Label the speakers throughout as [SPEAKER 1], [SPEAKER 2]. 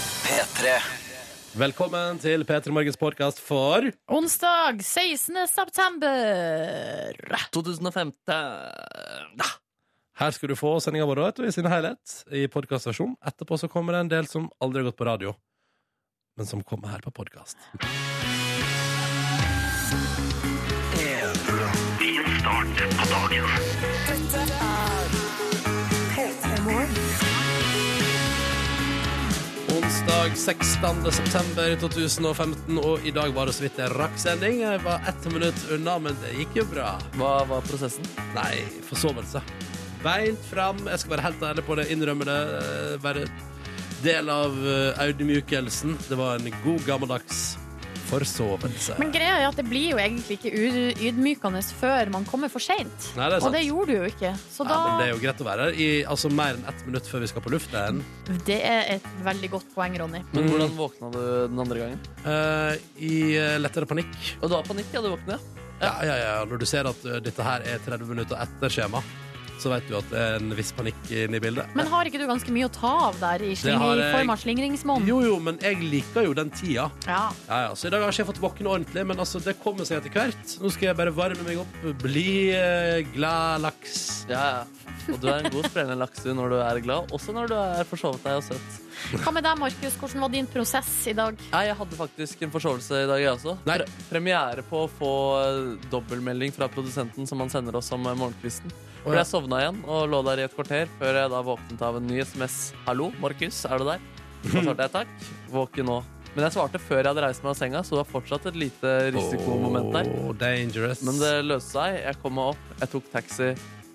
[SPEAKER 1] P3.
[SPEAKER 2] Velkommen til P3 Morgens podkast for
[SPEAKER 3] Onsdag 16. september.
[SPEAKER 4] 2015. Da.
[SPEAKER 2] Her skal du få sendinga vår vet du, i sin helhet i podkastversjon. Etterpå så kommer det en del som aldri har gått på radio, men som kommer her på podkast. Onsdag 16. september 2015, og i dag var det så vidt jeg rakk sending. Jeg var ett minutt unna, men det gikk jo bra.
[SPEAKER 4] Hva var prosessen?
[SPEAKER 2] Nei, forsovelse. Beint fram. Jeg skal være helt ærlig på det, innrømme det. eh, Være del av eh, audmykelsen. Det var en god, gammeldags forsovelse.
[SPEAKER 3] Men greia er at det blir jo egentlig ikke u- ydmykende før man kommer for seint.
[SPEAKER 2] Nei, det er
[SPEAKER 3] Og
[SPEAKER 2] sant.
[SPEAKER 3] det gjorde du jo ikke. Så
[SPEAKER 2] Ja, men det
[SPEAKER 3] da
[SPEAKER 2] er jo greit å være her i altså, mer enn ett minutt før vi skal på luften.
[SPEAKER 3] Det er et veldig godt poeng, Ronny.
[SPEAKER 4] Men
[SPEAKER 2] Mm.
[SPEAKER 4] Hvordan våkna du den andre gangen?
[SPEAKER 2] Eh, I eh, lettere panikk.
[SPEAKER 4] Og du var panikk, ja, du våkna?
[SPEAKER 2] Ja, ja, ja. Når du ser at eh, dette her er 30 minutter etter skjema, så vet du at det er en viss panikk inne i bildet.
[SPEAKER 3] Men har ikke du ganske mye å ta av der i,
[SPEAKER 2] Det
[SPEAKER 3] sling,
[SPEAKER 2] har
[SPEAKER 3] i
[SPEAKER 2] jeg.
[SPEAKER 3] form av slingringsmonn?
[SPEAKER 2] Jo, jo, men jeg liker jo den tida.
[SPEAKER 3] Ja.
[SPEAKER 2] Ja, ja, så I dag har ikke jeg fått våkne ordentlig, men altså, det kommer seg etter hvert. Nå skal jeg bare varme meg opp, bli eh, glad laks.
[SPEAKER 4] Ja, ja. Og du er en god sprellende laks du, når du er glad, også når du er forsovet deg og søt.
[SPEAKER 3] Hva med deg, Markus? Hvordan var din prosess i dag?
[SPEAKER 4] Nei, jeg hadde faktisk en forsovelse i dag, jeg også.
[SPEAKER 2] Nei.
[SPEAKER 4] Pre premiere på å få eh, dobbeltmelding fra produsenten som han sender oss om eh, morgenkvisten. For
[SPEAKER 2] ja.
[SPEAKER 4] jeg sovna igjen og lå der i et kvarter før jeg da våknet av en ny SMS. 'Hallo, Markus, er du der?' Og så svarte jeg takk. Våken nå. Men jeg svarte før jeg hadde reist meg av senga, så det var fortsatt et lite risikomoment der.
[SPEAKER 2] Oh, dangerous.
[SPEAKER 4] Men det løste seg. Jeg kom meg opp, jeg tok taxi.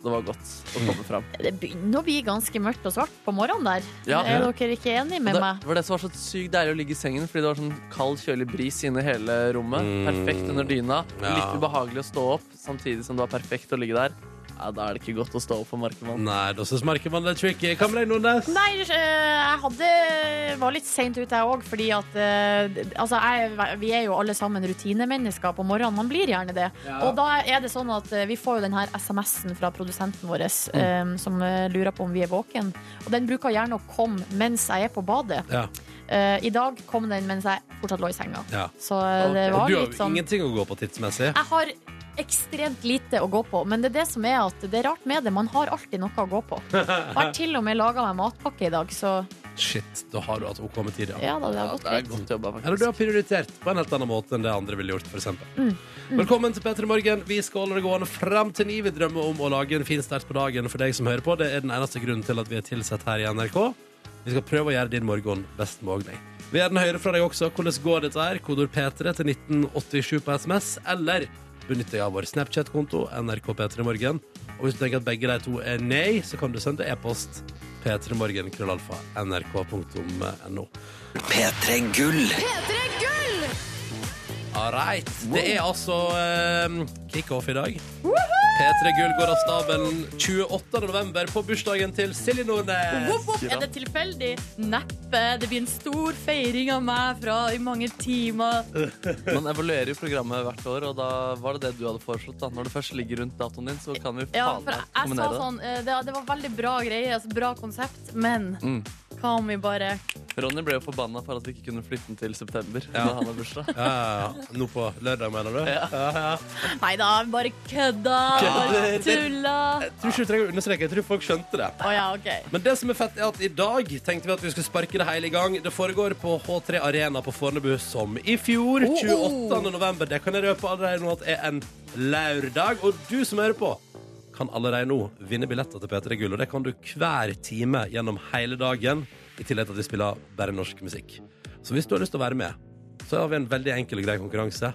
[SPEAKER 4] Det var godt å komme fram.
[SPEAKER 3] Det begynner å bli ganske mørkt og svart på morgenen der.
[SPEAKER 4] Ja.
[SPEAKER 3] Er dere ikke enige
[SPEAKER 4] Og
[SPEAKER 3] med
[SPEAKER 4] Det
[SPEAKER 3] meg?
[SPEAKER 4] var det som var så sykt deilig å ligge i sengen, fordi det var sånn kald, kjølig bris inne i hele rommet.
[SPEAKER 2] Mm.
[SPEAKER 4] Perfekt under dyna.
[SPEAKER 2] Ja.
[SPEAKER 4] Litt ubehagelig å stå opp, samtidig som det var perfekt å ligge der. Ja, da er det ikke godt å stå opp for Markemann.
[SPEAKER 2] Nei, da syns Markemann det er tricky. Hva med deg, Nordnes?
[SPEAKER 3] Nei, eh, jeg hadde, var litt seint ute, jeg òg, fordi at eh, Altså, jeg, vi er jo alle sammen rutinemennesker på morgenen. Man blir gjerne det. Og da er det sånn at eh, vi får jo den her SMS-en fra produsenten vår
[SPEAKER 2] Mm.
[SPEAKER 3] eh, som eh, lurer på om vi er våken. Og den bruker gjerne å komme mens jeg er på badet.
[SPEAKER 2] Ja.
[SPEAKER 3] Eh, I dag kom den mens jeg fortsatt lå i senga.
[SPEAKER 2] Ja.
[SPEAKER 3] Så eh, det
[SPEAKER 4] Ok.
[SPEAKER 2] Og
[SPEAKER 3] var
[SPEAKER 2] du har jo
[SPEAKER 3] litt sånn
[SPEAKER 2] ingenting å gå på tidsmessig.
[SPEAKER 3] Jeg har ekstremt lite å gå på, men det er det som er at det er rart med det. Man har alltid noe å gå på. Og jeg har til og med laga meg matpakke i dag, så
[SPEAKER 2] Shit, da har du hatt OK med tid, ja.
[SPEAKER 3] ja da, det har gått
[SPEAKER 4] Det er
[SPEAKER 3] greit.
[SPEAKER 4] godt jobba,
[SPEAKER 2] Eller du
[SPEAKER 4] faktisk.
[SPEAKER 2] har prioritert på en helt annen måte enn det andre ville gjort, f.eks.
[SPEAKER 3] Mm,
[SPEAKER 2] Velkommen til P3 Morgen. Vi skal holde det gående fram til ni. Vi drømmer om å lage en fin start på dagen for deg som hører på. Det er den eneste grunnen til at vi er tilsett her i NRK. Vi skal prøve å gjøre din morgen best mulig. Vi gjør den høyere fra deg også. Hvordan går dette her? Kodord P3 til 1987 på SMS, eller benytt deg av vår Snapchat-konto, NRK P3 Morgen. Og hvis du tenker at begge de to er nei, så kan du sende e-post p3morgen krøllalfa nrk.no.
[SPEAKER 1] P3 Gull.
[SPEAKER 2] All right. Det er altså um, kickoff i dag. P3 Gull går av stabelen 28. november på bursdagen til Silje Nordnes.
[SPEAKER 3] Voff, voff, er det tilfeldig? Neppe. Det blir en stor feiring av meg fra i mange timer.
[SPEAKER 4] Man evaluerer jo programmet hvert år, og da var det det du hadde foreslått. da Når det først ligger rundt datoen din, så kan vi
[SPEAKER 3] Ja,
[SPEAKER 4] faen
[SPEAKER 3] for jeg,
[SPEAKER 4] meg
[SPEAKER 3] jeg sa
[SPEAKER 4] kombinere det.
[SPEAKER 3] sånn eh, det, det var veldig bra greie, altså bra konsept, men
[SPEAKER 4] Mm.
[SPEAKER 3] hva om vi bare
[SPEAKER 4] Ronny ble jo forbanna for at vi ikke kunne flytte den til september.
[SPEAKER 2] Ja.
[SPEAKER 4] Når han har bursdag
[SPEAKER 2] Ja, ja, ja. Nå på lørdag, mener du?
[SPEAKER 4] Ja.
[SPEAKER 3] Nei da, vi bare kødda. Bare
[SPEAKER 2] Kødder.
[SPEAKER 3] tulla.
[SPEAKER 2] Jeg tror ikke du trenger å understreke. Jeg tror folk skjønte det.
[SPEAKER 3] Å ja, OK.
[SPEAKER 2] Men det som er fett, er at i dag tenkte vi at vi skulle sparke det hele i gang. Det foregår på H3 Arena på Fornebu som i fjor. 28. november. Det kan jeg røpe allerede nå at er en lørdag. Og du som hører på, kan allerede nå vinne billetter til P3 Gull. Og det kan du hver time gjennom hele dagen, i tillegg til at vi spiller bare norsk musikk. Så hvis du har lyst til å være med, så har vi en veldig enkel og grei konkurranse.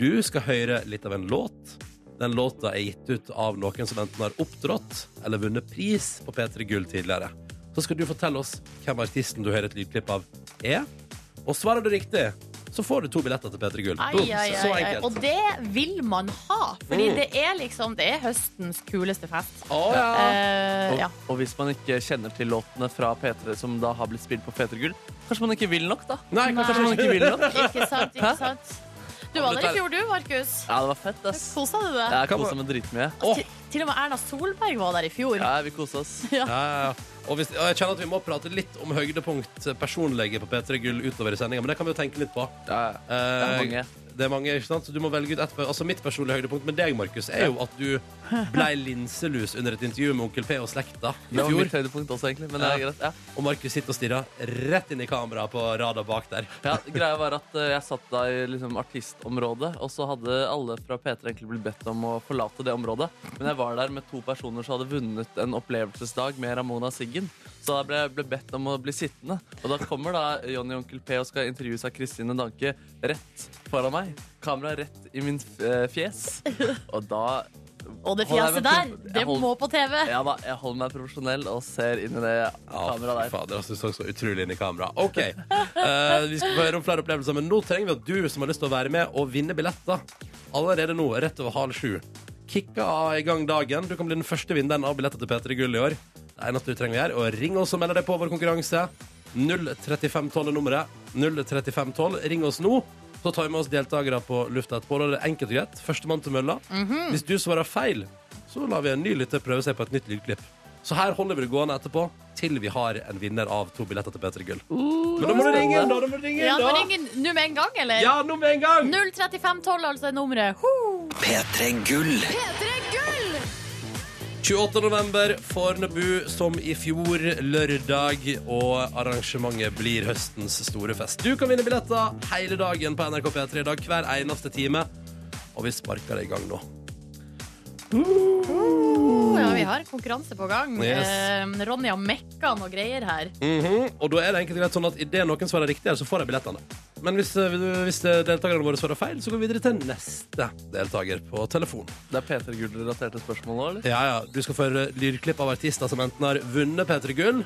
[SPEAKER 2] Du skal høre litt av en låt. Den låta er gitt ut av noen som enten har opptrådt eller vunnet pris på P3 Gull tidligere. Så skal du fortelle oss hvem artisten du hører et lydklipp av, er. Og svarer du riktig, så får du to billetter til P3 Gull.
[SPEAKER 3] Ai,
[SPEAKER 2] Boom.
[SPEAKER 3] ai, ai,
[SPEAKER 2] Så
[SPEAKER 3] ai.
[SPEAKER 2] enkelt.
[SPEAKER 3] Og det vil man ha, Fordi det er liksom Det er høstens kuleste fest.
[SPEAKER 2] Å, ja.
[SPEAKER 3] Eh,
[SPEAKER 4] Og,
[SPEAKER 3] ja.
[SPEAKER 4] og hvis man ikke kjenner til låtene fra P3 som da har blitt spilt på P3 Gull, kanskje man ikke vil nok, da?
[SPEAKER 2] Nei,
[SPEAKER 3] Nei.
[SPEAKER 2] kanskje
[SPEAKER 4] Kanskje man ikke vil nok?
[SPEAKER 3] Ikke sant, ikke
[SPEAKER 4] Hæ?
[SPEAKER 3] sant? Du var der i fjor, du, Markus.
[SPEAKER 4] Ja, det var fett, ass.
[SPEAKER 3] Kosa du deg?
[SPEAKER 4] Jeg kosa meg dritmye.
[SPEAKER 2] Åh.
[SPEAKER 3] Til, til og med Erna Solberg var der i fjor.
[SPEAKER 4] Ja, vi kosa oss.
[SPEAKER 2] Ja, ja, ja. Og, hvis, og jeg kjenner at Vi må prate litt om høydepunkt eh, personlege på P3 Gull utover i sendinga, men det kan vi jo tenke litt på. Eh,
[SPEAKER 4] Ja, ja. Det er mange.
[SPEAKER 2] Det er mange, ikke sant? Så du må velge ut ett. Altså Mitt personlige høydepunkt med deg, Markus, er jo at du blei linselus under et intervju med Onkel P og slekta i
[SPEAKER 4] Det var
[SPEAKER 2] fjor.
[SPEAKER 4] mitt høydepunkt også, egentlig. Men det er
[SPEAKER 2] Ja.
[SPEAKER 4] greit. Ja.
[SPEAKER 2] Og Markus sitter og stirrer rett inn i kameraet på rada bak der.
[SPEAKER 4] Ja, greia var at eh, jeg satt da i liksom, artistområdet, og så hadde alle fra P3 egentlig blitt bedt om å forlate det området. Men jeg var der med to personer som hadde vunnet en opplevelsesdag med Ramona Siggen. Så da ble jeg ble bedt om å bli sittende. Og da kommer da Johnny og Onkel P og skal intervjues av Kristine Danke rett foran meg. Kamera rett i min eh, fjes. Og da
[SPEAKER 3] Og det
[SPEAKER 4] Hold
[SPEAKER 3] fjeset der,
[SPEAKER 4] deg med pro-
[SPEAKER 3] det
[SPEAKER 4] Jeg hold-
[SPEAKER 3] må på TV.
[SPEAKER 4] ja, da, jeg holder meg profesjonell og ser inn i det
[SPEAKER 2] Ja, fy
[SPEAKER 4] kameraet der.
[SPEAKER 2] fader, altså, du så så utrolig inn i kamera. OK. Eh, vi skal få høre om flere opplevelser, men nå trenger vi at du som har lyst til å være med og vinne billetter, allerede nå, rett over halv sju, kicka av i gang dagen. Du kan bli den første vinneren av billetter til P3 Gull i år. Det eneste du trenger å gjøre, er å ringe oss og melde deg på vår konkurranse. 03512 er nummeret. 03512. Ring oss nå. Så tar vi med oss deltakere på lufta etterpå. Da er det enkelt og greit. Førstemann til mølla. Hvis du svarer feil, så lar vi en ny lytter prøve seg på et nytt lydklipp. Så her holder vi det gående etterpå til vi har en vinner av to billetter til P3 Gull. Men da må du ringe inn, da! da må du ringe
[SPEAKER 3] Ja,
[SPEAKER 2] inn,
[SPEAKER 3] men
[SPEAKER 2] da.
[SPEAKER 3] ingen, Nå med en gang, eller?
[SPEAKER 2] Ja, nå med en gang!
[SPEAKER 3] 03512, altså, er nummeret. Ho!
[SPEAKER 1] P3 Gull.
[SPEAKER 2] 28. november, Fornebu som i fjor lørdag, og arrangementet blir høstens store fest. Du kan vinne billetter hele dagen på NRK P3 i dag, hver eneste time. Og vi sparker det i gang nå.
[SPEAKER 3] Ja, vi har en konkurranse på gang.
[SPEAKER 2] Yes.
[SPEAKER 3] Eh, Ronny har mekka noe greier her.
[SPEAKER 2] Mhm, Og da er det enkelt og greit sånn at idet noen svarer riktig, her, så får de billettene. Men hvis, eh, hvis deltakerne våre svarer feil, så går vi videre til neste deltaker på telefon.
[SPEAKER 4] Det er P3 Gull-relaterte spørsmål nå, eller?
[SPEAKER 2] Ja, ja. Du skal få høre lydklipp av artister som enten har vunnet P3 Gull,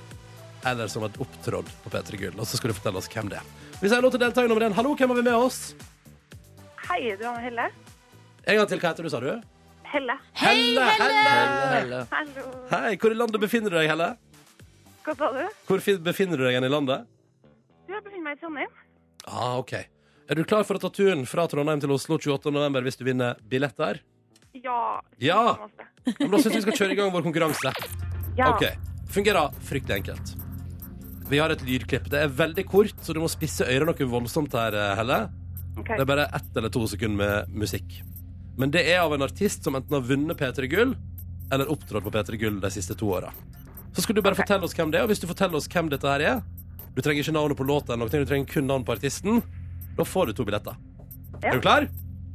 [SPEAKER 2] eller som har opptrådt på P3 Gull. Og så skal du fortelle oss hvem det er. Vi sier nå til deltaker nummer én. Hallo, hvem har vi med oss?
[SPEAKER 5] Hei, du Anne Helle.
[SPEAKER 2] En gang til, hva heter du, sa du?
[SPEAKER 5] Helle.
[SPEAKER 2] Helle! Helle!
[SPEAKER 4] Helle, helle.
[SPEAKER 5] Hallo.
[SPEAKER 2] Hei, hvor i landet befinner du deg, Helle?
[SPEAKER 5] Hva sa du?
[SPEAKER 2] Hvor fin- befinner du deg igjen i landet?
[SPEAKER 5] Du jeg befinner meg i Trondheim.
[SPEAKER 2] Ah, ok. Er du klar for å ta turen fra Trondheim til Oslo 28. november hvis du vinner billetter?
[SPEAKER 5] Ja.
[SPEAKER 2] Ja. Ja, Men da syns jeg vi skal kjøre i gang vår konkurranse.
[SPEAKER 5] ja.
[SPEAKER 2] Ok, Fungerer fryktelig enkelt. Vi har et lydklipp. Det er veldig kort, så du må spisse øret noe voldsomt her, eh, Helle.
[SPEAKER 5] Ok.
[SPEAKER 2] Det er bare ett eller to sekunder med musikk. Men det er av en artist som enten har vunnet P3 Gull eller opptrådt på P3 Gull de siste to åra. Så skal du bare fortelle oss hvem det er, og hvis du forteller oss hvem dette her er Du trenger ikke navnet på låta, eller noe, du trenger kun navn på artisten. Da får du to billetter.
[SPEAKER 5] Ja.
[SPEAKER 2] Er du klar?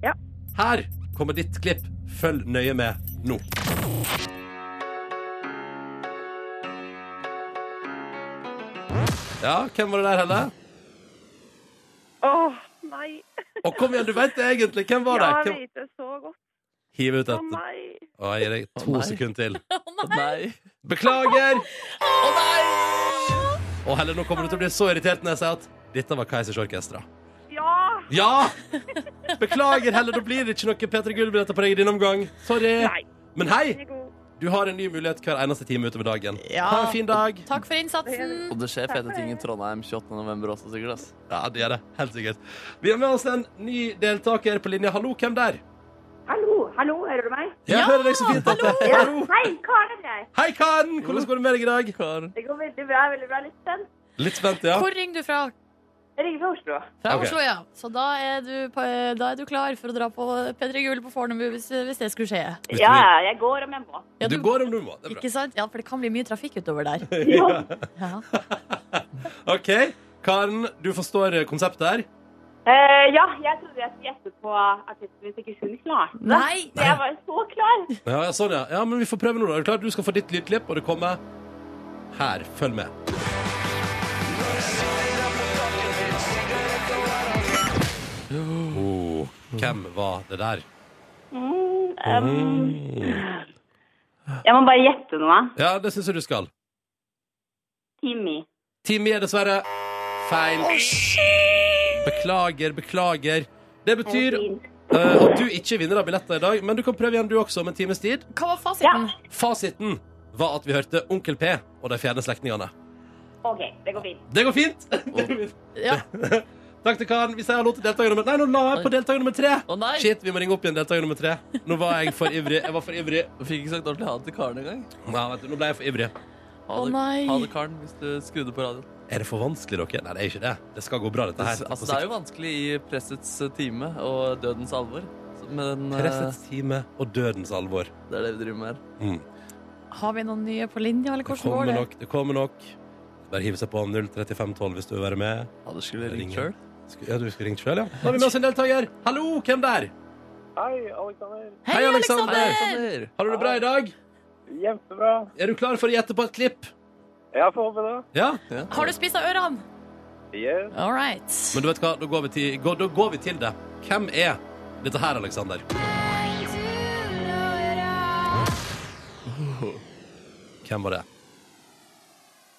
[SPEAKER 5] Ja.
[SPEAKER 2] Her kommer ditt klipp. Følg nøye med nå. Ja, hvem var det der, Helle?
[SPEAKER 5] Åh, nei.
[SPEAKER 2] Og kom igjen, du veit det egentlig. Hvem var
[SPEAKER 5] Ja,
[SPEAKER 2] det?
[SPEAKER 5] jeg
[SPEAKER 2] Hvem...
[SPEAKER 5] vet det så godt.
[SPEAKER 2] Hiv ut
[SPEAKER 5] Å
[SPEAKER 2] dette.
[SPEAKER 5] nei.
[SPEAKER 2] Å, jeg gir deg to
[SPEAKER 4] Å, nei.
[SPEAKER 2] sekunder til.
[SPEAKER 4] Nei.
[SPEAKER 2] Beklager! Å nei! Og Helle, nå kommer du til å bli så irritert når jeg sier at dette var Keisers Orkestra.
[SPEAKER 5] Ja.
[SPEAKER 2] Ja! Beklager, Helle, da blir det ikke noe P3 Gull-billetter på deg i din omgang. Sorry.
[SPEAKER 5] Nei.
[SPEAKER 2] Men hei,
[SPEAKER 5] den er god.
[SPEAKER 2] du har en ny mulighet hver eneste time utover dagen.
[SPEAKER 3] Ja.
[SPEAKER 2] Ha en fin dag.
[SPEAKER 3] Takk for innsatsen.
[SPEAKER 4] Og det skjer fete ting i Trondheim 28. november også, sikkert. ass.
[SPEAKER 2] Ja, det gjør det. Helt sikkert. Vi har med oss en ny deltaker på linje. Hallo, hvem der?
[SPEAKER 6] Hallo, hallo, hører du meg?
[SPEAKER 2] Jeg
[SPEAKER 3] Ja,
[SPEAKER 2] hører deg så fint. At det... Hallo!
[SPEAKER 6] Hei, Karen her.
[SPEAKER 2] Hei, Karen! Hvordan går det med deg i dag?
[SPEAKER 6] Det går veldig bra, veldig bra. Litt spent.
[SPEAKER 2] Litt spent, ja.
[SPEAKER 3] Hvor ringer du fra?
[SPEAKER 6] Jeg ringer fra Oslo.
[SPEAKER 3] Fra
[SPEAKER 2] Ok.
[SPEAKER 3] Oslo, ja. Så da er, du, på- da er du klar for å dra på P3 Gull på Fornebu hvis, hvis det skulle skje.
[SPEAKER 6] Ja, ja, jeg går om jeg må.
[SPEAKER 3] Ja,
[SPEAKER 2] Du går om du må. Det er bra.
[SPEAKER 3] Ikke sant? Ja, for det kan bli mye trafikk utover der.
[SPEAKER 6] Jo,
[SPEAKER 3] Ja.
[SPEAKER 2] OK. Karen, du forstår eh, konseptet her.
[SPEAKER 6] eh, ja jeg trodde jeg skulle gjette på artisten hvis ikke hun klarte det.
[SPEAKER 3] Nei!
[SPEAKER 6] Jeg var så klar.
[SPEAKER 2] Ja, ja, sånn, ja. ja, men vi får prøve nå, da. Er du klar? Du skal få ditt lydklipp, og det kommer her. Følg med. Oh, hvem var det der?
[SPEAKER 6] Mm, em, jeg må bare gjette noe.
[SPEAKER 2] Ja, det syns jeg du skal.
[SPEAKER 6] Timmy.
[SPEAKER 2] Timmy er dessverre feil. Beklager, beklager. Det betyr eh, at du ikke vinner av billetter i dag, men du kan prøve igjen du også om en times tid.
[SPEAKER 3] Hva var fasiten?
[SPEAKER 2] Fasiten var at vi hørte Onkel P og de fjerne slektningene.
[SPEAKER 6] Ok, det går fint.
[SPEAKER 2] Det går fint!
[SPEAKER 3] Ja.
[SPEAKER 2] Takk til Karen. Vi sier hallo til deltaker nummer Nei, nå la jeg på deltaker nummer tre!
[SPEAKER 4] Å nei!
[SPEAKER 2] Shit, vi må ringe opp igjen deltaker nummer tre. Nå var jeg for ivrig. Jeg var for ivrig.
[SPEAKER 4] Jeg fikk ikke sagt ordentlig ha det til Karen engang.
[SPEAKER 2] Nei, vet du, nå ble jeg for ivrig.
[SPEAKER 4] Ha,
[SPEAKER 3] Å
[SPEAKER 4] det-
[SPEAKER 3] nei.
[SPEAKER 4] ha det, Karen, hvis du skrudde på radioen.
[SPEAKER 2] Er det for vanskelig, dere? Nei, det er ikke det. Det skal gå bra, dette her.
[SPEAKER 4] altså, det er jo vanskelig i pressets eh, time og dødens alvor, Så- men eh,
[SPEAKER 2] Pressets time og dødens alvor.
[SPEAKER 4] det er det vi driver med her.
[SPEAKER 2] Mm.
[SPEAKER 3] Har vi noen nye på linja, eller
[SPEAKER 2] Det
[SPEAKER 3] hvordan går
[SPEAKER 2] kommer
[SPEAKER 3] det?
[SPEAKER 2] nok. Det kommer nok. Bare hiv seg på 03512 hvis du vil være med.
[SPEAKER 4] Ja, det skulle
[SPEAKER 2] Det
[SPEAKER 4] ringt
[SPEAKER 2] ringer.
[SPEAKER 4] sjøl.
[SPEAKER 2] Sk- Ja, du skulle ringt sjøl, ja. Da har vi med oss en deltaker. Hallo, hvem der?
[SPEAKER 7] Hei, Alexander.
[SPEAKER 3] Hei,
[SPEAKER 2] Hei, Alexander!
[SPEAKER 3] Alexander!
[SPEAKER 2] Har du det bra i dag?
[SPEAKER 7] Kjempebra.
[SPEAKER 2] Er du klar for å gjette på et klipp?
[SPEAKER 7] Jeg får håpe det.
[SPEAKER 2] Ja?
[SPEAKER 3] Har du spist av ørene?
[SPEAKER 7] Yes.
[SPEAKER 3] All right.
[SPEAKER 2] Men du vet hva, da går vi til, gå- da går vi til det. Hvem er dette her, Alexander? Hvem var det?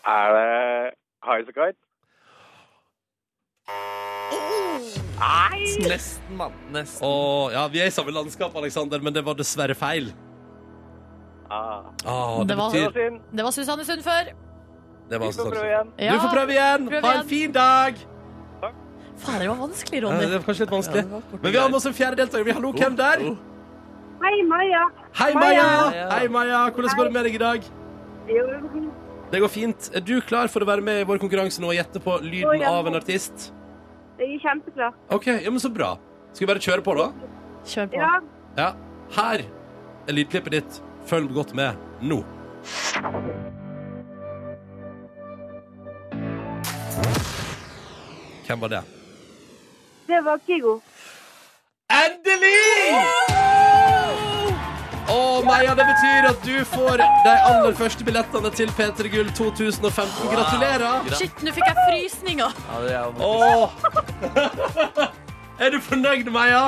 [SPEAKER 7] Er det Highasakite?
[SPEAKER 4] Nesten, mann. Nesten.
[SPEAKER 2] Å, ja, vi er i samme landskap, Alexander, men det var dessverre feil.
[SPEAKER 7] Ah.
[SPEAKER 2] Ah, det,
[SPEAKER 3] Det var-
[SPEAKER 7] Det
[SPEAKER 2] betyr
[SPEAKER 7] var synd.
[SPEAKER 3] Det var Susanne Sund før.
[SPEAKER 2] det var
[SPEAKER 7] Vi
[SPEAKER 2] altså
[SPEAKER 7] får
[SPEAKER 2] sant.
[SPEAKER 7] prøve igjen.
[SPEAKER 2] Du får prøve igjen!
[SPEAKER 3] prøv
[SPEAKER 2] Ha en
[SPEAKER 3] igjen.
[SPEAKER 2] fin dag!
[SPEAKER 3] Faen, det var vanskelig,
[SPEAKER 2] Ja,
[SPEAKER 3] Ronny.
[SPEAKER 2] det var kanskje litt
[SPEAKER 4] Ja, det
[SPEAKER 2] vanskelig.
[SPEAKER 4] var kort og
[SPEAKER 2] Men vi har
[SPEAKER 4] greit.
[SPEAKER 2] med oss en fjerde deltaker. Vi- Hallo, hvem der?
[SPEAKER 4] Oh,
[SPEAKER 5] Hei, Maja.
[SPEAKER 2] Hei, Maja!
[SPEAKER 4] Maja.
[SPEAKER 2] Hei, Maja. Hvordan går det med deg i dag?
[SPEAKER 5] Jo,
[SPEAKER 2] Det går fint. Er du klar for å være med i vår konkurranse nå og gjette på
[SPEAKER 5] Å,
[SPEAKER 2] lyden
[SPEAKER 5] ja.
[SPEAKER 2] av en artist?
[SPEAKER 5] jeg er kjempeklar.
[SPEAKER 2] OK, ja, men så bra. Skal vi bare kjøre på, da?
[SPEAKER 3] Kjør på.
[SPEAKER 5] Ja.
[SPEAKER 2] Ja. Her er lydklippet ditt. Følg godt med nå. Hvem var det?
[SPEAKER 5] Det var Kygo.
[SPEAKER 2] Endelig! Å, Maja, det betyr at du får de aller første billettene til P3 Gull 2015. Gratulerer!
[SPEAKER 4] Gra-
[SPEAKER 3] Shit, nå fikk jeg frysninger.
[SPEAKER 4] Ja, Ah, det er jo
[SPEAKER 2] Åh! er du fornøyd, Maja?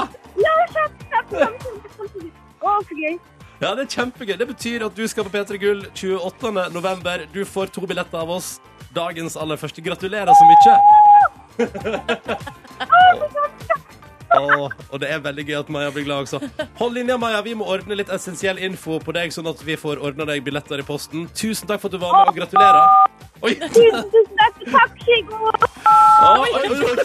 [SPEAKER 5] Å, så gøy.
[SPEAKER 2] Ja, det er kjempegøy. Det betyr at du skal på P3 Gull 28. november. Du får to billetter av oss. Dagens aller første. Gratulerer så mye! Åh, og det er veldig gøy at Maja blir glad også. Hold linja, Maja. Vi må ordne litt essensiell info på deg, sånn at vi får ordna deg billetter i posten. Tusen takk for at du var med, og gratulerer. Oi!
[SPEAKER 5] Tusen, tusen takk. Takk, Kygo.
[SPEAKER 2] Oi, oi, oi.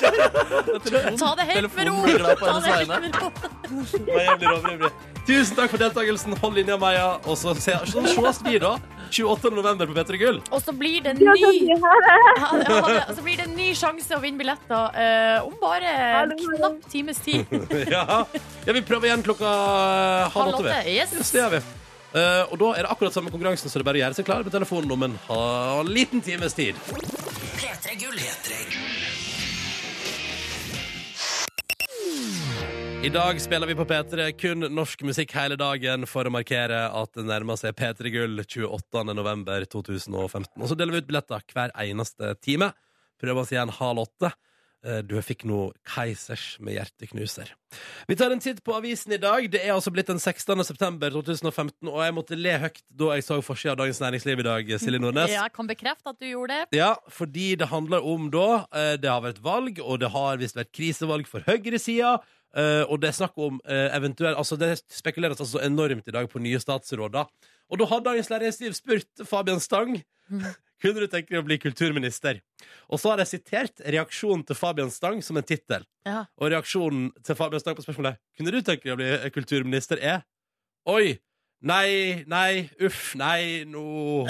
[SPEAKER 3] Ta det helt med ro.
[SPEAKER 4] Telefonen blir glad på
[SPEAKER 3] Ta det
[SPEAKER 4] hennes
[SPEAKER 3] helt med ro.
[SPEAKER 2] Maja blir overivrig. Tusen takk for deltakelsen. Hold linja, Maja. Og så se- så sees vi, da. 28. november på P3 Gull.
[SPEAKER 3] Og så blir det en
[SPEAKER 5] Ja, takk.
[SPEAKER 3] ny
[SPEAKER 5] Ha det.
[SPEAKER 3] ja, det- ja, det- Så blir det en ny sjanse å vinne billetter eh, om bare en
[SPEAKER 5] Hallo.
[SPEAKER 3] knapp times tid.
[SPEAKER 2] Ja. ja, vi prøver igjen klokka eh, halv åtte. vi. Yes,
[SPEAKER 3] Yes.
[SPEAKER 2] det gjør vi. Eh, og da er det akkurat samme konkurransen, så det er bare å gjøre seg klar på telefonen om en ha- liten times tid. I dag spiller vi på P3 kun norsk musikk hele dagen for å markere at det nærmer seg P3 Gull 28. november 2015. Og så deler vi ut billetter hver eneste time. Prøv oss igjen halv åtte. Eh, Du fikk nå Keisers med hjerteknuser. Vi tar en titt på avisen i dag. Det er altså blitt den 16. september 2015, og jeg måtte le høyt da jeg så forsida av Dagens Næringsliv i dag, Silje Nordnes.
[SPEAKER 3] Ja, jeg kan bekrefte at du gjorde det.
[SPEAKER 2] Ja, fordi det handler om da eh, Det har vært valg, og det har visst vært krisevalg for høyresida. eh, Og det er snakk om eh, eventuelt Altså, det spekuleres altså enormt i dag på nye statsråder. Og da har dagens næringsliv spurt Fabian Stang
[SPEAKER 3] Mm.
[SPEAKER 2] kunne du tenke deg å bli kulturminister. Og så har jeg sitert reaksjonen til Fabian Stang som en tittel.
[SPEAKER 3] Ja.
[SPEAKER 2] Og reaksjonen til Fabian Stang på spørsmålet kunne du tenke deg å bli eh, kulturminister er Oi! Nei, nei, uff, nei, nå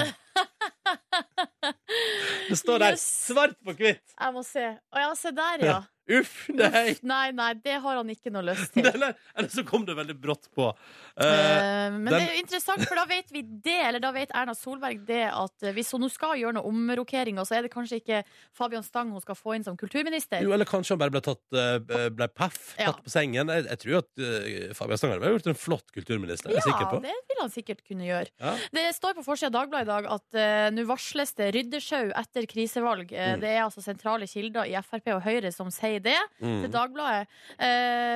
[SPEAKER 2] Det står der
[SPEAKER 3] Yes.
[SPEAKER 2] svart på hvitt.
[SPEAKER 3] Jeg må se. Å ja, se der, ja.
[SPEAKER 2] Uff, nei!
[SPEAKER 3] Uff, nei, nei, det har han ikke noe lyst til.
[SPEAKER 2] Eller, eller så kom det veldig brått på. Eh,
[SPEAKER 3] Eh, Men det
[SPEAKER 2] den-
[SPEAKER 3] er jo interessant, for da vet vi det, eller da vet Erna Solberg det, at eh, hvis hun nå skal gjøre noen omrokeringer, så er det kanskje ikke Fabian Stang hun skal få inn som kulturminister.
[SPEAKER 2] jo, eller kanskje han bare ble tatt eh, ble paff,
[SPEAKER 3] Ja.
[SPEAKER 2] tatt på sengen. Jeg, jeg tror at eh, Fabian Stang hadde gjort en flott kulturminister. Jeg er sikker
[SPEAKER 3] Ja,
[SPEAKER 2] på.
[SPEAKER 3] det vil han sikkert kunne gjøre.
[SPEAKER 2] Ja.
[SPEAKER 3] Det står på forsida av Dagbladet i dag at eh, nå varsles det ryddesjau etter krisevalg. Eh,
[SPEAKER 2] Mm.
[SPEAKER 3] Det er altså sentrale kilder i Frp og Høyre som sier det til
[SPEAKER 2] Mm.
[SPEAKER 3] Dagbladet. Eh,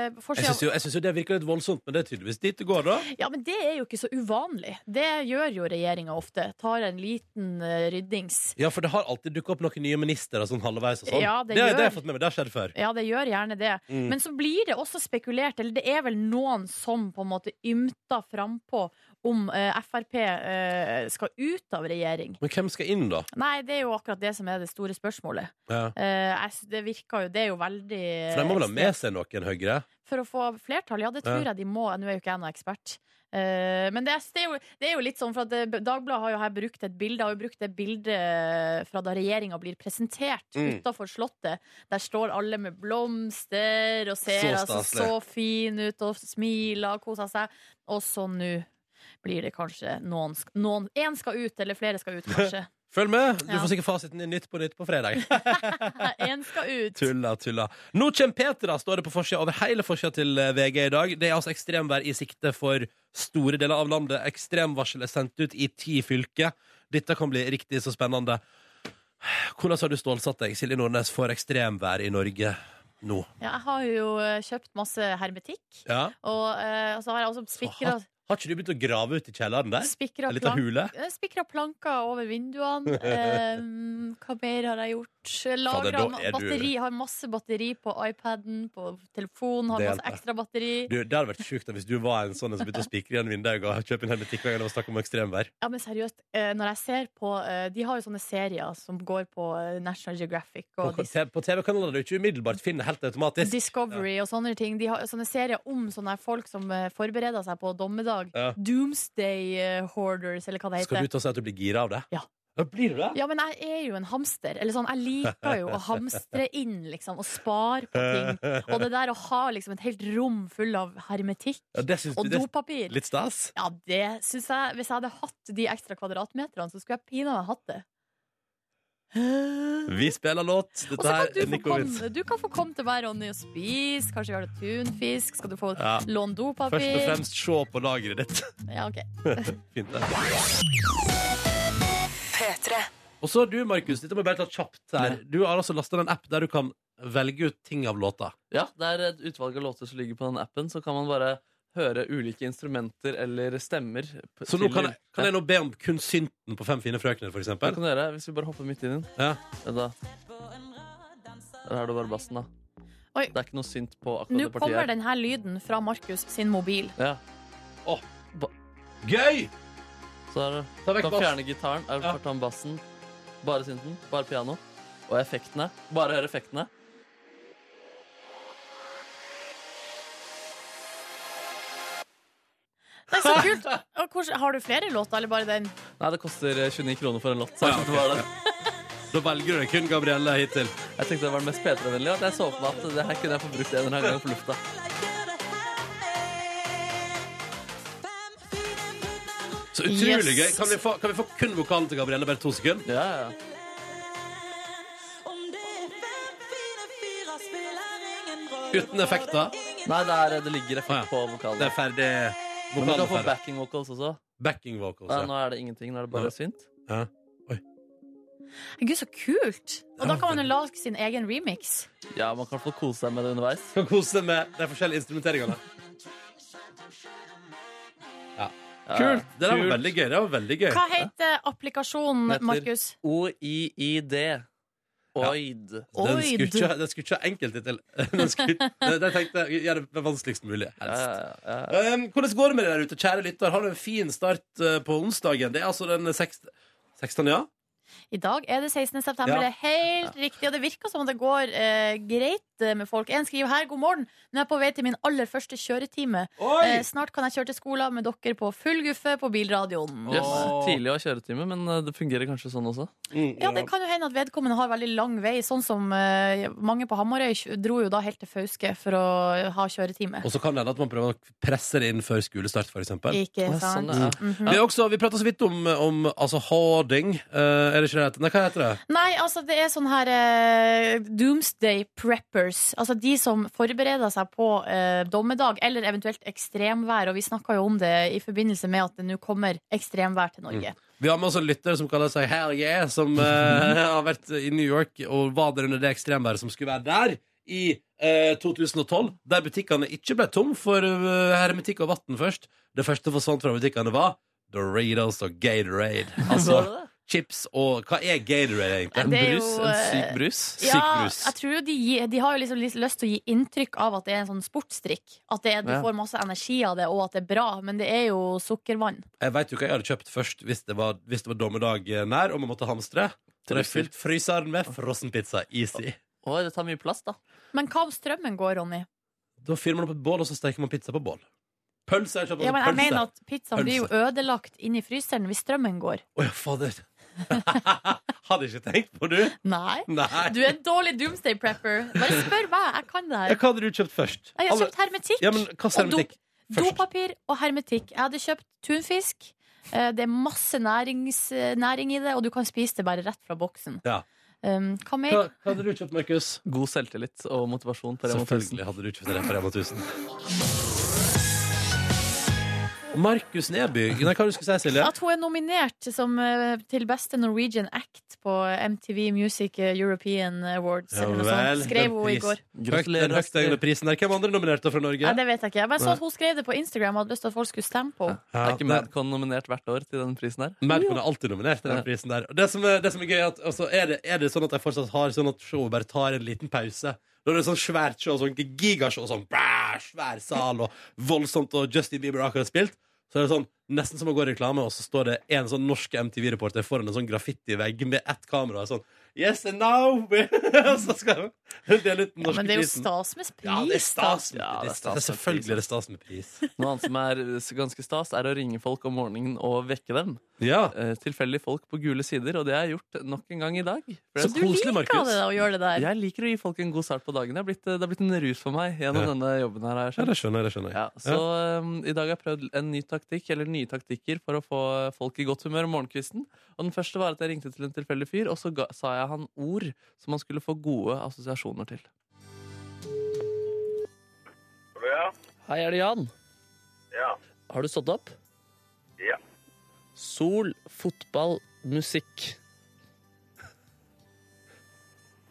[SPEAKER 2] Jeg
[SPEAKER 3] forsida-
[SPEAKER 2] syns jo, jeg synes jo det virker litt voldsomt, men det er tydeligvis dit det går, da.
[SPEAKER 3] Ja, men det er jo ikke så uvanlig. Det gjør jo regjeringa ofte. Tar en liten eh, ryddings.
[SPEAKER 2] Ja, for det har alltid dukket opp noen nye ministre sånn halvveis og sånn.
[SPEAKER 3] Ja, det
[SPEAKER 2] det,
[SPEAKER 3] gjør.
[SPEAKER 2] det har jeg fått med meg. Det har skjedd før.
[SPEAKER 3] Ja, det gjør gjerne det.
[SPEAKER 2] Mm.
[SPEAKER 3] Men så blir det også spekulert, eller det er vel noen som på en måte ymter frampå om eh, Frp eh, skal ut av regjering.
[SPEAKER 2] Men hvem skal inn, da?
[SPEAKER 3] Nei, det er jo akkurat det som er det store spørsmålet.
[SPEAKER 2] Ja.
[SPEAKER 3] Eh, jeg sy- det virker jo Det er jo veldig
[SPEAKER 2] For de må
[SPEAKER 3] Eh,
[SPEAKER 2] vel ha med seg noen Høyre?
[SPEAKER 3] For å få flertall, ja, det tror jeg de må. Nå er jo ikke jeg noen ekspert. Eh, men det er, det, er jo, det er jo litt sånn, for at eh, Dagbladet har jo her brukt et bilde har jo brukt det bildet fra da regjeringa blir presentert
[SPEAKER 2] Mm.
[SPEAKER 3] utafor Slottet. Der står alle med blomster og ser
[SPEAKER 2] Så
[SPEAKER 3] altså,
[SPEAKER 2] staselig.
[SPEAKER 3] så fin ut og smiler og koser seg. Og så nå blir det kanskje noen sk- Noen, én skal ut, eller flere skal ut, kanskje.
[SPEAKER 2] Følg med! Du
[SPEAKER 3] Ja.
[SPEAKER 2] får sikkert fasiten i Nytt på Nytt på fredag.
[SPEAKER 3] Én skal ut.
[SPEAKER 2] Tulla, tulla. Nå kommer Petra, står det på forsida over hele forsida til eh, VG i dag. Det er altså ekstremvær i sikte for store deler av landet. Ekstremvarsel er sendt ut i ti fylker. Dette kan bli riktig så spennende. Hvordan har du stålsatt deg, Silje Nordnes, for ekstremvær i Norge nå?
[SPEAKER 3] Ja, jeg har jo eh, kjøpt masse hermetikk.
[SPEAKER 2] Ja.
[SPEAKER 3] Og eh, så har jeg også spikra
[SPEAKER 2] Har ikke du begynt å grave ut i kjelleren der?
[SPEAKER 3] Spikra
[SPEAKER 2] En liten
[SPEAKER 3] plank
[SPEAKER 2] hule?
[SPEAKER 3] eh, spikra planker over vinduene. Em, hva mer har jeg gjort?
[SPEAKER 2] Fader,
[SPEAKER 3] Lagra
[SPEAKER 2] da er du-
[SPEAKER 3] batteri. Har masse batteri på iPaden, på telefonen. Har
[SPEAKER 2] Det
[SPEAKER 3] masse
[SPEAKER 2] hjelper.
[SPEAKER 3] ekstra batteri.
[SPEAKER 2] Du, det hadde vært sjukt da, hvis du var en sånn en som begynte å spikre igjen vinduet og kjøpe en hermetikk hver gang det var snakk om ekstremvær.
[SPEAKER 3] Ja, men seriøst, eh, når jeg ser på eh, De har jo sånne serier som går på eh, National Geographic
[SPEAKER 2] På,
[SPEAKER 3] og Dis
[SPEAKER 2] på TV-kanaler du ikke umiddelbart finner helt automatisk.
[SPEAKER 3] Discovery og sånne ting. De har sånne serier om sånne folk som eh, forbereder seg på dommedag.
[SPEAKER 2] Ja.
[SPEAKER 3] Doomsday eh, Hoarders, eller hva det heter.
[SPEAKER 2] Skal du ta og si at du blir gira av det?
[SPEAKER 3] Ja.
[SPEAKER 2] Blir du det?
[SPEAKER 3] Ja, men jeg er jo en hamster. Eller sånn, jeg liker jo å hamstre inn, liksom. Og spare på
[SPEAKER 2] Eh,
[SPEAKER 3] ting. Og det der å ha liksom et helt rom full av hermetikk
[SPEAKER 2] Ja, det syns du
[SPEAKER 3] og
[SPEAKER 2] det er
[SPEAKER 3] dopapir
[SPEAKER 2] litt stas?
[SPEAKER 3] ja, det synes jeg Hvis jeg hadde hatt de ekstra kvadratmeterne, så skulle jeg pinadø hatt det. Og
[SPEAKER 2] Vi spiller låt. Dette
[SPEAKER 3] så kan
[SPEAKER 2] her
[SPEAKER 3] du
[SPEAKER 2] er
[SPEAKER 3] få
[SPEAKER 2] Nico Wins.
[SPEAKER 3] komme, du kan få komme til meg, Ronny, og spise. Kanskje vi har det tunfisk. Skal du få
[SPEAKER 2] Ja.
[SPEAKER 3] låne
[SPEAKER 2] Først og
[SPEAKER 3] dopapir?
[SPEAKER 2] fremst se på lageret ditt.
[SPEAKER 3] Ja, ok.
[SPEAKER 2] Fint, det. Og så du, Markus. Dette må jeg bare ta kjapt her. Du har altså lasta en app der du kan velge ut ting av låta.
[SPEAKER 4] Ja, det er et utvalg av låter som ligger på den appen. Så kan man bare høre ulike instrumenter eller stemmer. p-
[SPEAKER 2] Så nå
[SPEAKER 4] til-
[SPEAKER 2] kan jeg, kan
[SPEAKER 4] Ja,
[SPEAKER 2] jeg nå be om kun synten på Fem fine frøkner, for
[SPEAKER 4] det
[SPEAKER 2] eksempel.
[SPEAKER 4] kan du gjøre, hvis vi bare hopper midt inn i den.
[SPEAKER 2] Ja.
[SPEAKER 4] Vent da. Der har du bare bassen, da.
[SPEAKER 3] Oi.
[SPEAKER 4] Det er ikke noe synt på akkurat
[SPEAKER 3] Nå
[SPEAKER 4] det partiet.
[SPEAKER 3] kommer
[SPEAKER 4] her.
[SPEAKER 3] denne lyden fra Markus sin mobil.
[SPEAKER 4] Ja.
[SPEAKER 2] Gøy!
[SPEAKER 4] Så er det,
[SPEAKER 2] Ta
[SPEAKER 4] kan
[SPEAKER 2] vekk bass.
[SPEAKER 4] fjerne gitaren, er det
[SPEAKER 2] Ja.
[SPEAKER 4] bare ta med bassen, bare synten, bare piano. Og effektene. Bare hør effektene.
[SPEAKER 3] Det er så kult! Og hvordan- har du flere låter, eller bare den?
[SPEAKER 4] Nei, det koster eh, 29 kroner for en låt. Så jeg,
[SPEAKER 2] Ja,
[SPEAKER 4] tenkte det var det.
[SPEAKER 2] Da velger du deg kun Gabrielle hittil.
[SPEAKER 4] jeg tenkte det var den mest P3-vennlige. At jeg så for meg at det her kunne jeg få brukt en eller annen gang på lufta.
[SPEAKER 2] Så utrolig gøy.
[SPEAKER 3] Yes.
[SPEAKER 2] Kan vi, få, kan vi få kun vokalen til Gabrielle? Bare to sekunder?
[SPEAKER 4] Ja, ja.
[SPEAKER 2] Uten effekter.
[SPEAKER 4] Nei, det, er, det ligger effekt
[SPEAKER 2] Å, ja.
[SPEAKER 4] på vokalen.
[SPEAKER 2] Det er ferdig.
[SPEAKER 4] Men du
[SPEAKER 2] Vokalen
[SPEAKER 4] kan
[SPEAKER 2] er
[SPEAKER 4] få
[SPEAKER 2] ferdig.
[SPEAKER 4] backing vocals også.
[SPEAKER 2] Backing vocals.
[SPEAKER 4] Nei,
[SPEAKER 2] ja.
[SPEAKER 4] nå er det ingenting. Nå er det bare
[SPEAKER 2] Nei.
[SPEAKER 4] synt.
[SPEAKER 3] Gud, så kult! Og da kan man jo lage sin egen remix.
[SPEAKER 4] Ja, man kan få kose seg med det underveis.
[SPEAKER 2] kan kose seg med de forskjellige instrumenteringene.
[SPEAKER 4] Ja.
[SPEAKER 2] Kult! Det der var
[SPEAKER 4] Kult.
[SPEAKER 2] veldig gøy. Det var veldig gøy.
[SPEAKER 3] Hva heter applikasjonen,
[SPEAKER 4] Heter-
[SPEAKER 3] Markus?
[SPEAKER 4] O-i-i-d. Oid.
[SPEAKER 2] Den skulle
[SPEAKER 3] Oid.
[SPEAKER 2] ikke den skulle ikke ha enkelttittel. Den skulle- den- den tenkte jeg gjør det vanskeligst mulig.
[SPEAKER 4] Ja,
[SPEAKER 2] Helst.
[SPEAKER 4] ja, ja.
[SPEAKER 2] Um, hvordan går det med deg der ute, kjære lytter? Har du en fin start uh, på onsdagen? Det er altså den 16. 16. ja?
[SPEAKER 3] I dag er det 16. september.
[SPEAKER 2] Ja.
[SPEAKER 3] Det er helt riktig, og det virker som om det går eh, greit eh, med folk. En skriver her 'God morgen'. Nå er jeg på vei til min aller første kjøretime. Eh,
[SPEAKER 2] Oi!
[SPEAKER 3] snart kan jeg kjøre til skolen med dere på full guffe på bilradioen.
[SPEAKER 4] Yes.
[SPEAKER 2] Åh.
[SPEAKER 4] Tidlig å ha kjøretime, men eh, det fungerer kanskje sånn også.
[SPEAKER 2] Mm,
[SPEAKER 3] Ja, det kan jo hende at vedkommende har veldig lang vei, sånn som eh, mange på Hamarøy kj- dro jo da helt til Fauske for å ha kjøretime.
[SPEAKER 2] Og så kan det hende at man prøver å presse det inn før skolestart, for eksempel.
[SPEAKER 3] Ikke
[SPEAKER 4] Ja,
[SPEAKER 3] sant?
[SPEAKER 4] sånn, ja.
[SPEAKER 3] Mhm.
[SPEAKER 2] Vi, er også, vi prater så vidt om, om altså, harding. Uh, er det ikke det? det heter? Nei, hva heter det?
[SPEAKER 3] Nei, altså det er sånn her eh, Doomsday preppers. Altså de som forbereder seg på eh, dommedag eller eventuelt ekstremvær. Og vi snakka jo om det i forbindelse med at det nå kommer ekstremvær til Norge.
[SPEAKER 2] Vi har med oss en lytter som kaller seg Hell Yeah, som
[SPEAKER 3] Mhm.
[SPEAKER 2] eh, har vært i New York og var der under det ekstremværet som skulle være der i eh, 2012, der butikkene ikke ble tom for eh, hermetikk og vann først. Det første forsvant fra butikkene var Doritos og Gatorade. Altså,
[SPEAKER 4] Var det det?
[SPEAKER 2] chips og Hva er Gatorade, egentlig?
[SPEAKER 4] En
[SPEAKER 3] Det er jo,
[SPEAKER 4] brus, en syk
[SPEAKER 3] eh,
[SPEAKER 4] brus.
[SPEAKER 2] Syk
[SPEAKER 3] Ja,
[SPEAKER 2] brus.
[SPEAKER 3] jeg tror jo de, gir- de har jo liksom litt lyst til å gi inntrykk av at det er en sånn sportsdrikk. At det er, du
[SPEAKER 4] Ja.
[SPEAKER 3] får masse energi av det, og at det er bra, men det er jo sukkervann.
[SPEAKER 2] Jeg vet jo hva jeg hadde kjøpt først hvis det var, hvis det var dommedag eh, nær og man måtte hamstre. Så hadde jeg fylt fryseren med frossenpizza. Easy.
[SPEAKER 4] Oi, det tar mye plass, da.
[SPEAKER 3] Men hva om strømmen går, Ronny?
[SPEAKER 2] Da fyrer man opp et bål, og så steker man pizza på bål. Pølse har jeg kjøpt.
[SPEAKER 3] Ja, men jeg
[SPEAKER 2] pølse.
[SPEAKER 3] mener at pizzaen blir jo ødelagt inni fryseren hvis strømmen går.
[SPEAKER 2] Å ja, fader. hadde ikke tenkt på, du.
[SPEAKER 3] Nei.
[SPEAKER 2] Nei.
[SPEAKER 3] Du er en dårlig doomsday prepper. Bare spør meg, jeg kan det
[SPEAKER 2] Ja,
[SPEAKER 3] her.
[SPEAKER 2] hva hadde du kjøpt først?
[SPEAKER 3] Jeg har
[SPEAKER 2] Alle-
[SPEAKER 3] kjøpt hermetikk.
[SPEAKER 2] altså, Ja, men hva slags
[SPEAKER 3] og dop-
[SPEAKER 2] hermetikk? først?
[SPEAKER 3] Dopapir og hermetikk. Jeg hadde kjøpt tunfisk. Eh, Det er masse nærings, eh, næring i det, og du kan spise det bare rett fra boksen.
[SPEAKER 2] Ja.
[SPEAKER 3] Um, hva mer?
[SPEAKER 2] Hva, hva hadde du kjøpt, Markus?
[SPEAKER 4] God selvtillit og motivasjon. på Rema 1000.
[SPEAKER 2] Selvfølgelig hadde du kjøpt det på Rema 1000. Markus Neby. Nei, hva du skulle si, Silje?
[SPEAKER 3] At hun er nominert som, eh, til beste Norwegian act på MTV Music eh, European Awards. eller noe sånt. Skrev hun i går.
[SPEAKER 2] Gratulerer. Den
[SPEAKER 4] Gratulerer,
[SPEAKER 2] høytstående prisen der. Hvem andre nominerte fra Norge?
[SPEAKER 3] Nei, det vet jeg ikke. Jeg bare så
[SPEAKER 2] Nei.
[SPEAKER 3] at hun skrev det på Instagram og hadde lyst til at folk skulle stemme på henne.
[SPEAKER 2] Ja,
[SPEAKER 4] Er ikke
[SPEAKER 2] nei.
[SPEAKER 4] Madcon nominert hvert år til den prisen her?
[SPEAKER 2] Madcon er alltid nominert til den
[SPEAKER 4] Ja.
[SPEAKER 2] prisen der. Og det som er, det som er gøy, er at altså, er, det, er det sånn at jeg fortsatt har sånn at showet bare tar en liten pause? Når det er sånn svært show, sånn gigashow, sånn bæ, svær sal og voldsomt, og Justin Bieber har akkurat spilt, så er det sånn nesten som å gå i reklame, og så står det en sånn norsk MTV-reporter foran en sånn graffitivegg med ett kamera og sånn Yes, and now we-" Og så skal hun dele ut den norske
[SPEAKER 3] Men det er jo
[SPEAKER 2] prisen.
[SPEAKER 3] stas med pris,
[SPEAKER 2] Ja, det er stas med
[SPEAKER 4] Ja, det er
[SPEAKER 2] pris.
[SPEAKER 4] stas med
[SPEAKER 2] Selvfølgelig er det stas med pris.
[SPEAKER 4] Noe annet som er eh, ganske stas, er å ringe folk om morgenen og vekke dem.
[SPEAKER 2] Ja.
[SPEAKER 4] Eh, Tilfeldige folk på gule sider, og det har jeg gjort nok en gang i dag. For
[SPEAKER 2] Så
[SPEAKER 4] jeg-
[SPEAKER 3] Du
[SPEAKER 2] Koselig,
[SPEAKER 3] liker
[SPEAKER 2] Markus.
[SPEAKER 3] det da, å gjøre det der.
[SPEAKER 4] Jeg liker å gi folk en god start på dagen. Det har blitt, eh, det har blitt en rus for meg gjennom
[SPEAKER 2] Ja.
[SPEAKER 4] denne jobben her. har jeg
[SPEAKER 2] ja,
[SPEAKER 4] skjønt.
[SPEAKER 2] det skjønner jeg. det skjønner jeg
[SPEAKER 4] Ja, så um, i dag har jeg prøvd en ny taktikk, eller nye taktikker, for å få folk i godt humør om morgenkvisten. Og den første var at jeg ringte til en tilfeldig fyr, og så ga, sa jeg han ord som han skulle få gode assosiasjoner til.
[SPEAKER 7] Ja.
[SPEAKER 4] Hei, er det Jan?
[SPEAKER 7] Ja.
[SPEAKER 4] Har du stått opp?
[SPEAKER 7] Ja.
[SPEAKER 4] Sol, fotball, musikk.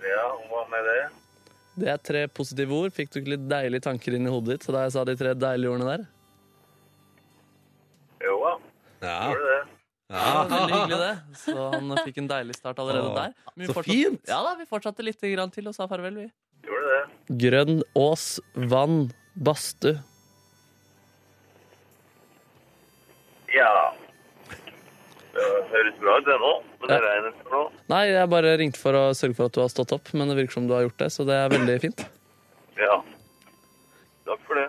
[SPEAKER 7] Ja, hva med det?
[SPEAKER 4] Det er tre positive ord. Fikk du ikke litt deilige tanker inn i hodet ditt da jeg sa de tre deilige ordene der?
[SPEAKER 7] Jo da,
[SPEAKER 2] Ja.
[SPEAKER 7] gjorde det.
[SPEAKER 4] Ja, veldig hyggelig det. Så han fikk en deilig start allerede
[SPEAKER 2] Åh,
[SPEAKER 4] der. Men vi
[SPEAKER 2] så
[SPEAKER 4] fortsatte-
[SPEAKER 2] fint!
[SPEAKER 4] Ja da, Vi fortsatte litt grann til og sa farvel, vi.
[SPEAKER 7] Gjorde det.
[SPEAKER 4] Grønn ås, vann, badstue.
[SPEAKER 7] Ja. Det høres bra ut, det nå. Men det regner ikke nå.
[SPEAKER 4] Nei, jeg bare ringte for å sørge for at du har stått opp, men det virker som du har gjort det, så det er veldig fint.
[SPEAKER 7] Ja. Takk for det.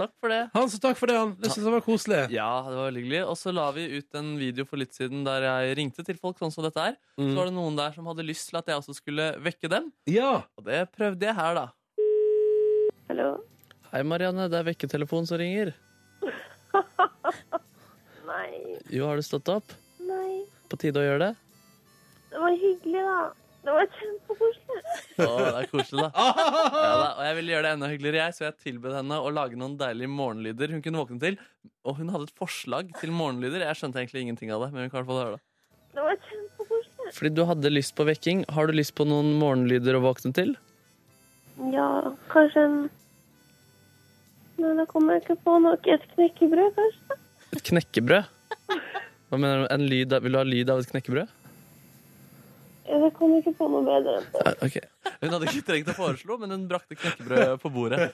[SPEAKER 4] Takk for det.
[SPEAKER 2] Hans, takk for det, han. Det synes jeg var koselig.
[SPEAKER 4] Ja, det var veldig hyggelig. Og så la vi ut en video for litt siden der jeg ringte til folk sånn som dette er. Så var det noen der som hadde lyst til at jeg også skulle vekke dem,
[SPEAKER 2] Ja.
[SPEAKER 4] og det prøvde jeg her, da.
[SPEAKER 5] Hallo?
[SPEAKER 4] Hei, Marianne, det er vekketelefon som ringer.
[SPEAKER 5] Nei.
[SPEAKER 4] Jo, har du stått opp?
[SPEAKER 5] Nei.
[SPEAKER 4] På tide å gjøre det?
[SPEAKER 5] Det var hyggelig, da. Det var kjempekoselig.
[SPEAKER 4] Å, det er koselig, da. Ja, da. Og jeg ville gjøre det enda hyggeligere, jeg, så jeg tilbød henne å lage noen deilige morgenlyder hun kunne våkne til. Og hun hadde et forslag til morgenlyder. Jeg skjønte egentlig ingenting av det. men vi kan i hvert fall høre det.
[SPEAKER 5] Det var kjempekoselig.
[SPEAKER 4] Fordi du hadde lyst på vekking. Har du lyst på noen morgenlyder å våkne til?
[SPEAKER 5] Ja, kanskje en Nei, da kommer jeg ikke på noe. Et knekkebrød, kanskje?
[SPEAKER 4] Et knekkebrød? Hva mener du? En lyd av, vil du ha lyd av et knekkebrød?
[SPEAKER 5] Ja, Jeg kommer ikke på noe bedre enn det.
[SPEAKER 4] Ja, Ok. Hun hadde ikke trengt å foreslå, men hun brakte knekkebrød på bordet.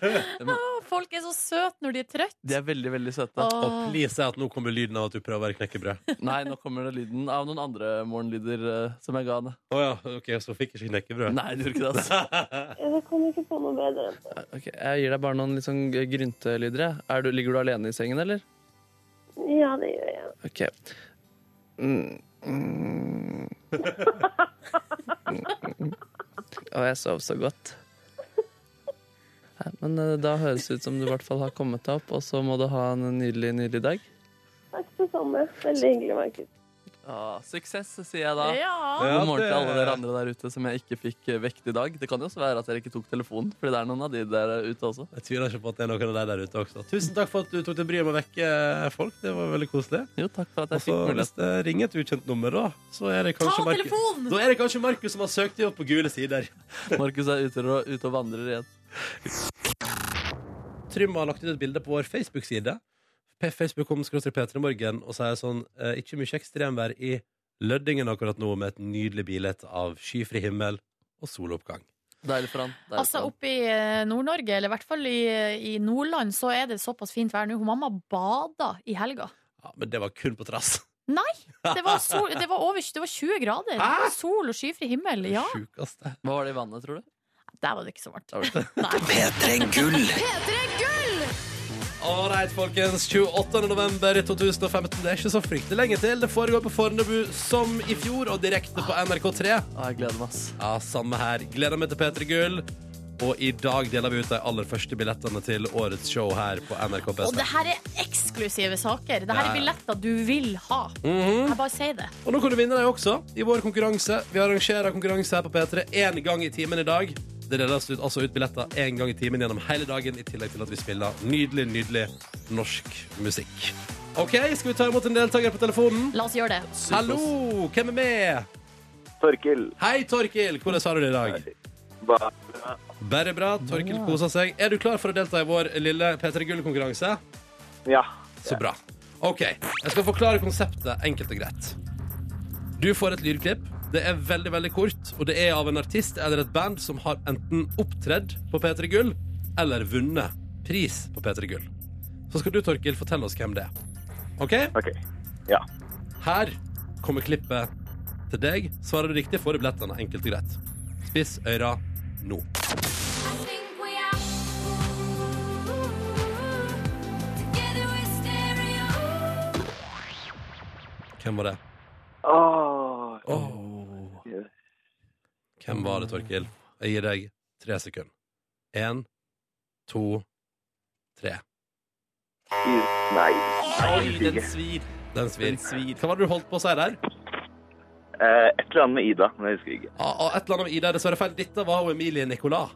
[SPEAKER 3] Å, Folk er så søte når de er trøtt.
[SPEAKER 4] De er veldig, veldig søte.
[SPEAKER 2] Og
[SPEAKER 3] Åh.
[SPEAKER 2] please si at nå kommer lyden av at du prøver å være knekkebrød.
[SPEAKER 4] Nei, nå kommer det lyden av noen andre morgenlyder eh, som jeg ga henne.
[SPEAKER 2] Å ja, ok, så fikk jeg ikke knekkebrød.
[SPEAKER 4] Nei, du gjorde ikke det, altså.
[SPEAKER 5] Ja, Jeg kommer ikke på noe bedre enn det.
[SPEAKER 4] Ok, Jeg gir deg bare noen litt sånn gryntelyder. jeg. Er du- Ligger du alene i sengen, eller?
[SPEAKER 5] Ja, det gjør jeg.
[SPEAKER 4] Ok. Mm. Mm. Å, jeg sov så godt. Nei, Men eh, da høres det ut som du i hvert fall har kommet deg opp, og så må du ha en nydelig, nydelig dag.
[SPEAKER 5] Takk det samme. Veldig hyggelig, Markus.
[SPEAKER 4] suksess, sier jeg da.
[SPEAKER 3] Ja.
[SPEAKER 2] Ja,
[SPEAKER 4] God morgen
[SPEAKER 2] det-
[SPEAKER 4] til alle dere andre der ute som jeg ikke fikk eh, vekt i dag. Det kan jo også være at dere ikke tok telefonen, fordi det er noen av de der ute også.
[SPEAKER 2] Jeg tviler ikke på at det er noen av deg der ute også. Tusen takk for at du tok deg bryet med å vekke folk. Det var veldig koselig.
[SPEAKER 4] Jo, takk for at
[SPEAKER 2] Og
[SPEAKER 4] jeg
[SPEAKER 2] så
[SPEAKER 4] fikk
[SPEAKER 2] hvis
[SPEAKER 4] mulighet.
[SPEAKER 2] det ringer et ukjent nummer, da, så er det
[SPEAKER 3] Ta
[SPEAKER 2] kanskje Markus
[SPEAKER 3] telefonen!
[SPEAKER 2] Da er det kanskje Markus som har søkt deg opp på gule sider.
[SPEAKER 4] Markus er ute og, ute og vandrer igjen.
[SPEAKER 2] Trym har lagt ut et bilde på vår Facebook-side. P- Facebook kom skråstrek P3 Morgen og sier sånn eh, Ikke mye ekstremvær i Løddingen akkurat nå med et nydelig bilde av skyfri himmel og soloppgang.
[SPEAKER 4] Deilig for han. Deilig
[SPEAKER 3] Altså
[SPEAKER 4] for han.
[SPEAKER 3] Oppe i eh, Nord-Norge, eller i hvert fall i, i Nordland, så er det såpass fint vær nå. Hun Mamma bada i helga.
[SPEAKER 2] Ja, men det var kun på trass.
[SPEAKER 3] Det var, sol, det var, over, det var 20 grader.
[SPEAKER 2] Hæ?
[SPEAKER 3] Sol og skyfri himmel. Ja,
[SPEAKER 2] Det sjukeste.
[SPEAKER 4] Hva var det i vannet, tror du?
[SPEAKER 3] der var det ikke så varmt.
[SPEAKER 4] Der var det.
[SPEAKER 3] Nei.
[SPEAKER 1] P3 Gull.
[SPEAKER 2] Ålreit, folkens. 28. november 2015. Det er ikke så fryktelig lenge til. Det foregår på Fornebu som i fjor, og direkte på NRK3.
[SPEAKER 4] Å, jeg gleder meg, ass.
[SPEAKER 2] Ja, samme her. Gleder meg til P3 Gull. Og i dag deler vi ut de aller første billettene til årets show her på NRK
[SPEAKER 3] Og
[SPEAKER 2] P3.
[SPEAKER 3] det her er eksklusive saker. Det
[SPEAKER 2] Ja,
[SPEAKER 3] her
[SPEAKER 2] ja.
[SPEAKER 3] er billetter du vil ha.
[SPEAKER 2] Mhm.
[SPEAKER 3] Jeg bare sier det.
[SPEAKER 2] Og nå kan du vinne deg også i vår konkurranse. Vi arrangerer konkurranse her på P3 én gang i timen i dag. Det deles ut, altså ut billetter én gang i timen gjennom hele dagen, i tillegg til at vi spiller nydelig, nydelig norsk musikk. OK, skal vi ta imot en deltaker på telefonen?
[SPEAKER 3] La oss gjøre det.
[SPEAKER 2] Hallo, hvem er med?
[SPEAKER 7] Torkil.
[SPEAKER 2] Hei, Torkil. Hvordan har du det i dag? Bare bra. Torkil koser seg. Er du klar for å delta i vår lille P3 Gull-konkurranse?
[SPEAKER 7] Ja.
[SPEAKER 2] Så bra. OK. Jeg skal forklare konseptet enkelt og greit. Du får et lydklipp. Det er veldig veldig kort, og det er av en artist eller et band som har enten opptredd på P3 Gull eller vunnet pris på P3 Gull. Så skal du, Torkil, fortelle oss hvem det er. OK?
[SPEAKER 7] OK. Ja.
[SPEAKER 2] Her kommer klippet til deg. Svarer du riktig, får du billettene. Enkelt og greit. Spiss øra nå. Hvem var det?
[SPEAKER 7] Åh,
[SPEAKER 2] Hvem var det, Torkil? Jeg gir deg tre sekunder. Én, to, tre.
[SPEAKER 7] Nei.
[SPEAKER 4] Oi, den svir.
[SPEAKER 2] Den svir.
[SPEAKER 4] Den svir.
[SPEAKER 2] Hva var det du holdt på å si der?
[SPEAKER 7] Eh, et eller annet med Ida, men jeg husker ikke.
[SPEAKER 2] Ah, ah, et eller annet med Ida. Dessverre feil. Dette var jo Emilie Nicolas.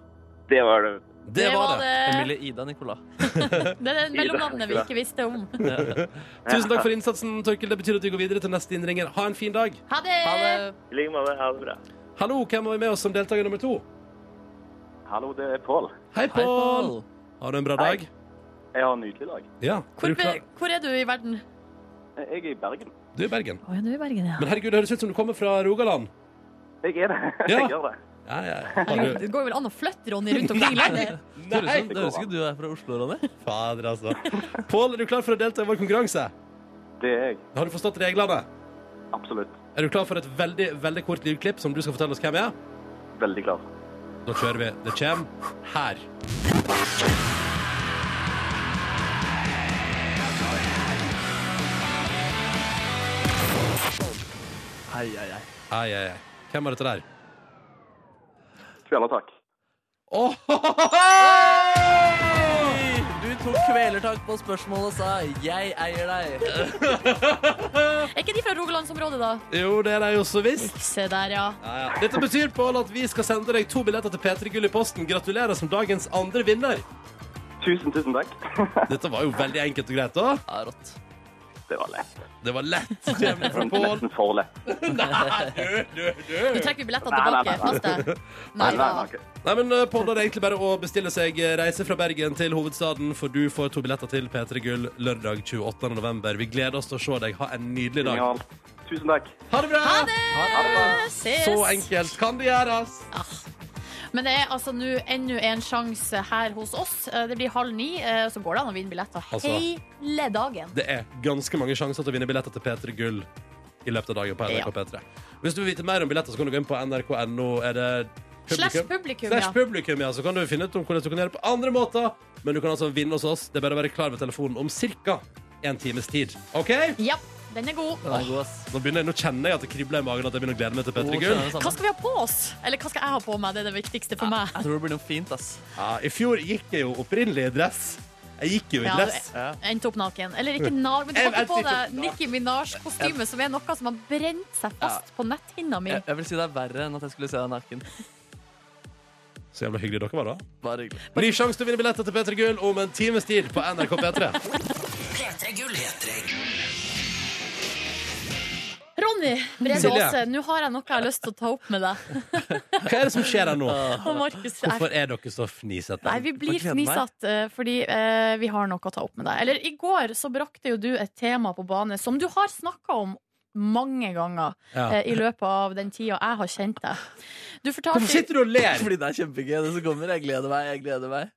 [SPEAKER 7] Det var det.
[SPEAKER 2] Det var det.
[SPEAKER 4] Emilie Ida Nicolas.
[SPEAKER 3] Det er det mellomnavnet vi ikke visste om.
[SPEAKER 2] Tusen takk for innsatsen, Torkil. Det betyr at vi går videre til neste innringer. Ha en fin dag.
[SPEAKER 3] Ha det!
[SPEAKER 4] Ha det.
[SPEAKER 7] I like måte. Ha det bra.
[SPEAKER 2] Hallo, hvem var med oss som deltaker nummer to?
[SPEAKER 7] Hallo, det er Pål.
[SPEAKER 2] Hei,
[SPEAKER 4] Hei,
[SPEAKER 2] Pål.
[SPEAKER 4] Pål.
[SPEAKER 2] Har du en bra
[SPEAKER 7] Hei.
[SPEAKER 2] dag?
[SPEAKER 7] Jeg har en nydelig dag.
[SPEAKER 2] Ja. er
[SPEAKER 3] Hvor,
[SPEAKER 2] du klar?
[SPEAKER 3] hvor er du i verden?
[SPEAKER 7] Jeg er i Bergen.
[SPEAKER 2] Du er i Bergen.
[SPEAKER 3] Å, ja, du er i Bergen, ja.
[SPEAKER 2] Men herregud, det høres ut som du kommer fra Rogaland.
[SPEAKER 7] Jeg er det.
[SPEAKER 2] Ja.
[SPEAKER 7] Jeg gjør det.
[SPEAKER 2] Ja, ja. Har du...
[SPEAKER 3] Det går vel an å flytte Ronny rundt omkring i landet?
[SPEAKER 4] Det høres ut-
[SPEAKER 2] Nei!
[SPEAKER 4] det høres ikke ut som du er fra Oslo, Ronny.
[SPEAKER 2] Fader, altså. Pål, er du klar for å delta i vår konkurranse?
[SPEAKER 7] Det er jeg.
[SPEAKER 2] Har du forstått reglene?
[SPEAKER 7] Absolutt.
[SPEAKER 2] Er du klar for et veldig veldig kort lydklipp som du skal fortelle oss hvem er?
[SPEAKER 7] Veldig glad.
[SPEAKER 2] Da kjører vi. Det kommer her.
[SPEAKER 4] Hei, hei, hei.
[SPEAKER 2] Ai, ai, ai. Hvem var dette der?
[SPEAKER 7] Kvelertak.
[SPEAKER 2] Åh!
[SPEAKER 4] Du tok kvelertak på spørsmålet og sa 'jeg eier deg'.
[SPEAKER 3] Er ikke de fra Rogalandsområdet, da?
[SPEAKER 2] Jo, det er det jo så visst.
[SPEAKER 3] Se der, ja.
[SPEAKER 2] Ja, ja. Dette betyr Pål, at vi skal sende deg to billetter til P3 Gull i posten. Gratulerer som dagens andre vinner.
[SPEAKER 7] Tusen, tusen takk.
[SPEAKER 2] Dette var jo veldig enkelt og greit, da.
[SPEAKER 4] Ja, rått.
[SPEAKER 7] Det var lett.
[SPEAKER 2] Det var lett. Kjempe fra Pål.
[SPEAKER 7] Nesten for lett.
[SPEAKER 3] Nå trekker vi billettene
[SPEAKER 7] Nei, nei,
[SPEAKER 3] tilbake.
[SPEAKER 7] nei,
[SPEAKER 3] Fast det. Nei da.
[SPEAKER 7] nei, ok.
[SPEAKER 2] Nei, men eh, Pål, da er det egentlig bare å bestille seg eh, reise fra Bergen til hovedstaden, for du får to billetter til P3 Gull lørdag 28. november. Vi gleder oss til å se deg. Ha en nydelig dag.
[SPEAKER 7] Genial. Tusen takk.
[SPEAKER 2] Ha det bra!
[SPEAKER 3] Eh, Ses.
[SPEAKER 2] Så enkelt kan det gjøres.
[SPEAKER 3] Ah. Men det er altså nå enda en sjanse her hos oss. Eh, Det blir halv ni, eh, så går det an å vinne billetter
[SPEAKER 2] Altså.
[SPEAKER 3] hele dagen.
[SPEAKER 2] Det er ganske mange sjanser til å vinne billetter til P3 Gull i løpet av dagen på NRK P3. Hvis du vil vite mer om billetter, så kan du gå inn på nrk.no. Er det
[SPEAKER 3] Slash
[SPEAKER 2] publikum?
[SPEAKER 3] publikum,
[SPEAKER 2] Slash
[SPEAKER 3] ja.
[SPEAKER 2] publikum, ja. Så kan du finne ut om hvordan du kan gjøre det på andre måter. Men du kan altså vinne hos oss. Det er bare å være klar ved telefonen om ca. en times tid. OK?
[SPEAKER 3] Ja, den er god.
[SPEAKER 4] Den er god, ass.
[SPEAKER 2] Nå, begynner jeg, nå kjenner jeg at det kribler i magen at jeg begynner å glede meg til P3 Gull.
[SPEAKER 3] Hva skal vi ha på oss? Eller hva skal jeg ha på meg? Det er det viktigste for meg.
[SPEAKER 4] Jeg tror det blir noe fint, ass.
[SPEAKER 2] Ja, I fjor gikk jeg jo opprinnelig i dress. Jeg gikk jo i
[SPEAKER 3] Ja,
[SPEAKER 2] dress.
[SPEAKER 4] Ja.
[SPEAKER 3] Endte opp naken. Eller ikke nag, men du
[SPEAKER 2] Jeg-
[SPEAKER 3] hadde
[SPEAKER 2] jeg
[SPEAKER 3] på
[SPEAKER 2] sitter-
[SPEAKER 3] deg Nicki Minaj-kostyme, som er noe som har brent seg fast på netthinna mi.
[SPEAKER 4] Jeg, jeg vil si det er verre enn at jeg skulle se deg naken.
[SPEAKER 2] Så jævla hyggelig dere var, da.
[SPEAKER 4] Bare hyggelig.
[SPEAKER 2] Ny sjanse til å vinne billetter til P3 Gull om en times tid på NRK P3.
[SPEAKER 3] Ronny Brede
[SPEAKER 2] Silje.
[SPEAKER 3] Aase, nå har jeg noe jeg har lyst til å ta opp med deg.
[SPEAKER 2] Hva er det som skjer her nå?
[SPEAKER 3] Og Markus, jeg
[SPEAKER 2] Hvorfor er dere så fnisete?
[SPEAKER 3] Nei, vi blir
[SPEAKER 4] gleder meg.
[SPEAKER 3] fnisatt eh, fordi eh, vi har noe å ta opp med deg. Eller i går så brakte jo du et tema på bane som du har snakka om mange ganger
[SPEAKER 2] Ja.
[SPEAKER 3] eh, i løpet av den tida jeg har kjent deg. Du fortalte,
[SPEAKER 2] Hvorfor sitter du og ler?
[SPEAKER 4] Fordi det er kjempegøy, det som kommer. Jeg gleder meg. jeg gleder meg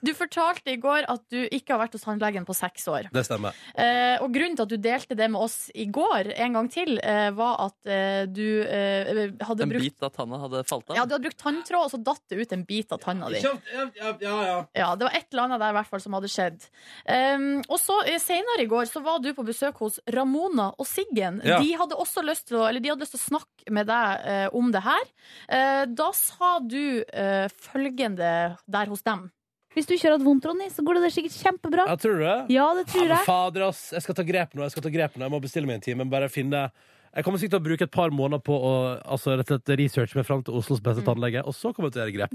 [SPEAKER 3] du fortalte i går at du ikke har vært hos tannlegen på seks år.
[SPEAKER 2] Det stemmer.
[SPEAKER 3] Eh, og grunnen til at du delte det med oss i går en gang til, eh, var at eh, du eh, hadde
[SPEAKER 4] En
[SPEAKER 3] brukt
[SPEAKER 4] bit av tanna hadde falt
[SPEAKER 3] ja,
[SPEAKER 4] av.
[SPEAKER 3] du hadde brukt tanntråd, og så datt det ut en bit av tanna di.
[SPEAKER 2] ja, ja.
[SPEAKER 3] Ja, Det var et eller annet der i hvert fall som hadde skjedd. Ehm, og så eh, Senere i går så var du på besøk hos Ramona og Siggen.
[SPEAKER 2] Ja.
[SPEAKER 3] De hadde også lyst til å, eller de hadde lyst til å snakke med deg eh, om det her. Eh, da sa du eh, følgende der hos dem.
[SPEAKER 8] Hvis du ikke har hatt vondt, Ronny, så går det sikkert kjempebra.
[SPEAKER 2] Ja, tror du det?
[SPEAKER 8] Ja, det tror
[SPEAKER 2] Ja, men
[SPEAKER 8] jeg.
[SPEAKER 2] Fader, ass. Jeg skal ta grep nå. Jeg skal ta grep nå. Jeg må bestille meg en time. men Bare finne jeg kommer sikkert til å bruke et par måneder på å altså, rett og slett researche meg fram til Oslos
[SPEAKER 8] Mm.
[SPEAKER 2] beste tannlege, og så kommer jeg til å gjøre grep.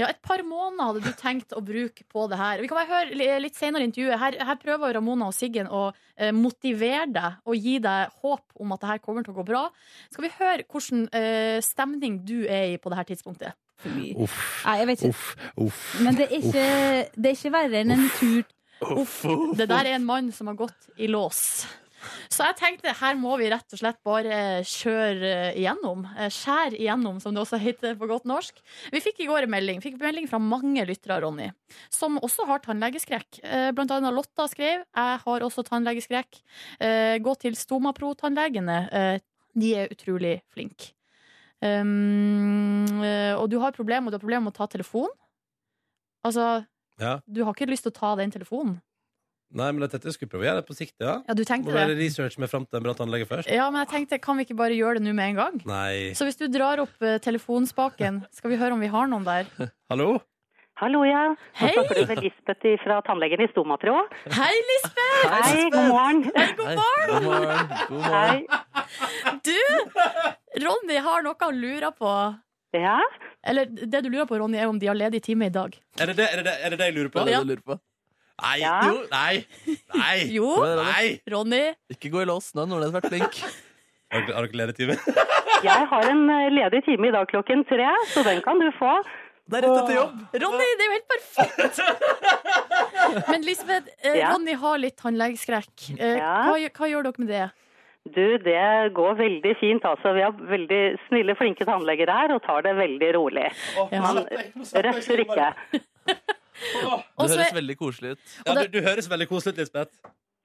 [SPEAKER 3] Ja, Et par måneder hadde du tenkt å bruke på det her. Vi kan bare høre li- litt senere i intervjuet. Her, her prøver Ramona og Siggen å eh, motivere deg og gi deg håp om at det her kommer til å gå bra. Skal vi høre hvilken eh, stemning du er i på det her tidspunktet?
[SPEAKER 8] For mye.
[SPEAKER 2] Uff,
[SPEAKER 8] Nei, jeg vet ikke.
[SPEAKER 2] uff, uff.
[SPEAKER 8] Men det er ikke, det er ikke verre enn en tur
[SPEAKER 3] Uff, det der er en mann som har gått i lås. Så jeg tenkte her må vi rett og slett bare eh, kjøre igjennom. Eh, Skjær igjennom, som det også heter på godt norsk. Vi fikk i går en melding Fikk melding fra mange lyttere, Ronny, som også har tannlegeskrekk. Eh, Blant annet Lotta skrev Jeg har også tannlegeskrekk. Eh, Gå til Stomapro-tannlegene. Eh, De er utrolig flinke. Um, eh, og du har problemer, og du har problemer med å ta telefon. Altså,
[SPEAKER 2] Ja.
[SPEAKER 3] du har ikke lyst til å ta den telefonen.
[SPEAKER 2] Nei, men det tenkte jeg skulle prøve å gjøre det på sikt, ja.
[SPEAKER 3] Ja, du
[SPEAKER 2] Må
[SPEAKER 3] tenkte
[SPEAKER 2] bare
[SPEAKER 3] det.
[SPEAKER 2] researche meg fram til en bra tannlege først.
[SPEAKER 3] Ja, men jeg tenkte, kan vi ikke bare gjøre det nå med en gang?
[SPEAKER 2] Nei.
[SPEAKER 3] Så hvis du drar opp eh, telefonspaken, skal vi høre om vi har noen der.
[SPEAKER 2] Hallo?
[SPEAKER 9] Hallo, ja.
[SPEAKER 3] Hei!
[SPEAKER 9] Nå snakker du med Lisbeth fra tannlegen i Stomatro.
[SPEAKER 3] Hei, Lisbeth!
[SPEAKER 9] Hei, god morgen.
[SPEAKER 4] God morgen! God morgen. God morgen.
[SPEAKER 9] Hei.
[SPEAKER 3] Du! Ronny har noe å lure på.
[SPEAKER 9] Ja,
[SPEAKER 3] Eller det du lurer på, Ronny, er om de har ledig time i dag.
[SPEAKER 2] Er det det, er det, det, er det, det jeg lurer
[SPEAKER 4] Hva
[SPEAKER 2] på?
[SPEAKER 4] er det du lurer på?
[SPEAKER 2] Nei,
[SPEAKER 9] Ja.
[SPEAKER 2] jo, nei, nei,
[SPEAKER 3] Jo,
[SPEAKER 2] nei.
[SPEAKER 3] Ronny.
[SPEAKER 4] Ikke gå i lås. Nå har Nordnes vært flink.
[SPEAKER 2] Har dere- har dere ledetime?
[SPEAKER 9] jeg har en eh, ledig time i dag klokken tre, så den kan du få.
[SPEAKER 4] Det er rett etter jobb.
[SPEAKER 3] Ronny, det er jo helt perfekt! Men Lisbeth, eh,
[SPEAKER 9] Ja.
[SPEAKER 3] Ronny har litt tannlegeskrekk. Eh,
[SPEAKER 9] Ja.
[SPEAKER 3] Hva, gjør- hva gjør dere med det?
[SPEAKER 9] Du, det går veldig fint, altså. Vi har veldig snille, flinke tannleger her, og tar det veldig rolig.
[SPEAKER 3] Ja.
[SPEAKER 9] Røffer ikke.
[SPEAKER 4] Du
[SPEAKER 3] Og så-
[SPEAKER 4] høres veldig koselig ut.
[SPEAKER 2] Ja, du, du høres veldig koselig ut, Lisbeth.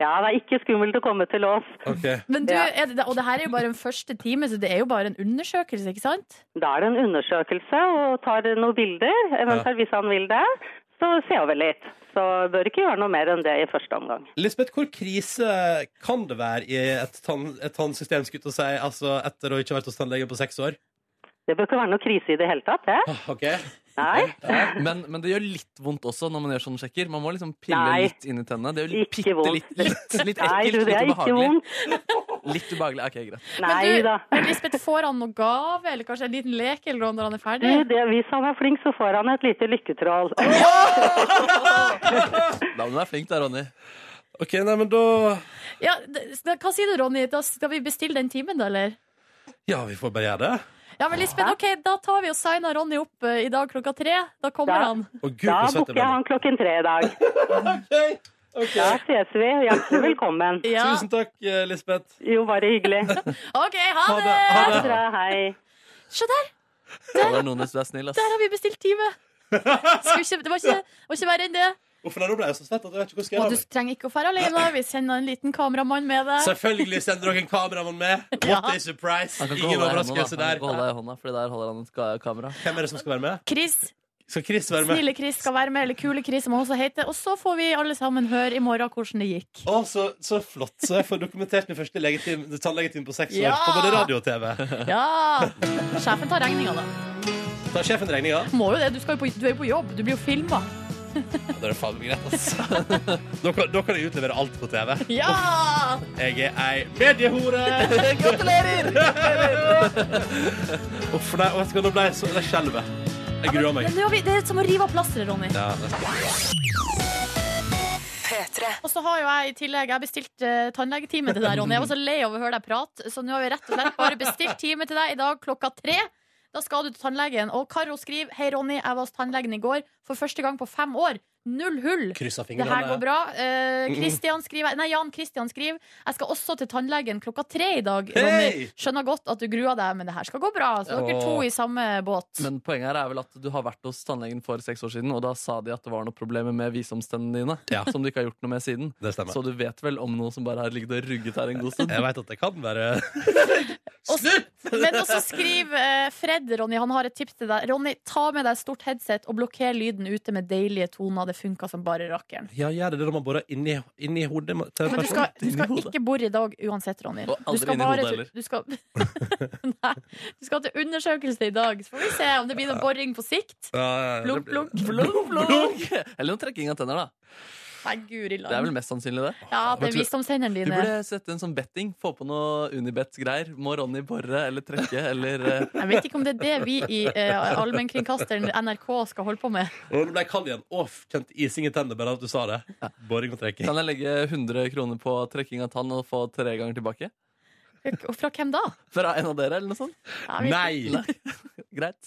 [SPEAKER 9] Ja, det er ikke skummelt å komme til oss.
[SPEAKER 2] Ok.
[SPEAKER 3] Men du,
[SPEAKER 9] Ja.
[SPEAKER 3] er det, og det her er jo bare en første time, så det er jo bare en undersøkelse, ikke sant?
[SPEAKER 9] Da er det en undersøkelse, og tar noen bilder, eventuelt hvis han vil det, så ser vi litt. Så bør ikke gjøre noe mer enn det i første omgang.
[SPEAKER 2] Lisbeth, hvor krise kan det være i et, tann, et tannsystem skulle jeg til å si, altså etter å ikke ha vært hos tannlegen på seks år?
[SPEAKER 9] Det bør ikke være noe krise i det hele tatt, det.
[SPEAKER 2] Ah, Ok,
[SPEAKER 9] Nei.
[SPEAKER 4] Men, men det gjør litt vondt også når man gjør sånne sjekker. Man må liksom pille
[SPEAKER 9] Nei.
[SPEAKER 4] litt inn i tennene. Det gjør litt,
[SPEAKER 9] Ikke vondt.
[SPEAKER 4] litt, litt, litt
[SPEAKER 9] Nei,
[SPEAKER 4] ekkelt,
[SPEAKER 9] du, det
[SPEAKER 4] litt
[SPEAKER 9] er ikke
[SPEAKER 4] ubehagelig.
[SPEAKER 9] vondt.
[SPEAKER 4] Litt ubehagelig. Ok, greit.
[SPEAKER 9] Nei
[SPEAKER 3] men du,
[SPEAKER 9] da.
[SPEAKER 3] Men Lisbeth, får han noe gave, eller kanskje en liten lek eller noe når han er
[SPEAKER 9] Du,
[SPEAKER 3] ferdig?
[SPEAKER 9] det, hvis han er flink, så får han et lite lykketroll.
[SPEAKER 4] Da må du være flink da, Ronny.
[SPEAKER 2] Ok, nei, men da
[SPEAKER 3] Ja, det- s- hva sier du, Ronny? Da skal vi bestille den timen, da, eller?
[SPEAKER 2] Ja, vi får bare gjøre det.
[SPEAKER 3] Ja, men Lisbeth, ok, da tar vi og signer Ronny opp eh, i dag klokka tre. Da kommer
[SPEAKER 9] Ja.
[SPEAKER 3] han.
[SPEAKER 2] Å, Gud,
[SPEAKER 9] Da
[SPEAKER 2] hvor søtt det
[SPEAKER 9] booker jeg
[SPEAKER 2] ble.
[SPEAKER 9] han klokken tre i dag.
[SPEAKER 2] Ok, ok.
[SPEAKER 9] Da ses vi. Hjertelig velkommen.
[SPEAKER 3] Ja.
[SPEAKER 2] Tusen takk, eh, Lisbeth.
[SPEAKER 9] Jo, bare hyggelig.
[SPEAKER 3] OK,
[SPEAKER 2] Ha
[SPEAKER 3] ha
[SPEAKER 2] det, ha
[SPEAKER 3] det!
[SPEAKER 9] Ha det
[SPEAKER 2] det.
[SPEAKER 9] bra. Hei.
[SPEAKER 3] Se der,
[SPEAKER 4] Ja, det er Nordnes, du er snill, ass.
[SPEAKER 3] der har vi bestilt time. Skulle ikke, det var ikke, det var ikke verre enn det.
[SPEAKER 2] Uff, nei, nå ble jeg så svett at jeg vet ikke hvor jeg skal
[SPEAKER 3] Og
[SPEAKER 2] gjøre
[SPEAKER 3] du
[SPEAKER 2] av meg.
[SPEAKER 3] trenger ikke å dra alene. Vi sender en liten kameramann med deg.
[SPEAKER 2] Selvfølgelig sender dere en kameramann med. What a surprise.
[SPEAKER 4] Han kan ikke
[SPEAKER 2] Ingen
[SPEAKER 4] holde deg i hånda,
[SPEAKER 2] overraskelse
[SPEAKER 4] da. Han kan
[SPEAKER 2] der.
[SPEAKER 4] ikke holde deg i hånda, fordi der holder han et ska- kamera.
[SPEAKER 2] Hvem er det som skal være med?
[SPEAKER 3] Chris,
[SPEAKER 2] Skal Chris være med?
[SPEAKER 3] snille Chris skal være med, eller Kule Chris, som han også heter. Og så får vi alle sammen høre i morgen hvordan det gikk.
[SPEAKER 2] Å, så, så flott. Så jeg får dokumentert min første legetime- tannlegetime på seks år
[SPEAKER 3] Ja.
[SPEAKER 2] på både radio og TV.
[SPEAKER 3] Ja! Sjefen tar regninga, da.
[SPEAKER 2] Tar sjefen regninga?
[SPEAKER 3] Må jo det. Du, skal jo på, du er jo på jobb. Du blir jo filma.
[SPEAKER 2] Ja, Da er det faen meg greit, altså. ass. da, kan, da kan jeg utlevere alt på TV.
[SPEAKER 3] Ja!
[SPEAKER 2] Jeg er ei mediehore! Gratulerer! Uff, nei, vet du hva, nå ble jeg så Jeg skjelver. Jeg gruer meg.
[SPEAKER 3] Men nå har vi, det er som å rive av plasteret, Ronny.
[SPEAKER 2] Ja, det-
[SPEAKER 3] Og så har jo jeg i tillegg Jeg bestilt uh, tannlegetime til deg, Ronny. Jeg var så lei av å høre deg prate, så nå har vi rett og slett bare bestilt time til deg i dag klokka tre. Da skal du til tannlegen. Og Karo skriver Hei, Ronny. Jeg var hos tannlegen i går for første gang på fem år. Null hull.
[SPEAKER 2] Kryssa
[SPEAKER 3] Det her
[SPEAKER 2] fingrene.
[SPEAKER 3] går bra. Eh, Christian skriver, nei, Jan Christian skriver Jeg skal også til tannlegen klokka tre i dag.
[SPEAKER 2] Hei!
[SPEAKER 3] Ronny, skjønner godt at du gruer deg, men det her skal gå bra. Så dere
[SPEAKER 4] Åh.
[SPEAKER 3] to i samme båt.
[SPEAKER 4] Men poenget her er vel at du har vært hos tannlegen for seks år siden, og da sa de at det var noen problemer med visdomstennene dine.
[SPEAKER 2] Ja.
[SPEAKER 4] Som du ikke har gjort noe med siden.
[SPEAKER 2] Det stemmer.
[SPEAKER 4] Så du vet vel om noe som bare har ligget og rugget her en god stund?
[SPEAKER 2] Jeg veit at det kan være
[SPEAKER 3] Og-
[SPEAKER 2] Slutt!
[SPEAKER 3] Men også skriver eh, Fred, Ronny, han har et tips til deg. Ronny, ta med deg et stort headset og blokker lyden ute med deilige toner. Det funka som bare rakkeren.
[SPEAKER 2] Ja, gjør det det når man borer inni, inni hodet til en
[SPEAKER 3] Men du
[SPEAKER 2] person?
[SPEAKER 3] skal, du skal ikke bore i dag uansett, Ronny.
[SPEAKER 4] Og aldri
[SPEAKER 3] du skal
[SPEAKER 4] inn i hodet
[SPEAKER 3] til-
[SPEAKER 4] heller.
[SPEAKER 3] Du skal, nei, du skal til undersøkelse i dag, så får vi se om det blir noe boring på sikt.
[SPEAKER 2] Ja, ja, ja.
[SPEAKER 3] Blunk, blunk.
[SPEAKER 4] Blunk, blunk! Eller noen trekking av tenner, da.
[SPEAKER 3] Nei, guri land.
[SPEAKER 4] Det er vel mest sannsynlig det.
[SPEAKER 3] Ja, det
[SPEAKER 2] Vet
[SPEAKER 3] er
[SPEAKER 2] du-
[SPEAKER 3] visdomstennene
[SPEAKER 4] Du
[SPEAKER 3] dine.
[SPEAKER 4] burde sette en sånn betting. Få på noe Unibet-greier. Må Ronny bore eller trekke eller eh,
[SPEAKER 3] Jeg vet ikke om det er det vi i eh, allmennkringkasteren NRK skal holde på med.
[SPEAKER 2] Å, Nå ble jeg kald igjen. Å, kjente ising i tennene bare av at du sa det. Boring og trekking.
[SPEAKER 4] Kan jeg legge 100 kroner på trekking av tann og få tre ganger tilbake?
[SPEAKER 3] Og fra hvem da?
[SPEAKER 4] Fra en av dere, eller noe sånt?
[SPEAKER 3] Ja, vi-
[SPEAKER 2] Nei!
[SPEAKER 4] Greit.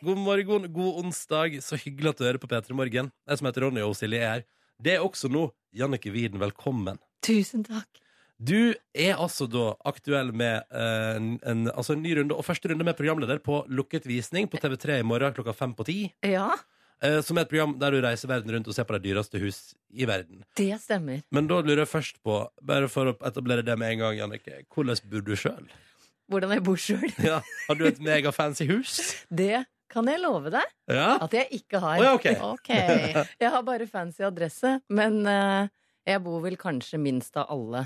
[SPEAKER 2] God morgen, god onsdag. Så hyggelig at du hører på P3 Morgen. Jeg som heter Ronny og Silje er her. Det er også nå Jannicke Widen, velkommen.
[SPEAKER 10] Tusen takk.
[SPEAKER 2] Du er altså da aktuell med eh, en, en, altså en ny runde, og første runde med programleder på lukket visning på TV3 i morgen klokka fem på ti.
[SPEAKER 10] Ja,
[SPEAKER 2] eh, som er et program der du reiser verden rundt og ser på de dyreste hus i verden.
[SPEAKER 10] det stemmer.
[SPEAKER 2] Men da lurer jeg først på, bare for å etablere det med en gang, Jannicke, hvordan bor du sjøl?
[SPEAKER 10] Hvordan jeg bor sjøl,
[SPEAKER 2] Ja, har du et megafancy hus?
[SPEAKER 10] det kan jeg love deg
[SPEAKER 2] Ja? Å
[SPEAKER 10] at jeg ikke har.
[SPEAKER 2] ja, OK.
[SPEAKER 3] OK.
[SPEAKER 10] Jeg har bare fancy adresse, men eh, jeg bor vel kanskje minst av alle.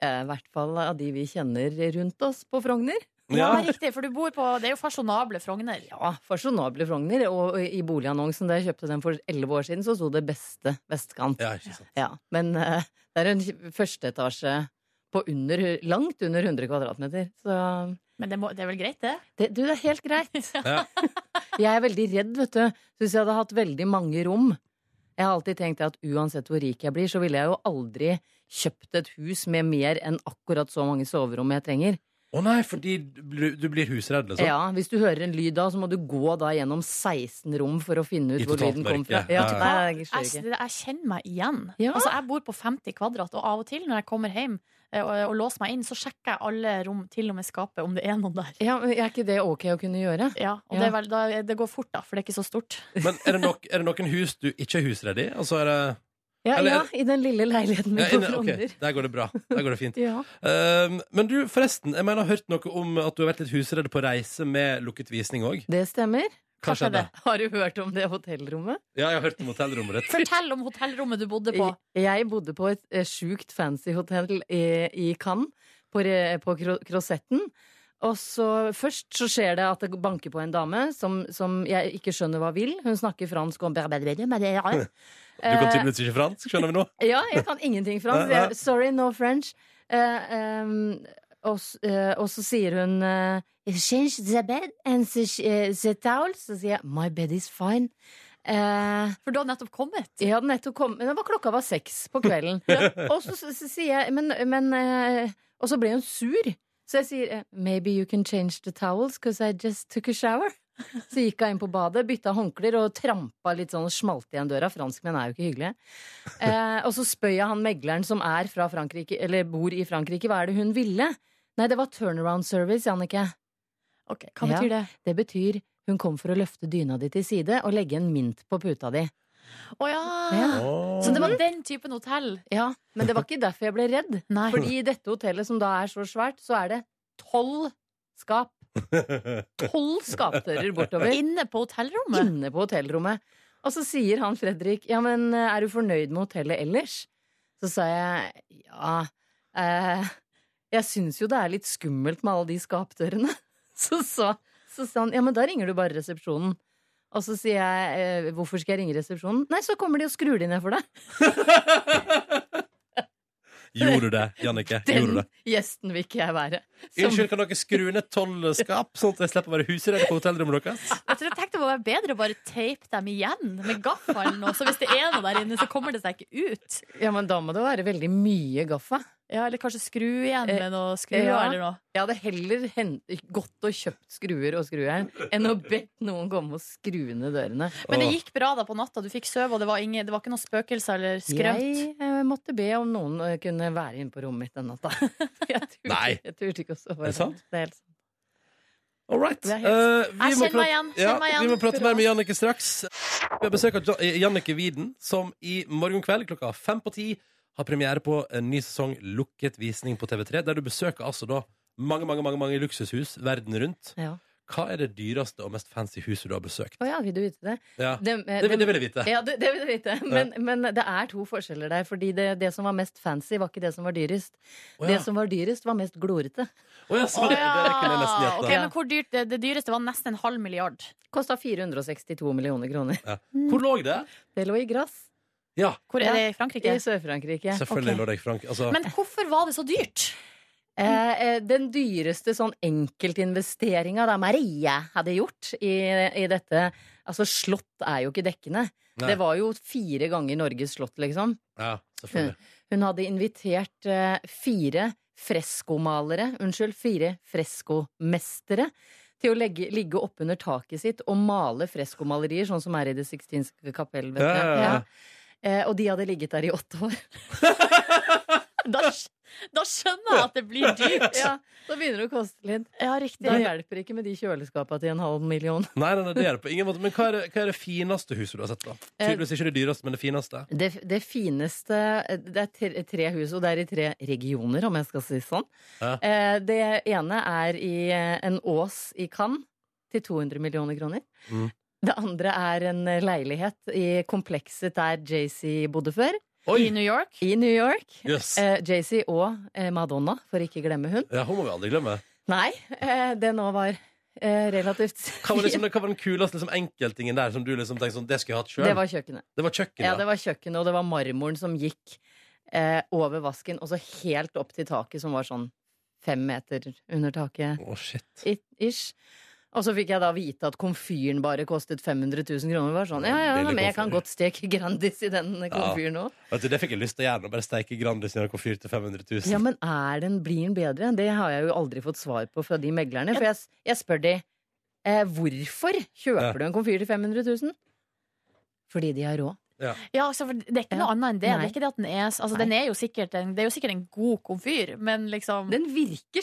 [SPEAKER 10] Eh, I hvert fall av de vi kjenner rundt oss på Frogner.
[SPEAKER 3] Ja,
[SPEAKER 2] Ja.
[SPEAKER 3] men riktig, for du bor på Det er jo fasjonable Frogner.
[SPEAKER 10] Ja, fasjonable Frogner. Og i boligannonsen da jeg kjøpte den for elleve år siden, så sto det 'Beste vestkant'.
[SPEAKER 2] Ja, ikke sant.
[SPEAKER 10] Ja, men eh, det er en førsteetasje på under, langt under 100 kvadratmeter. Så
[SPEAKER 3] Men det, må, det er vel greit, det?
[SPEAKER 10] det, du, det er helt greit.
[SPEAKER 2] Ja.
[SPEAKER 10] Jeg er veldig redd, vet du. Så hvis jeg hadde hatt veldig mange rom Jeg har alltid tenkt at uansett hvor rik jeg blir, så ville jeg jo aldri kjøpt et hus med mer enn akkurat så mange soverom jeg trenger.
[SPEAKER 2] Å nei, fordi du blir- du blir husredd, liksom?
[SPEAKER 10] Ja, Hvis du hører en lyd da, så må du gå da gjennom 16 rom for å finne
[SPEAKER 2] I
[SPEAKER 10] ut hvor
[SPEAKER 2] totalt
[SPEAKER 10] lyden kom fra.
[SPEAKER 2] mørke. Ja,
[SPEAKER 10] Ja,
[SPEAKER 2] ja.
[SPEAKER 10] nei, jeg skjønner
[SPEAKER 3] Jeg,
[SPEAKER 10] ikke.
[SPEAKER 3] jeg kjenner meg igjen.
[SPEAKER 10] Ja.
[SPEAKER 3] Altså, jeg bor på 50 kvadrat, og av og til når jeg kommer hjem eh, og, og låser meg inn, så sjekker jeg alle rom, til og med skapet, om det er noen der.
[SPEAKER 10] Ja, men er ikke det ok å kunne gjøre?
[SPEAKER 3] Ja, og
[SPEAKER 10] Ja.
[SPEAKER 3] Det, er vel, da, det går fort, da, for det er ikke så stort.
[SPEAKER 2] Men er det, nok, er det noen hus du ikke er husredd i? Altså er det...
[SPEAKER 10] Ja,
[SPEAKER 2] Eller-
[SPEAKER 10] ja i den lille leiligheten min
[SPEAKER 2] Ja,
[SPEAKER 10] på
[SPEAKER 2] inne- ok,
[SPEAKER 10] Frogner.
[SPEAKER 2] Der går det bra. Der går det fint.
[SPEAKER 10] Ja.
[SPEAKER 2] Um, men du, forresten, jeg mener jeg har hørt noe om at du har vært litt husredd på reise med lukket visning òg.
[SPEAKER 10] Det stemmer.
[SPEAKER 2] Hva skjedde?
[SPEAKER 10] Har du hørt om det hotellrommet?
[SPEAKER 2] Ja, jeg har hørt om hotellrommet ditt.
[SPEAKER 3] Fortell om hotellrommet du bodde på.
[SPEAKER 10] Jeg bodde på et eh, sjukt fancy hotell i, i Cannes, på, re- på Kro- Krosetten. Og så Først så skjer det at det banker på en dame som, som jeg ikke skjønner hva vil. Hun snakker fransk og
[SPEAKER 2] Du kan tydeligvis ikke fransk, skjønner vi nå?
[SPEAKER 10] Ja, jeg kan ingenting fransk.
[SPEAKER 2] Nei, nei.
[SPEAKER 10] Jeg, sorry, no French. Eh, ehm, og, s- eh, og så sier hun eh, Change the bed and the, eh, the towel. Så sier jeg My bed is fine. Eh,
[SPEAKER 3] For du har nettopp kommet.
[SPEAKER 10] jeg hadde nettopp kommet men det var, Klokka var seks på kvelden. Og så s- s- sier jeg men, men, eh, Og så ble hun sur. Så jeg sier eh, Maybe you can change the towels Because I just took a shower. Så gikk jeg inn på badet, bytta håndklær og trampa litt sånn og smalt igjen døra. Franskmenn er jo ikke hyggelige. Eh, og så spør jeg han megleren som er fra Frankrike, eller bor i Frankrike, hva er det hun ville? Nei, det var turnaround service, Jannicke.
[SPEAKER 3] Ok, Hva betyr det?
[SPEAKER 10] Det betyr hun kom for å løfte dyna di til side og legge en mynt på puta di.
[SPEAKER 3] Å ja.
[SPEAKER 10] Ja.
[SPEAKER 3] Så det var den typen hotell?
[SPEAKER 10] Ja, men det var ikke derfor jeg ble redd.
[SPEAKER 3] Nei.
[SPEAKER 10] Fordi i dette hotellet, som da er så svært, så er det tolv skap. Tolv skapdører bortover.
[SPEAKER 3] Inne på hotellrommet?
[SPEAKER 10] Inne på hotellrommet. Og så sier han Fredrik, ja, men eh, er du fornøyd med hotellet ellers? Så sa jeg, ja eh, Jeg syns jo det er litt skummelt med alle de skapdørene. Så sa så sa han, ja, men da ringer du bare resepsjonen. Og så sier jeg, eh, hvorfor skal jeg ringe resepsjonen? Nei, så kommer de og skrur de ned for deg.
[SPEAKER 2] Gjorde du det, Jannicke? Gjorde du
[SPEAKER 10] Den
[SPEAKER 2] det?
[SPEAKER 10] gjesten vil ikke jeg være. Som-
[SPEAKER 2] Unnskyld, kan dere skru ned tolv skap, sånn at jeg slipper å være husredd på hotellrommet deres?
[SPEAKER 3] Jeg tror jeg tenkte det må være bedre å bare tape dem igjen med gaffelen. og Så hvis det er noe der inne, så kommer det seg ikke ut.
[SPEAKER 10] Ja, men da må det være veldig mye gaffa.
[SPEAKER 3] Ja, eller kanskje skru igjen med noe skruer
[SPEAKER 10] ja.
[SPEAKER 3] eller noe.
[SPEAKER 10] Jeg hadde heller hen- gått og kjøpt skruer og skrujern enn å bedt noen komme og skru ned dørene.
[SPEAKER 3] Men det gikk bra da på natta. Du fikk sove, og det var, ingen, det var ikke noe spøkelser eller skrømt.
[SPEAKER 10] Jeg eh, måtte be om noen eh, kunne være inne på rommet mitt den natta.
[SPEAKER 2] Nei!
[SPEAKER 10] Jeg turte ikke å sove.
[SPEAKER 2] Er det sant?
[SPEAKER 10] Det er helt sant.
[SPEAKER 2] All right.
[SPEAKER 10] Det er helt
[SPEAKER 2] Eh,
[SPEAKER 10] sant.
[SPEAKER 2] vi
[SPEAKER 10] Jeg
[SPEAKER 2] må
[SPEAKER 10] kjenner meg
[SPEAKER 2] prate-
[SPEAKER 10] igjen,
[SPEAKER 2] Ja,
[SPEAKER 10] kjenner meg igjen.
[SPEAKER 2] vi må prate mer
[SPEAKER 10] Hurra.
[SPEAKER 2] med Jannike straks. Vi har besøk av Jan- eh, Jannike Widen, som i morgen kveld klokka fem på ti har premiere på en ny sesong Lukket visning på TV3, der du besøker altså da mange, mange, mange, mange luksushus verden rundt.
[SPEAKER 10] Ja.
[SPEAKER 2] Hva er det dyreste og mest fancy huset du har besøkt?
[SPEAKER 10] Å ja, vil du vite det?
[SPEAKER 2] Ja.
[SPEAKER 10] Det, eh,
[SPEAKER 2] Det vil- det vil jeg vite.
[SPEAKER 10] Ja, det, det vil jeg vite. Men, men det er to forskjeller der. Fordi det, det som var mest fancy, var ikke det som var dyrest.
[SPEAKER 2] Å ja.
[SPEAKER 10] Det som var dyrest, var mest glorete.
[SPEAKER 2] Å ja, sånn,
[SPEAKER 3] Å
[SPEAKER 2] ja. Det kunne jeg nesten
[SPEAKER 3] ja.
[SPEAKER 2] gjette.
[SPEAKER 3] Ok, men hvor dyrt, det, det dyreste var nesten en halv milliard.
[SPEAKER 10] Kosta 462 millioner kroner.
[SPEAKER 2] Ja. Hvor lå det?
[SPEAKER 10] Det lå i Grass.
[SPEAKER 2] Ja,
[SPEAKER 3] Hvor er det i Frankrike?
[SPEAKER 10] I Sør-Frankrike.
[SPEAKER 2] selvfølgelig
[SPEAKER 10] Ok.
[SPEAKER 2] lå det i Frank... Altså,
[SPEAKER 3] Men hvorfor var det så dyrt?
[SPEAKER 10] Eh, eh, den dyreste sånn enkeltinvesteringa da Marie hadde gjort i, i dette Altså, slott er jo ikke dekkende.
[SPEAKER 2] Nei.
[SPEAKER 10] Det var jo fire ganger Norges slott, liksom.
[SPEAKER 2] ja,
[SPEAKER 10] Hun,
[SPEAKER 2] selvfølgelig.
[SPEAKER 10] hun hadde invitert eh, fire freskomalere, unnskyld, fire freskomestere, til å legge, ligge oppunder taket sitt og male freskomalerier, sånn som er i Det sixtinske kapell, vet du.
[SPEAKER 2] Ja, ja, ja.
[SPEAKER 10] Eh, og de hadde ligget der i åtte år.
[SPEAKER 3] Da, skj- da skjønner jeg at det blir dyrt.
[SPEAKER 10] Ja, da begynner det å koste litt.
[SPEAKER 3] Ja, riktig.
[SPEAKER 10] Da hjelper det ikke med de kjøleskapene til en halv million.
[SPEAKER 2] Nei, nei, nei, det er det på ingen måte. Men hva er det, hva er det fineste huset du har sett, da?
[SPEAKER 10] Eh,
[SPEAKER 2] Tydeligvis ikke det dyreste, men det fineste.
[SPEAKER 10] Det, det fineste eh, Det er tre, tre hus, og det er i tre regioner, om jeg skal si det sånn.
[SPEAKER 2] Ja.
[SPEAKER 10] Eh, Det ene er i eh, en ås i Cannes til 200 millioner kroner.
[SPEAKER 2] Mm.
[SPEAKER 10] Det andre er en eh, leilighet i komplekset der Jay-Z bodde før,
[SPEAKER 2] Oi!
[SPEAKER 3] I New York.
[SPEAKER 10] i New York.
[SPEAKER 2] Jøss.
[SPEAKER 10] Eh, Jay-Z og eh, Madonna, for ikke glemme hun.
[SPEAKER 2] Ja, hun må vi aldri glemme.
[SPEAKER 10] Nei, eh, det nå var eh, relativt
[SPEAKER 2] Hva var, liksom, hva var den kuleste liksom, enkeltingen der som du liksom tenkte sånn, det skulle jeg hatt sjøl?
[SPEAKER 10] Det var kjøkkenet.
[SPEAKER 2] kjøkkenet.
[SPEAKER 10] Ja, det var kjøkkenet, og det var marmoren som gikk eh, over vasken, og så helt opp til taket, som var sånn fem meter under taket.
[SPEAKER 2] Å, shit.
[SPEAKER 10] i- Ish. Og så fikk jeg da vite at komfyren bare kostet 500 000 kroner. Det Var sånn, ja, ja,
[SPEAKER 2] Billig
[SPEAKER 10] men jeg kan
[SPEAKER 2] komfyr.
[SPEAKER 10] godt steke Grandis i den komfyren òg.
[SPEAKER 2] Vet du, det fikk jeg lyst til å gjøre. nå, Bare steike Grandis i komfyr til 500 000.
[SPEAKER 10] Ja, men er den, blir den bedre? Det har jeg jo aldri fått svar på fra de meglerne. For jeg, s- jeg spør de eh, hvorfor
[SPEAKER 2] Ja.
[SPEAKER 10] kjøper du en komfyr til 500 000? Fordi de har råd.
[SPEAKER 2] Ja.
[SPEAKER 3] Ja, altså, for det er ikke
[SPEAKER 10] Ja.
[SPEAKER 3] noe annet enn det.
[SPEAKER 10] Nei.
[SPEAKER 3] Det er ikke det at den er altså, Den er jo sikkert en, det er jo sikkert en god komfyr, men liksom
[SPEAKER 10] Den virker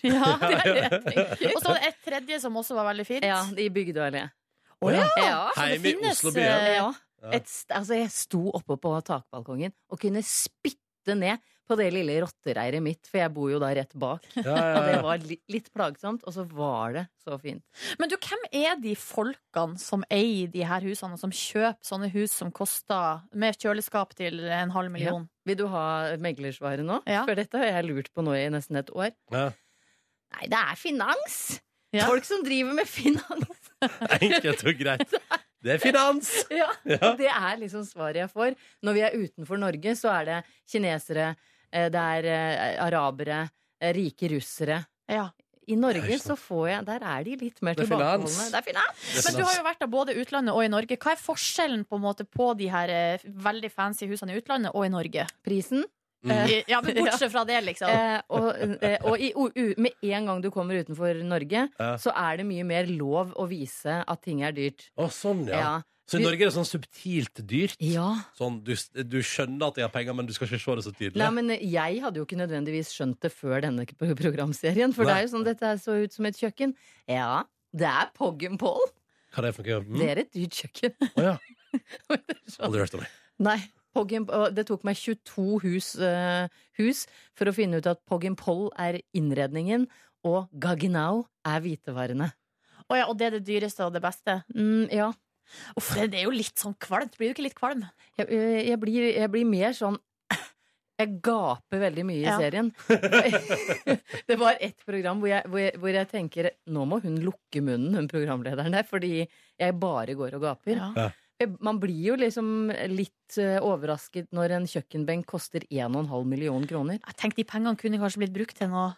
[SPEAKER 3] ja.
[SPEAKER 10] Det er det jeg tenker.
[SPEAKER 3] Og så var det et tredje som også var veldig fint.
[SPEAKER 10] Ja, i Bygdøyallé.
[SPEAKER 2] Å, ja.
[SPEAKER 10] Ja.
[SPEAKER 3] Så det
[SPEAKER 2] Heim i
[SPEAKER 3] finnes,
[SPEAKER 2] Oslo by, ja.
[SPEAKER 3] eh,
[SPEAKER 10] Ja.
[SPEAKER 2] Ja.
[SPEAKER 10] Et, st- altså, jeg sto oppe på takbalkongen og kunne spytte ned på det lille rottereiret mitt, for jeg bor jo da rett bak.
[SPEAKER 2] Ja, ja,
[SPEAKER 10] Og det
[SPEAKER 2] ja.
[SPEAKER 10] var li litt plagsomt, og så var det så fint.
[SPEAKER 3] Men du, hvem er de folkene som eier de her husene, og som kjøper sånne hus som koster med kjøleskap til en halv million?
[SPEAKER 10] Vil du ha meglersvaret nå?
[SPEAKER 3] Ja.
[SPEAKER 10] For dette har jeg lurt på nå i nesten et år.
[SPEAKER 2] Ja.
[SPEAKER 10] Nei, det er finans!
[SPEAKER 3] Ja.
[SPEAKER 10] Folk som driver med finans!
[SPEAKER 2] Enkelt og greit. Det er finans!
[SPEAKER 10] Ja, og det er liksom svaret jeg får. Når vi er utenfor Norge, så er det kinesere, eh, det er eh, arabere, eh, rike russere.
[SPEAKER 3] Ja.
[SPEAKER 10] I
[SPEAKER 2] Det er
[SPEAKER 10] Norge
[SPEAKER 2] ikke
[SPEAKER 10] så får jeg Der er de litt mer
[SPEAKER 2] Det er finans.
[SPEAKER 10] tilbakeholdne. Det er finans!
[SPEAKER 2] Det er
[SPEAKER 3] Men du har
[SPEAKER 2] finans.
[SPEAKER 3] jo vært av både utlandet og i Norge. Hva er forskjellen på, en måte, på de her eh, veldig fancy husene i utlandet og i Norge?
[SPEAKER 10] Prisen.
[SPEAKER 2] Mm.
[SPEAKER 3] Eh, Ja, men Bortsett fra det, liksom.
[SPEAKER 10] Eh, og eh, og i, o- u, med en gang du kommer utenfor Norge,
[SPEAKER 2] Ja.
[SPEAKER 10] så er det mye mer lov å vise at ting er dyrt.
[SPEAKER 2] Å, sånn, ja.
[SPEAKER 10] Ja.
[SPEAKER 2] Så i Norge er det sånn subtilt dyrt.
[SPEAKER 10] Ja.
[SPEAKER 2] Sånn, du, du skjønner at jeg har penger, men du skal ikke se det så tydelig.
[SPEAKER 10] Nei, men eh, jeg hadde jo ikke nødvendigvis skjønt det før denne pro- programserien. For det
[SPEAKER 2] Nei.
[SPEAKER 10] er jo sånn dette her så ut som et kjøkken. Ja, det er Poggen Pål.
[SPEAKER 2] Hva er det for noe? Mm?
[SPEAKER 10] Det er et dyrt kjøkken.
[SPEAKER 2] Å, ja. Aldri hørt om det.
[SPEAKER 10] Nei. Poggen, og det tok meg 22 hus, eh, hus for å finne ut at Poggen Poll er innredningen, og Gaggenau er hvitevarene.
[SPEAKER 3] Å ja, og det er det dyreste og det beste.
[SPEAKER 10] Mm, ja.
[SPEAKER 3] Uff, det det er jo litt sånn kvalmt. Blir du ikke litt kvalm?
[SPEAKER 10] Jeg, eh, jeg, blir, jeg blir mer sånn Jeg gaper veldig mye i
[SPEAKER 3] Ja.
[SPEAKER 10] serien. det var ett program hvor jeg, hvor, jeg, hvor jeg tenker Nå må hun lukke munnen, hun programlederen der, fordi jeg bare går og gaper.
[SPEAKER 3] Ja.
[SPEAKER 10] Jeg- Man blir jo liksom litt eh, overrasket når en kjøkkenbenk koster 1,5 million kroner.
[SPEAKER 3] Jeg tenkte de pengene kunne kanskje blitt brukt til noe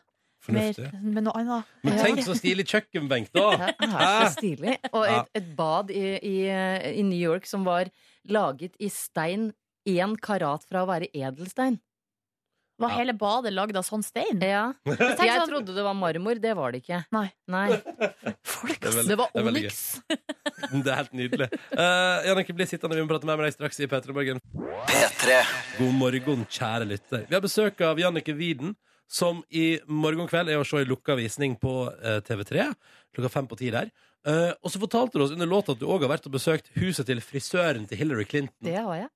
[SPEAKER 3] mer,
[SPEAKER 2] Fornuftig.
[SPEAKER 3] med noe annet.
[SPEAKER 2] Men
[SPEAKER 3] Ja.
[SPEAKER 2] tenk så stilig kjøkkenbenk, da!
[SPEAKER 10] Det er så stilig. Og et, et bad i, i, i New York som var laget i stein én karat fra å være edelstein.
[SPEAKER 3] Var hele badet lagd av sånn stein?
[SPEAKER 2] Eh,
[SPEAKER 10] Ja.
[SPEAKER 3] tenk
[SPEAKER 10] Jeg
[SPEAKER 3] sånn-
[SPEAKER 10] trodde det var marmor, det var det ikke.
[SPEAKER 3] Nei.
[SPEAKER 2] Det, er veldig-
[SPEAKER 10] Det var
[SPEAKER 2] er veldig
[SPEAKER 10] Onyx.
[SPEAKER 2] gøy. Det er helt nydelig. Eh, Jannicke, bli sittende. Vi må prate mer med deg straks i P3 Morgen. God morgen, kjære lytter. Vi har besøk av Jannicke Widen, som i morgen kveld er å se i lukka visning på eh, TV3. Klokka fem på ti der. Eh, og så fortalte du oss under låta at du òg har vært og besøkt huset til frisøren til Hillary Clinton.
[SPEAKER 10] Det har jeg.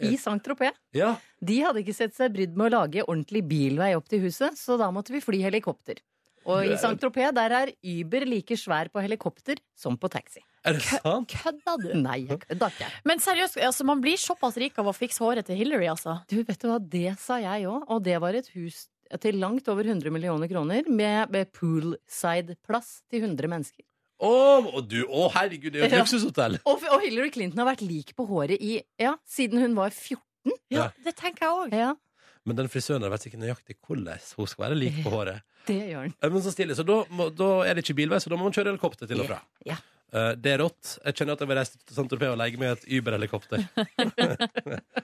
[SPEAKER 2] Eh.
[SPEAKER 10] I Saint-Tropez.
[SPEAKER 2] Ja,
[SPEAKER 10] De hadde ikke sett seg brydd med å lage ordentlig bilvei opp til huset, så da måtte vi fly helikopter. Og i Saint-Tropez der er Uber like svær på helikopter som på taxi.
[SPEAKER 2] Er det sant?
[SPEAKER 3] Kødda du?
[SPEAKER 10] Nei, jeg kødda ikke.
[SPEAKER 3] Men seriøst, altså, man blir såpass rik av å fikse håret til Hillary, altså.
[SPEAKER 10] Du, vet du hva, det sa jeg òg, og det var et hus til langt over 100 millioner kroner med, med poolside-plass til 100 mennesker.
[SPEAKER 2] Å, og du, å herregud, det er jo et
[SPEAKER 10] Ja.
[SPEAKER 2] luksushotell!
[SPEAKER 10] Og, og Hillary Clinton har vært lik på håret i, ja, siden hun var 14.
[SPEAKER 2] Ja,
[SPEAKER 3] Det tenker jeg òg.
[SPEAKER 10] Ja,
[SPEAKER 2] Men den frisøren der vet ikke nøyaktig hvordan hun skal være lik på håret.
[SPEAKER 10] det gjør hun.
[SPEAKER 2] Ja, Men så stille, så da, må, da er det ikke bilvei, så da må man kjøre helikopter til og fra.
[SPEAKER 10] Ja.
[SPEAKER 2] Eh, det er rått. Jeg kjenner at jeg vil reise til Saint-Tropez og leie meg et Uber-helikopter.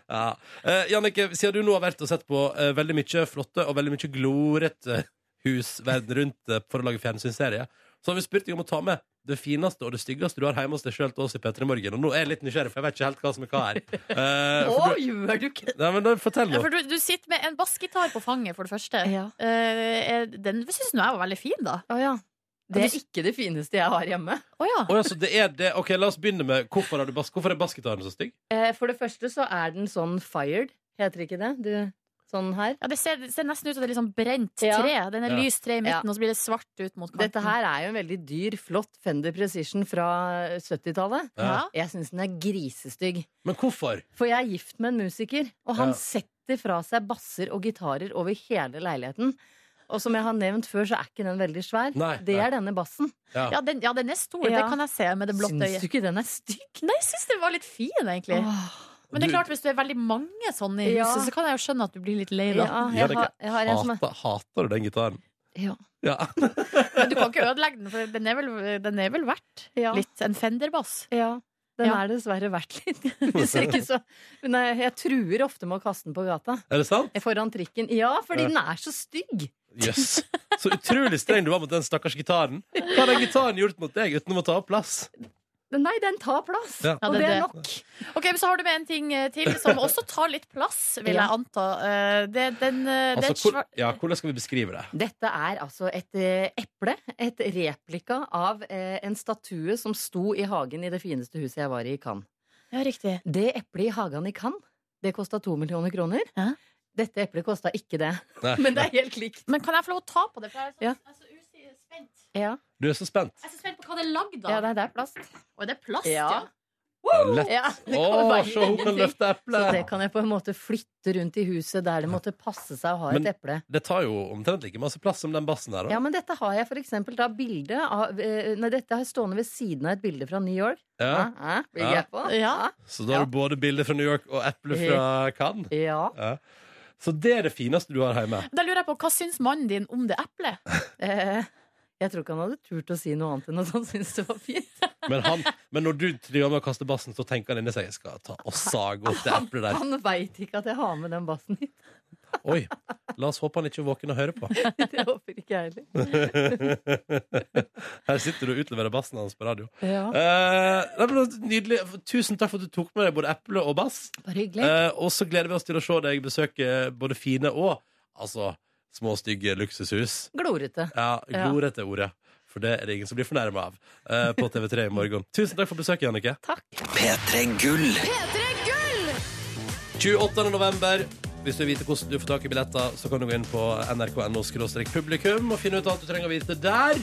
[SPEAKER 2] ja. Eh, Jannicke, siden du nå har vært og sett på eh, veldig mye flotte og veldig mye glorete hus verden rundt eh, for å lage fjernsynsserie, så har vi spurt deg om å ta med det fineste og det styggeste du har hjemme hos deg sjøl til oss i P3 Morgen. Og nå er jeg litt nysgjerrig, for jeg vet ikke helt hva som er hva her. Eh,
[SPEAKER 10] Å,
[SPEAKER 2] for du,
[SPEAKER 10] gjør du ikke det?
[SPEAKER 2] nei, men da, fortell
[SPEAKER 3] Ja,
[SPEAKER 2] nå.
[SPEAKER 3] for du, du sitter med en bassgitar på fanget, for det første.
[SPEAKER 10] Ja.
[SPEAKER 3] Eh, eh, den syns nå jeg var veldig fin, da.
[SPEAKER 10] Å ja. Det er ikke det fineste jeg har hjemme.
[SPEAKER 3] Å ja.
[SPEAKER 2] Å ja, så det er det. Ok, La oss begynne med hvorfor, har du bas hvorfor er bassgitaren så stygg?
[SPEAKER 10] Eh, For det første så er den sånn fired, heter ikke det? Du, sånn her.
[SPEAKER 3] Ja, det ser, det ser nesten ut som det er litt sånn brent
[SPEAKER 10] Ja.
[SPEAKER 3] tre. Den er
[SPEAKER 2] Ja.
[SPEAKER 3] lys tre i midten,
[SPEAKER 10] Ja.
[SPEAKER 3] og så blir det svart ut mot kanten.
[SPEAKER 10] Dette her er jo en veldig dyr, flott Fender Precision fra 70-tallet.
[SPEAKER 3] Ja.
[SPEAKER 10] Jeg syns den er grisestygg.
[SPEAKER 2] Men hvorfor?
[SPEAKER 10] For jeg er gift med en musiker, og han
[SPEAKER 2] Ja.
[SPEAKER 10] setter fra seg basser og gitarer over hele leiligheten. Og som jeg har nevnt før, så er ikke den veldig svær.
[SPEAKER 2] Nei,
[SPEAKER 10] det
[SPEAKER 2] nei.
[SPEAKER 10] er denne bassen.
[SPEAKER 3] Ja, den, ja, den er stor.
[SPEAKER 10] Ja.
[SPEAKER 3] Det kan jeg se med det blotte
[SPEAKER 10] Syns du
[SPEAKER 3] øyet.
[SPEAKER 10] ikke den er stygg?
[SPEAKER 3] Nei, jeg syns den var litt fin, egentlig. Men det er
[SPEAKER 2] Du-
[SPEAKER 3] klart, hvis du er veldig mange sånne i
[SPEAKER 10] Ja.
[SPEAKER 3] huset, så kan jeg jo skjønne at du blir litt lei, da.
[SPEAKER 10] Ja,
[SPEAKER 2] Ja,
[SPEAKER 10] jeg,
[SPEAKER 2] det er
[SPEAKER 10] har, jeg har en som er
[SPEAKER 2] Hater, hater du den gitaren?
[SPEAKER 10] Ja.
[SPEAKER 2] Ja.
[SPEAKER 3] Men du kan ikke ødelegge den, for den er vel, den er vel verdt
[SPEAKER 10] Ja.
[SPEAKER 3] litt en Fender-bass.
[SPEAKER 10] Ja, den
[SPEAKER 3] Ja.
[SPEAKER 10] er dessverre verdt litt. Hvis ikke så Nei, jeg truer ofte med å kaste den på gata.
[SPEAKER 2] Er det sant?
[SPEAKER 10] Foran trikken. Ja, fordi
[SPEAKER 2] Ja.
[SPEAKER 10] den er så stygg!
[SPEAKER 2] Jøss. Så utrolig streng du var mot den stakkars gitaren. Hva har den gitaren gjort mot deg uten å ta opp plass?
[SPEAKER 10] Nei, den tar plass!
[SPEAKER 2] Ja.
[SPEAKER 3] Ja,
[SPEAKER 10] Og
[SPEAKER 3] det
[SPEAKER 10] det
[SPEAKER 3] er
[SPEAKER 10] er
[SPEAKER 3] det.
[SPEAKER 10] nok.
[SPEAKER 3] Ok, men Så har du med en ting eh, til som også tar litt plass, vil
[SPEAKER 10] Ja.
[SPEAKER 3] jeg anta. Eh, Det, den, eh, det
[SPEAKER 2] Altså,
[SPEAKER 3] er et
[SPEAKER 2] hvor,
[SPEAKER 3] svar-
[SPEAKER 2] ja, hvordan skal vi beskrive det?
[SPEAKER 10] Dette er altså et eh, eple, et replika av eh, en statue som sto i hagen i det fineste huset jeg var i i Cannes.
[SPEAKER 3] Ja, riktig.
[SPEAKER 10] Det eplet i hagen i Cannes, det kosta to millioner kroner.
[SPEAKER 3] Ja.
[SPEAKER 10] Dette eplet kosta ikke det,
[SPEAKER 2] Nei.
[SPEAKER 10] men det er helt likt.
[SPEAKER 3] Men kan jeg få lov å ta på det? For jeg er så,
[SPEAKER 10] Ja.
[SPEAKER 3] jeg er så usi- spent.
[SPEAKER 10] Ja,
[SPEAKER 2] Du er så spent.
[SPEAKER 3] Jeg er så spent på hva det er lagd
[SPEAKER 10] ja
[SPEAKER 3] av.
[SPEAKER 10] nei, det er plast.
[SPEAKER 3] Og det er plast, ja.
[SPEAKER 10] Ja.
[SPEAKER 2] Ja, lett.
[SPEAKER 10] Ja, det
[SPEAKER 2] Å,
[SPEAKER 10] kan være
[SPEAKER 2] se, hun kan
[SPEAKER 10] ingenting.
[SPEAKER 2] løfte
[SPEAKER 10] Så det
[SPEAKER 2] eplet!
[SPEAKER 10] kan jeg på en måte flytte rundt i huset der det måtte passe seg å ha
[SPEAKER 2] Men-
[SPEAKER 10] et eple.
[SPEAKER 2] Det tar jo omtrent like masse plass som den bassen der.
[SPEAKER 10] Ja,
[SPEAKER 2] Da.
[SPEAKER 10] men dette har jeg for eksempel da bilde av eh, Nei, dette har jeg stående ved siden av et bilde fra New York.
[SPEAKER 2] Ja.
[SPEAKER 10] Hæ? Hæ? Blir
[SPEAKER 2] Ja.
[SPEAKER 10] jeg på? Ah,
[SPEAKER 3] Ja.
[SPEAKER 2] Så da har du både bilde fra New York og eple fra Cannes.
[SPEAKER 10] Ja.
[SPEAKER 2] Ja. Så det er det fineste du har hjemme.
[SPEAKER 3] Da lurer jeg på, Hva syns mannen din om det eplet?
[SPEAKER 10] Eh, jeg tror ikke han hadde turt å si noe annet enn at han syntes det var fint.
[SPEAKER 2] Men, han, men når du driver med å kaste bassen, så tenker han inni seg jeg skal ta og sage opp det eplet der.
[SPEAKER 10] Han veit ikke at jeg har med den bassen hit.
[SPEAKER 2] Oi, la oss håpe han ikke er våken og hører på.
[SPEAKER 10] Det håper ikke jeg heller.
[SPEAKER 2] Her sitter du og utleverer bassen hans på radio.
[SPEAKER 10] Ja.
[SPEAKER 2] Eh, det ble nydelig. Tusen takk for at du tok med deg både eple og bass.
[SPEAKER 10] Bare hyggelig.
[SPEAKER 2] Eh, og så gleder vi oss til å se deg besøke både fine og altså, små, stygge luksushus.
[SPEAKER 10] Glorete.
[SPEAKER 2] Ja, glorete er ordet. For det er det ingen som blir fornærma av eh, på TV3 i morgen. Tusen takk for besøket, Jannicke.
[SPEAKER 1] P3 Gull.
[SPEAKER 2] 28. november. Hvis du vil vite hvordan du får tak i billetter, så kan du gå inn på nrk.no publikum og finne ut alt du trenger å vite der.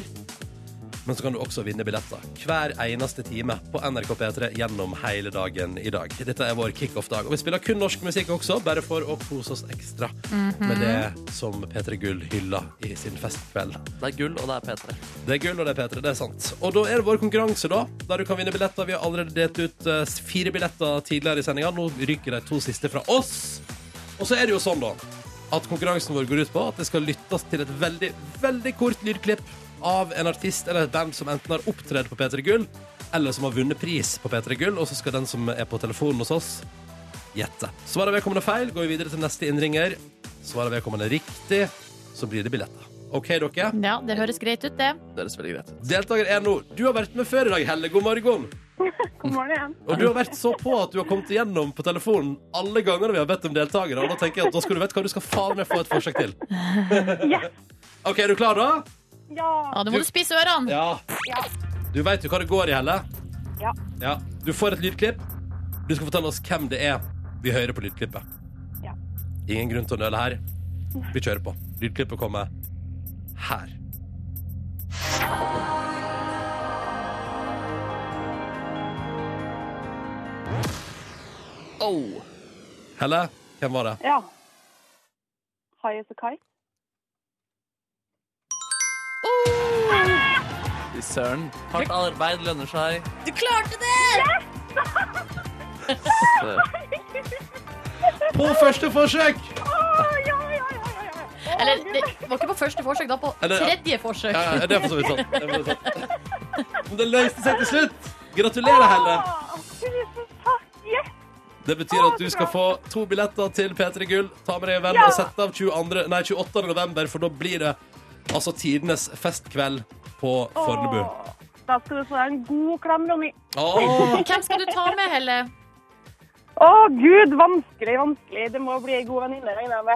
[SPEAKER 2] Men så kan du også vinne billetter hver eneste time på NRK P3 gjennom hele dagen i dag. Dette er vår kickoff-dag. Og vi spiller kun norsk musikk også, bare for å kose oss ekstra med det som P3 Gull hyller i sin festkveld.
[SPEAKER 4] Det er gull, og det er P3.
[SPEAKER 2] Det er gull, og det er P3. Det er sant. Og da er det vår konkurranse, da. Der du kan vinne billetter. Vi har allerede delt ut eh, fire billetter tidligere i sendinga. Nå ryker de to siste fra oss. Og så er det jo sånn, da, at konkurransen vår går ut på at det skal lyttes til et veldig, veldig kort lydklipp av en artist eller et band som enten har opptredd på P3 Gull, eller som har vunnet pris på P3 Gull, og så skal den som er på telefonen hos oss, gjette. Svarer vedkommende feil, går vi videre til neste innringer. Svarer vedkommende riktig, så blir det billetter. OK, dere?
[SPEAKER 3] Ja, det høres greit ut, det.
[SPEAKER 4] Det høres veldig greit ut.
[SPEAKER 2] Deltaker er nå. Du har vært med før i dag, Helle. God morgen.
[SPEAKER 6] God morgen igjen.
[SPEAKER 2] Og du har vært så på at du har kommet igjennom på telefonen alle gangene vi har bedt om deltakere. Og da tenker jeg at da skal du vite hva du skal faen meg få et forsøk til. OK, er du klar, da?
[SPEAKER 6] Ja.
[SPEAKER 3] Ja, da må du spisse ørene.
[SPEAKER 2] Ja.
[SPEAKER 6] Ja.
[SPEAKER 2] Du veit jo hva det går i, Helle.
[SPEAKER 6] Ja.
[SPEAKER 2] Ja. Du får et lydklipp. Du skal fortelle oss hvem det er vi hører på lydklippet.
[SPEAKER 6] Ja.
[SPEAKER 2] Ingen grunn til å nøle her. Vi kjører på. Lydklippet kommer her.
[SPEAKER 4] Oh.
[SPEAKER 2] Helle, hvem var det?
[SPEAKER 6] ja. High as a kite.
[SPEAKER 4] Fy Søren. Hardt arbeid lønner seg.
[SPEAKER 3] Du klarte det!
[SPEAKER 4] Eh,
[SPEAKER 2] På første forsøk!
[SPEAKER 3] Eller, det var ikke på første forsøk, da på
[SPEAKER 2] Eller-
[SPEAKER 3] tredje forsøk.
[SPEAKER 2] Ja, ja, Eh, det er for så vidt sant. Det er for så vidt sant. Men det løste seg til slutt. Gratulerer, Helle.
[SPEAKER 6] Tusen takk. Yes.
[SPEAKER 2] Det betyr at du skal få to billetter til P3 Gull. Ta med deg en venn
[SPEAKER 6] Ja.
[SPEAKER 2] og sett av 22, nei, 28. november, for da blir det altså tidenes festkveld på Fornebu.
[SPEAKER 6] Åh, Da skal du få deg en god klem, Ronny.
[SPEAKER 2] Åh,
[SPEAKER 3] Hvem skal du ta med, Helle?
[SPEAKER 6] Å gud, vanskelig, vanskelig. Det må bli ei god venninne, regner jeg med.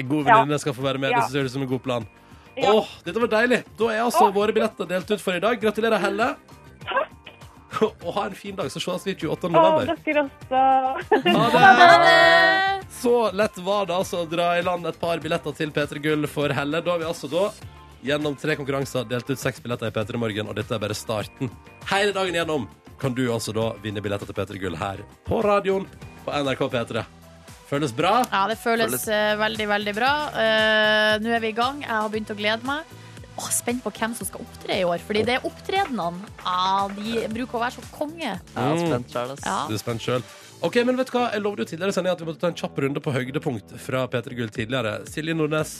[SPEAKER 2] En god venninne skal få være med.
[SPEAKER 6] Ja.
[SPEAKER 2] Det synes jeg høres ut som en god plan.
[SPEAKER 6] Ja.
[SPEAKER 2] Åh, dette var deilig. Da er altså
[SPEAKER 6] Åh.
[SPEAKER 2] våre billetter delt ut for i dag. Gratulerer, Helle. Og ha en fin dag, så ses vi 28. november.
[SPEAKER 6] Å, dere også.
[SPEAKER 2] Ha det! Så lett var det altså å dra i land et par billetter til P3 Gull for Helle. Da har vi altså da gjennom tre konkurranser delt ut seks billetter i P3 Morgen, og dette er bare starten. Hele dagen gjennom kan du altså da vinne billetter til P3 Gull her på radioen på NRK P3. Føles bra?
[SPEAKER 3] Ja, det føles
[SPEAKER 4] Føles-
[SPEAKER 3] eh, veldig, veldig bra. Eh, Nå er vi i gang. Jeg har begynt å glede meg. Åh, spent på hvem som skal opptre i år. Fordi det er opptredenene. Ah, de bruker å være så konge.
[SPEAKER 4] Jeg er spent selv, ass.
[SPEAKER 3] Ja.
[SPEAKER 2] Du er spent selv. Ok, men vet du hva? Jeg lovde jo tidligere i sendingen at vi måtte ta en kjapp runde på høydepunkt fra P3 Gull tidligere. Silje Nordnes,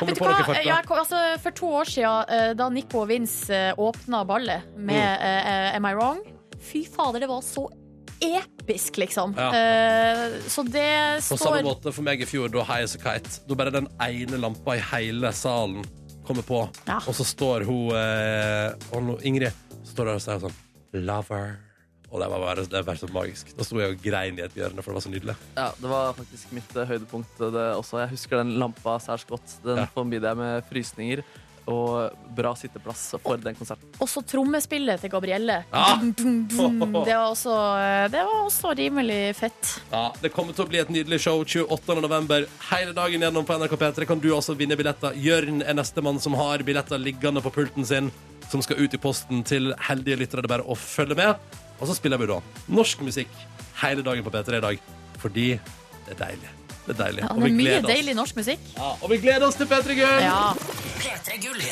[SPEAKER 2] kommer
[SPEAKER 3] Vet
[SPEAKER 2] du på
[SPEAKER 3] du hva?
[SPEAKER 2] noen fakta?
[SPEAKER 3] Ja, jeg kom- altså, for to år siden, eh, da Nico og Vince eh, åpna ballet med
[SPEAKER 2] Mm.
[SPEAKER 3] eh, Am I Wrong Fy fader, det var så episk, liksom.
[SPEAKER 2] Ja.
[SPEAKER 3] Eh, så det
[SPEAKER 2] På samme
[SPEAKER 3] står
[SPEAKER 2] måte for meg i fjor, da High As A Kite. Da bare den ene lampa i hele salen kommer på,
[SPEAKER 3] Ja.
[SPEAKER 2] og så står hun eh, og nå- Ingrid står der og sier sånn Lover. Og det var bare, det var så magisk. Da sto jeg og grein i et hjørne, for det var så nydelig.
[SPEAKER 4] Ja, det var faktisk mitt eh, høydepunkt eh, det også. Jeg husker den lampa særs godt. Den
[SPEAKER 2] Ja.
[SPEAKER 4] forbinder jeg med frysninger og bra sitteplass for den konserten.
[SPEAKER 3] Og så trommespillet til Gabrielle.
[SPEAKER 2] Ja.
[SPEAKER 3] Dum, dum, dum. Det, var også, eh, det var også rimelig fett.
[SPEAKER 2] Ja, det kommer til å bli et nydelig show 28. november. Hele dagen gjennom på NRK P3 kan du også vinne billetter. Jørn er nestemann som har billetter liggende på pulten sin, som skal ut i posten til heldige lyttere. Det er bare å følge med. Og så spiller vi da norsk musikk hele dagen på P3 i dag, fordi det er deilig. Det er deilig.
[SPEAKER 3] Ja,
[SPEAKER 2] Og
[SPEAKER 3] det
[SPEAKER 2] vi
[SPEAKER 3] er mye
[SPEAKER 2] gleder oss.
[SPEAKER 3] deilig norsk musikk.
[SPEAKER 2] Ja, og vi gleder oss til P3 Gull!
[SPEAKER 3] Ja.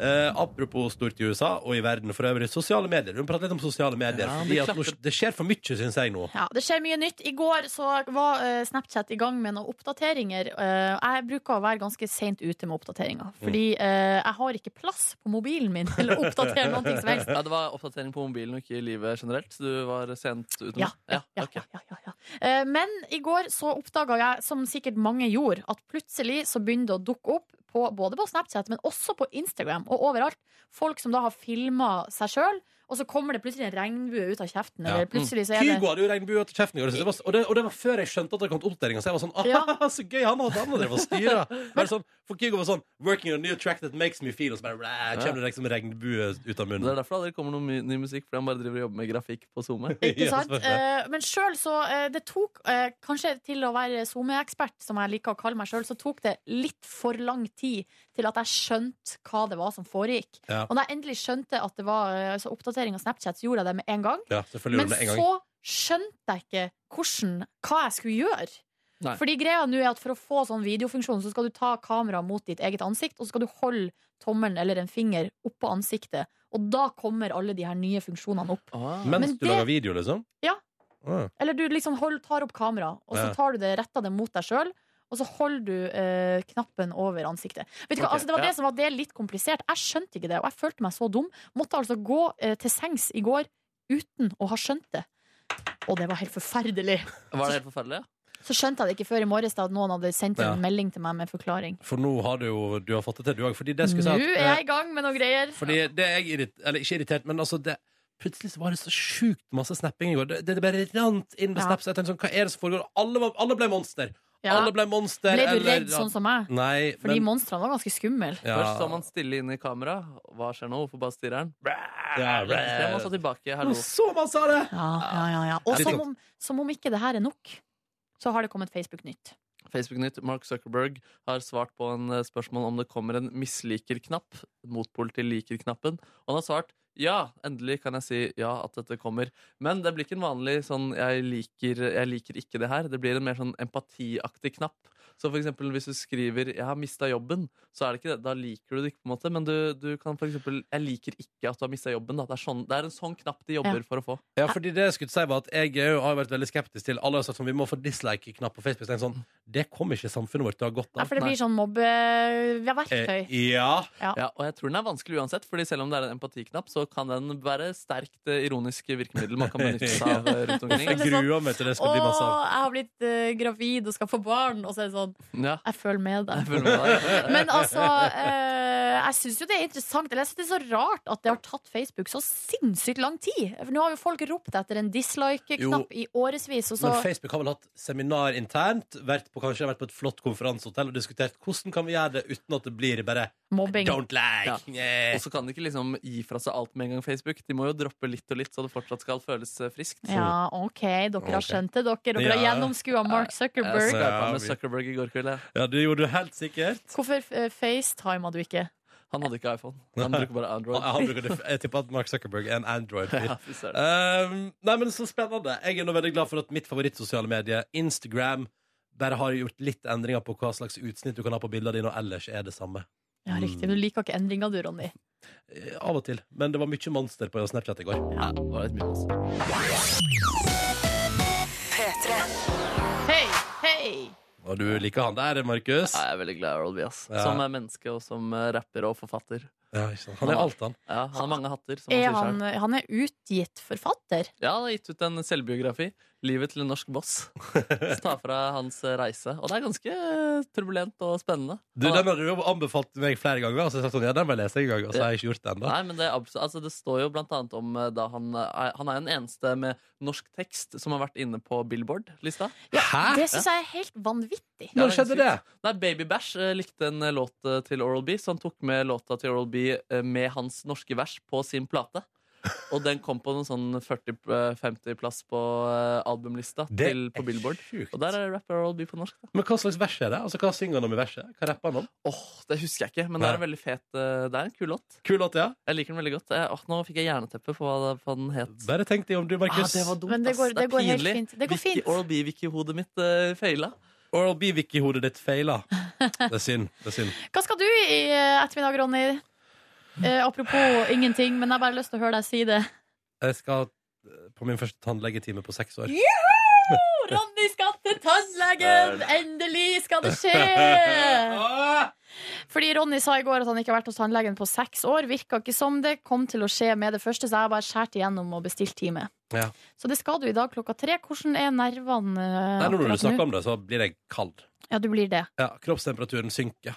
[SPEAKER 2] Eh, apropos stort i USA og i verden for øvrig, sosiale medier. Du må prate litt om sosiale medier.
[SPEAKER 4] Ja,
[SPEAKER 2] fordi
[SPEAKER 4] vi
[SPEAKER 2] at nå,
[SPEAKER 4] klapper.
[SPEAKER 2] det skjer for mye, syns jeg nå.
[SPEAKER 3] Ja, det skjer mye nytt. I går så var eh, Snapchat i gang med noen oppdateringer. Eh, jeg bruker å være ganske seint ute med oppdateringer. Fordi eh, jeg har ikke plass på mobilen min til å oppdatere noe som helst.
[SPEAKER 4] Ja, det var oppdatering på mobilen og ikke i livet generelt. Så du var sent ute med.
[SPEAKER 3] Ja, ja, ja,
[SPEAKER 4] ok.
[SPEAKER 3] ja, ja, ja. Eh, Men i går så oppdaga jeg, som sikkert mange gjorde, at plutselig så begynner det å dukke opp på, både på Snapchat, men også på Instagram og overalt, folk som da har filma seg sjøl, og så kommer det plutselig en regnbue ut av kjeften.
[SPEAKER 2] Ja.
[SPEAKER 3] Eller plutselig så er det
[SPEAKER 2] Kygo hadde jo regnbue til kjeften i går. så Det var, og, det, og det var før jeg skjønte at det kom til oppdateringa. Så jeg var sånn
[SPEAKER 3] Ja.
[SPEAKER 2] ah, så gøy! Han og han drev og styra. Bare sånn, for Kygo var sånn Working on a new track that makes me feel Og så bare blæ, kommer det liksom regnbue ut av
[SPEAKER 4] Det er
[SPEAKER 2] munnen.
[SPEAKER 4] derfor det aldri kommer noe my- ny musikk, fordi han bare driver og jobber med grafikk på SoMe.
[SPEAKER 3] Ikke
[SPEAKER 2] Ja,
[SPEAKER 3] sant?
[SPEAKER 2] selvfølgelig.
[SPEAKER 3] Eh, men sjøl så eh, Det tok eh, kanskje til å være SoMe-ekspert, som jeg liker å kalle meg sjøl, så tok det litt for lang tid til at jeg skjønte hva det var som foregikk.
[SPEAKER 2] Ja.
[SPEAKER 3] Og da jeg endelig skjønte at det var eh, altså oppdatering av Snapchat, så gjorde jeg det med en gang.
[SPEAKER 2] Ja, selvfølgelig
[SPEAKER 3] Men
[SPEAKER 2] gjorde det en gang.
[SPEAKER 3] så skjønte jeg ikke hvordan, hva jeg skulle gjøre.
[SPEAKER 4] Nei.
[SPEAKER 3] Fordi greia nå er at For å få sånn videofunksjon Så skal du ta kameraet mot ditt eget ansikt, og så skal du holde tommelen eller en finger oppå ansiktet. Og da kommer alle de her nye funksjonene opp.
[SPEAKER 4] Ah.
[SPEAKER 2] Mens
[SPEAKER 3] Men
[SPEAKER 2] du
[SPEAKER 3] det-
[SPEAKER 2] lager video, liksom?
[SPEAKER 3] Ja.
[SPEAKER 2] Ah.
[SPEAKER 3] Eller du liksom hold, tar opp kamera, og så
[SPEAKER 2] Ja.
[SPEAKER 3] tar du det, retter det mot deg sjøl. Og så holder du eh, knappen over ansiktet. Vet du hva,
[SPEAKER 4] Ok,
[SPEAKER 3] altså Det var
[SPEAKER 4] ja.
[SPEAKER 3] det som var det litt komplisert. Jeg skjønte ikke det, og jeg følte meg så dum. Måtte altså gå eh, til sengs i går uten å ha skjønt det. Og det var helt forferdelig.
[SPEAKER 4] Var det helt forferdelig?
[SPEAKER 3] Så skjønte jeg det ikke før i morges da at noen hadde sendt
[SPEAKER 2] Ja.
[SPEAKER 3] en melding til meg med forklaring.
[SPEAKER 2] For nå har du jo du har fått det til, du òg. Fordi det
[SPEAKER 3] Nå
[SPEAKER 2] skulle jeg si
[SPEAKER 3] er
[SPEAKER 2] at, eh,
[SPEAKER 3] jeg i gang med noen greier.
[SPEAKER 2] Fordi det er jeg irrit, Eller ikke irritert, men altså det, Plutselig så var det så sjukt masse snapping i går. Det, det bare rant inn med
[SPEAKER 3] Ja.
[SPEAKER 2] snaps. Jeg tenkte sånn, hva er det som foregår? Alle, var, alle ble monster.
[SPEAKER 3] Ja.
[SPEAKER 2] Alle ble monster.
[SPEAKER 3] Ble du
[SPEAKER 2] eller-
[SPEAKER 3] redd sånn som meg?
[SPEAKER 2] Nei,
[SPEAKER 3] For de
[SPEAKER 2] men,
[SPEAKER 3] monstrene var ganske skumle.
[SPEAKER 2] Ja.
[SPEAKER 4] Først så man stille inn i kamera. Hva skjer nå? Hvorfor bare stirrer han?
[SPEAKER 2] Ja, blæ.
[SPEAKER 4] Frem og så tilbake. Hallo.
[SPEAKER 2] Så man sa det!
[SPEAKER 3] Ja, ja, ja, ja. Og
[SPEAKER 4] Litt
[SPEAKER 3] som
[SPEAKER 4] godt.
[SPEAKER 3] om, som om ikke det her er nok, så har det kommet Facebook-nytt.
[SPEAKER 4] Facebook-nytt. Mark Zuckerberg har svart på en eh, spørsmål om det kommer en misliker-knapp. Motpol til liker-knappen. Og han har svart ja, endelig kan jeg si ja at dette kommer. Men det blir ikke en vanlig sånn jeg liker, jeg liker ikke det her. Det blir en mer sånn empatiaktig knapp. Så for eksempel hvis du skriver 'jeg har mista jobben', så er det ikke det. Da liker du det ikke, på en måte. Men du, du kan for eksempel 'jeg liker ikke at du har mista jobben'. Da. Det, er sånn, det er en sånn knapp de jobber
[SPEAKER 3] Ja.
[SPEAKER 4] for å få.
[SPEAKER 2] Ja, fordi det jeg skulle si var at jeg er jo- har vært veldig skeptisk til Alle har sagt sånn, vi må få dislike-knapp på Facebook. Så jeg er Sånn, det kommer ikke samfunnet vårt til å ha godt
[SPEAKER 3] Ja,
[SPEAKER 2] av.
[SPEAKER 3] for det blir sånn mobbeverktøy.
[SPEAKER 2] Eh, ja.
[SPEAKER 4] Ja, og jeg tror den er vanskelig uansett, Fordi selv om det er en empatiknapp, så kan den være sterkt eh, ironisk virkemiddel man kan benytte seg av eh, rundt
[SPEAKER 2] Jeg
[SPEAKER 4] omkring.
[SPEAKER 2] gruer meg til det
[SPEAKER 3] Å,
[SPEAKER 2] skal bli masse av.
[SPEAKER 3] jeg har blitt eh, gravid og skal få barn, og så er det sånn
[SPEAKER 4] Ja,
[SPEAKER 3] Jeg følger med deg.
[SPEAKER 4] følg med deg.
[SPEAKER 3] Men altså, eh, jeg syns jo det er interessant. Eller jeg syns det er så rart at det har tatt Facebook så sinnssykt lang tid. For nå har jo folk ropt etter en dislike-knapp i årevis, og så
[SPEAKER 2] Men Facebook har vel hatt seminar internt, vært på, kanskje vært på et flott konferansehotell og diskutert hvordan kan vi gjøre det uten at det blir bare
[SPEAKER 3] mobbing.
[SPEAKER 2] Don't like!
[SPEAKER 4] Og
[SPEAKER 2] Yeah.
[SPEAKER 4] så kan de ikke liksom gi fra seg alt med en gang Facebook. De må jo droppe litt og litt, så det fortsatt skal føles eh, friskt.
[SPEAKER 3] Ja, OK, dere har skjønt det, dere. Dere har
[SPEAKER 2] Ja.
[SPEAKER 3] gjennomskua Mark
[SPEAKER 4] Jeg
[SPEAKER 3] Zuckerberg.
[SPEAKER 4] skrapa med
[SPEAKER 2] vi-
[SPEAKER 4] Zuckerberg i går kveld. jeg.
[SPEAKER 2] Ja, det gjorde du helt sikkert.
[SPEAKER 3] Hvorfor uh, facetima du ikke?
[SPEAKER 4] Han hadde ikke iPhone. Han bruker bare
[SPEAKER 2] Han-
[SPEAKER 4] Android.
[SPEAKER 2] han bruker det- Jeg tipper at Mark Zuckerberg er en Android-fyr.
[SPEAKER 4] Ja, fy søren.
[SPEAKER 2] Um, nei, men så spennende. Jeg er nå veldig glad for at mitt favorittsosiale medie, Instagram, bare har gjort litt endringer på hva slags utsnitt du kan ha på bildene dine, og ellers er det samme.
[SPEAKER 3] Ja, riktig.
[SPEAKER 2] Mm.
[SPEAKER 3] Du liker ikke endringa du, Ronny.
[SPEAKER 2] Eh, Av og til. Men det var mye monster på Snapchat i går.
[SPEAKER 4] Ja, det var litt mye, altså.
[SPEAKER 3] Hei, hei!
[SPEAKER 2] Og du liker han der, Markus?
[SPEAKER 4] Ja, jeg er veldig glad i Oral B, ass.
[SPEAKER 2] Ja.
[SPEAKER 4] Som er menneske og som eh, rapper og forfatter.
[SPEAKER 2] Ja, ikke sant. Han er alt, han.
[SPEAKER 4] Ja, han har mange hatter. Som
[SPEAKER 3] Er
[SPEAKER 4] han sier selv.
[SPEAKER 3] han, han er utgitt forfatter.
[SPEAKER 4] Ja, han har gitt ut en selvbiografi. 'Livet til en norsk boss'. Så Ta fra hans reise. Og det er ganske eh, turbulent og spennende.
[SPEAKER 2] Du,
[SPEAKER 4] Han
[SPEAKER 2] Den
[SPEAKER 4] er,
[SPEAKER 2] har du jo anbefalt meg flere ganger. Og så har jeg sagt sånn, ja, den må jeg lese en gang Og så har jeg ikke gjort det ennå.
[SPEAKER 4] nei, men det, er absolutt, altså, det står jo blant annet om eh, da han er, Han er jo den eneste med norsk tekst som har vært inne på Billboard-lista.
[SPEAKER 2] Hæ?
[SPEAKER 3] Det syns jeg er helt vanvittig.
[SPEAKER 4] Ja,
[SPEAKER 2] Når skjedde
[SPEAKER 4] det
[SPEAKER 2] det?
[SPEAKER 4] er Nei, Baby Bash eh, likte en eh, låt eh, til Oral B, så han tok med låta til Oral B eh, med hans norske vers på sin plate. Og den kom på noen sånn 40-50-plass på eh, albumlista
[SPEAKER 2] Det
[SPEAKER 4] til, på
[SPEAKER 2] er
[SPEAKER 4] Billboard.
[SPEAKER 2] sjukt.
[SPEAKER 4] Og der er rapper Oral B på norsk. da
[SPEAKER 2] Men hva slags vers er det? Altså, Hva synger han om i verset? Hva rapper han om?
[SPEAKER 4] Åh, Det husker jeg ikke, men det er en veldig fet eh, Det er en kul låt.
[SPEAKER 2] Kul låt, ja.
[SPEAKER 4] Jeg liker den veldig godt. Eh, åh, nå fikk jeg jerneteppe på hva, det- hva den het.
[SPEAKER 2] Bare tenk deg om du,
[SPEAKER 4] Ah,
[SPEAKER 2] Markus.
[SPEAKER 4] det var dumt,
[SPEAKER 3] Men det
[SPEAKER 4] ass.
[SPEAKER 3] går-
[SPEAKER 4] er
[SPEAKER 3] det går helt
[SPEAKER 4] pinlig.
[SPEAKER 3] fint. Det går
[SPEAKER 4] Wiki-
[SPEAKER 3] fint.
[SPEAKER 4] Oral B-wiki-hodet mitt uh, feila.
[SPEAKER 2] Oral B-wiki-hodet ditt feila. Det er synd. det er synd
[SPEAKER 3] Hva skal du i eh, ettermiddag, Ronny? Eh, apropos ingenting, men jeg har bare lyst til å høre deg si det.
[SPEAKER 2] Jeg skal eh, på min første tannlegetime på seks år.
[SPEAKER 3] Ronny skal til tannlegen!
[SPEAKER 2] Eh.
[SPEAKER 3] Endelig skal det skje!
[SPEAKER 2] Ah!
[SPEAKER 3] Fordi Ronny sa i går at han ikke har vært hos tannlegen på seks år. Virka ikke som det. Kom til å skje med det første, så jeg har bare skåret igjennom og bestilt time.
[SPEAKER 2] Ja.
[SPEAKER 3] Så det skal du i dag klokka tre. Hvordan er nervene eh,
[SPEAKER 2] Nei, nå når du
[SPEAKER 3] akkurat
[SPEAKER 2] snakker
[SPEAKER 3] nå?
[SPEAKER 2] om det, så blir jeg kald.
[SPEAKER 3] Ja, du blir det.
[SPEAKER 2] Ja, Kroppstemperaturen synker.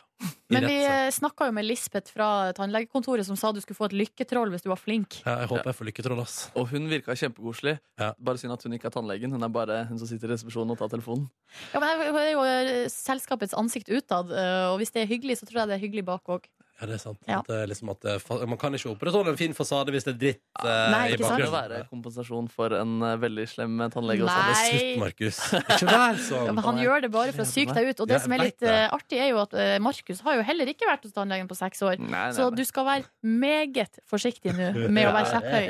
[SPEAKER 2] I
[SPEAKER 3] Men
[SPEAKER 2] rett
[SPEAKER 3] vi
[SPEAKER 2] sett.
[SPEAKER 3] eh, snakka jo med Lisbeth fra tannlegekontoret som sa du skulle få et lykketroll hvis du var flink.
[SPEAKER 2] ja, jeg håper jeg får lykketroll, ass.
[SPEAKER 4] Og hun virka kjempekoselig.
[SPEAKER 2] Ja.
[SPEAKER 4] Bare synd at hun ikke er tannlegen. Hun er bare hun som sitter i resepsjonen og tar telefonen.
[SPEAKER 3] Ja, men Hun er jo eh, selskapets ansikt utad, eh, og hvis det er hyggelig, så tror jeg det er hyggelig bak òg.
[SPEAKER 2] Ja, det er sant.
[SPEAKER 3] Ja.
[SPEAKER 2] At det er liksom at det, er fa- man kan ikke opprettholde en fin fasade hvis det er dritt eh,
[SPEAKER 3] Ah, Nei,
[SPEAKER 2] i
[SPEAKER 3] ikke sant?
[SPEAKER 4] Det må
[SPEAKER 2] bakgrunnen.
[SPEAKER 4] være kompensasjon for en eh, veldig slem tannlege også.
[SPEAKER 3] Nei.
[SPEAKER 2] Slutt, Markus. Ikke vær
[SPEAKER 3] Ja,
[SPEAKER 2] sånn.
[SPEAKER 3] men han
[SPEAKER 4] han er
[SPEAKER 3] gjør det bare for å
[SPEAKER 4] slem,
[SPEAKER 3] psyke deg ut. Og det
[SPEAKER 2] Ja,
[SPEAKER 3] som er
[SPEAKER 2] jeg
[SPEAKER 3] litt
[SPEAKER 2] vet det.
[SPEAKER 3] eh, artig, er jo at eh, Markus har jo heller ikke vært hos tannlegen på seks år.
[SPEAKER 4] Nei, nei,
[SPEAKER 3] Så
[SPEAKER 4] nei.
[SPEAKER 3] du skal være meget forsiktig nå med å være kjepphøy.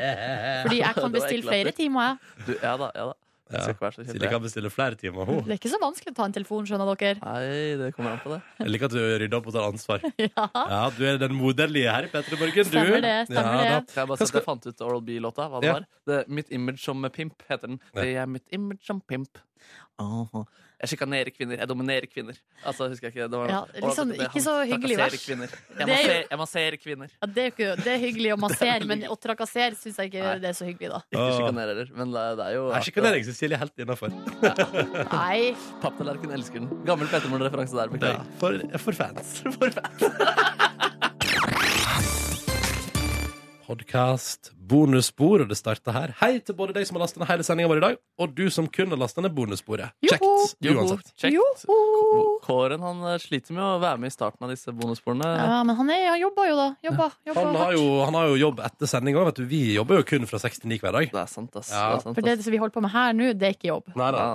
[SPEAKER 3] Fordi jeg kan
[SPEAKER 4] Det var
[SPEAKER 3] bestille
[SPEAKER 4] ekkelt,
[SPEAKER 3] flere
[SPEAKER 4] det.
[SPEAKER 3] timer, jeg.
[SPEAKER 4] Du, ja da, ja da. Du
[SPEAKER 2] Ja.
[SPEAKER 4] skal ikke være så
[SPEAKER 2] Silje
[SPEAKER 4] kjempe...
[SPEAKER 2] kan bestille flere timer. Ho.
[SPEAKER 3] Det er ikke så vanskelig å ta en telefon, skjønner dere.
[SPEAKER 4] Nei, det kommer an på det.
[SPEAKER 2] Jeg liker at du rydder opp og tar ansvar.
[SPEAKER 3] Ja,
[SPEAKER 2] Ja, Du er den moderlige her i Petter Borgen, du.
[SPEAKER 3] Stemmer det, stemmer
[SPEAKER 2] ja,
[SPEAKER 3] det.
[SPEAKER 4] Kan jeg bare si at jeg fant ut Oral B-låta? Hva det
[SPEAKER 2] Ja.
[SPEAKER 4] var? Det, mitt image som pimp heter den. Det er mitt image som pimp. Åh. Jeg sjikanerer kvinner. Jeg dominerer kvinner. Altså, husker jeg ikke det var,
[SPEAKER 3] Ja,
[SPEAKER 4] Å,
[SPEAKER 3] litt sånn
[SPEAKER 4] det- det-
[SPEAKER 3] ikke så
[SPEAKER 4] han
[SPEAKER 3] hyggelig
[SPEAKER 4] trakasserer
[SPEAKER 3] vers.
[SPEAKER 4] kvinner.
[SPEAKER 3] Det er
[SPEAKER 4] Jeg
[SPEAKER 3] jo-
[SPEAKER 4] masserer, jeg masserer kvinner.
[SPEAKER 3] Ja, det, er jo ikke, det er hyggelig å massere, men å trakassere syns jeg ikke
[SPEAKER 4] Nei.
[SPEAKER 3] det er så hyggelig, da.
[SPEAKER 4] Ikke sjikanerer, men det det er jo
[SPEAKER 2] Nei, sjikanering Cecilie er liksom helt innafor.
[SPEAKER 3] Nei.
[SPEAKER 4] Papptallerken elsker den. Gammel Petermoren-referanse der. Beklager.
[SPEAKER 2] For, for fans. Podcast, bonusspor, og det starter her. Hei til både deg som har lastet ned hele sendinga vår i dag, og du som kun har lastet ned bonussporet. Kjekt.
[SPEAKER 4] Joho.
[SPEAKER 2] Uansett.
[SPEAKER 4] Kjekt. Kåren han eh, sliter med å være med i starten av disse bonussporene.
[SPEAKER 3] Ja, men han, er, han jobber jo, da. Jobber, jobber
[SPEAKER 2] Han har, jo, han har jo jobb etter sending òg. Vi jobber jo kun fra 6 til 9 hver dag.
[SPEAKER 4] Det er sant, ass.
[SPEAKER 2] Ja.
[SPEAKER 4] Det er sant,
[SPEAKER 3] For det som vi holder på med her nå, det er ikke jobb.
[SPEAKER 2] Nei, da.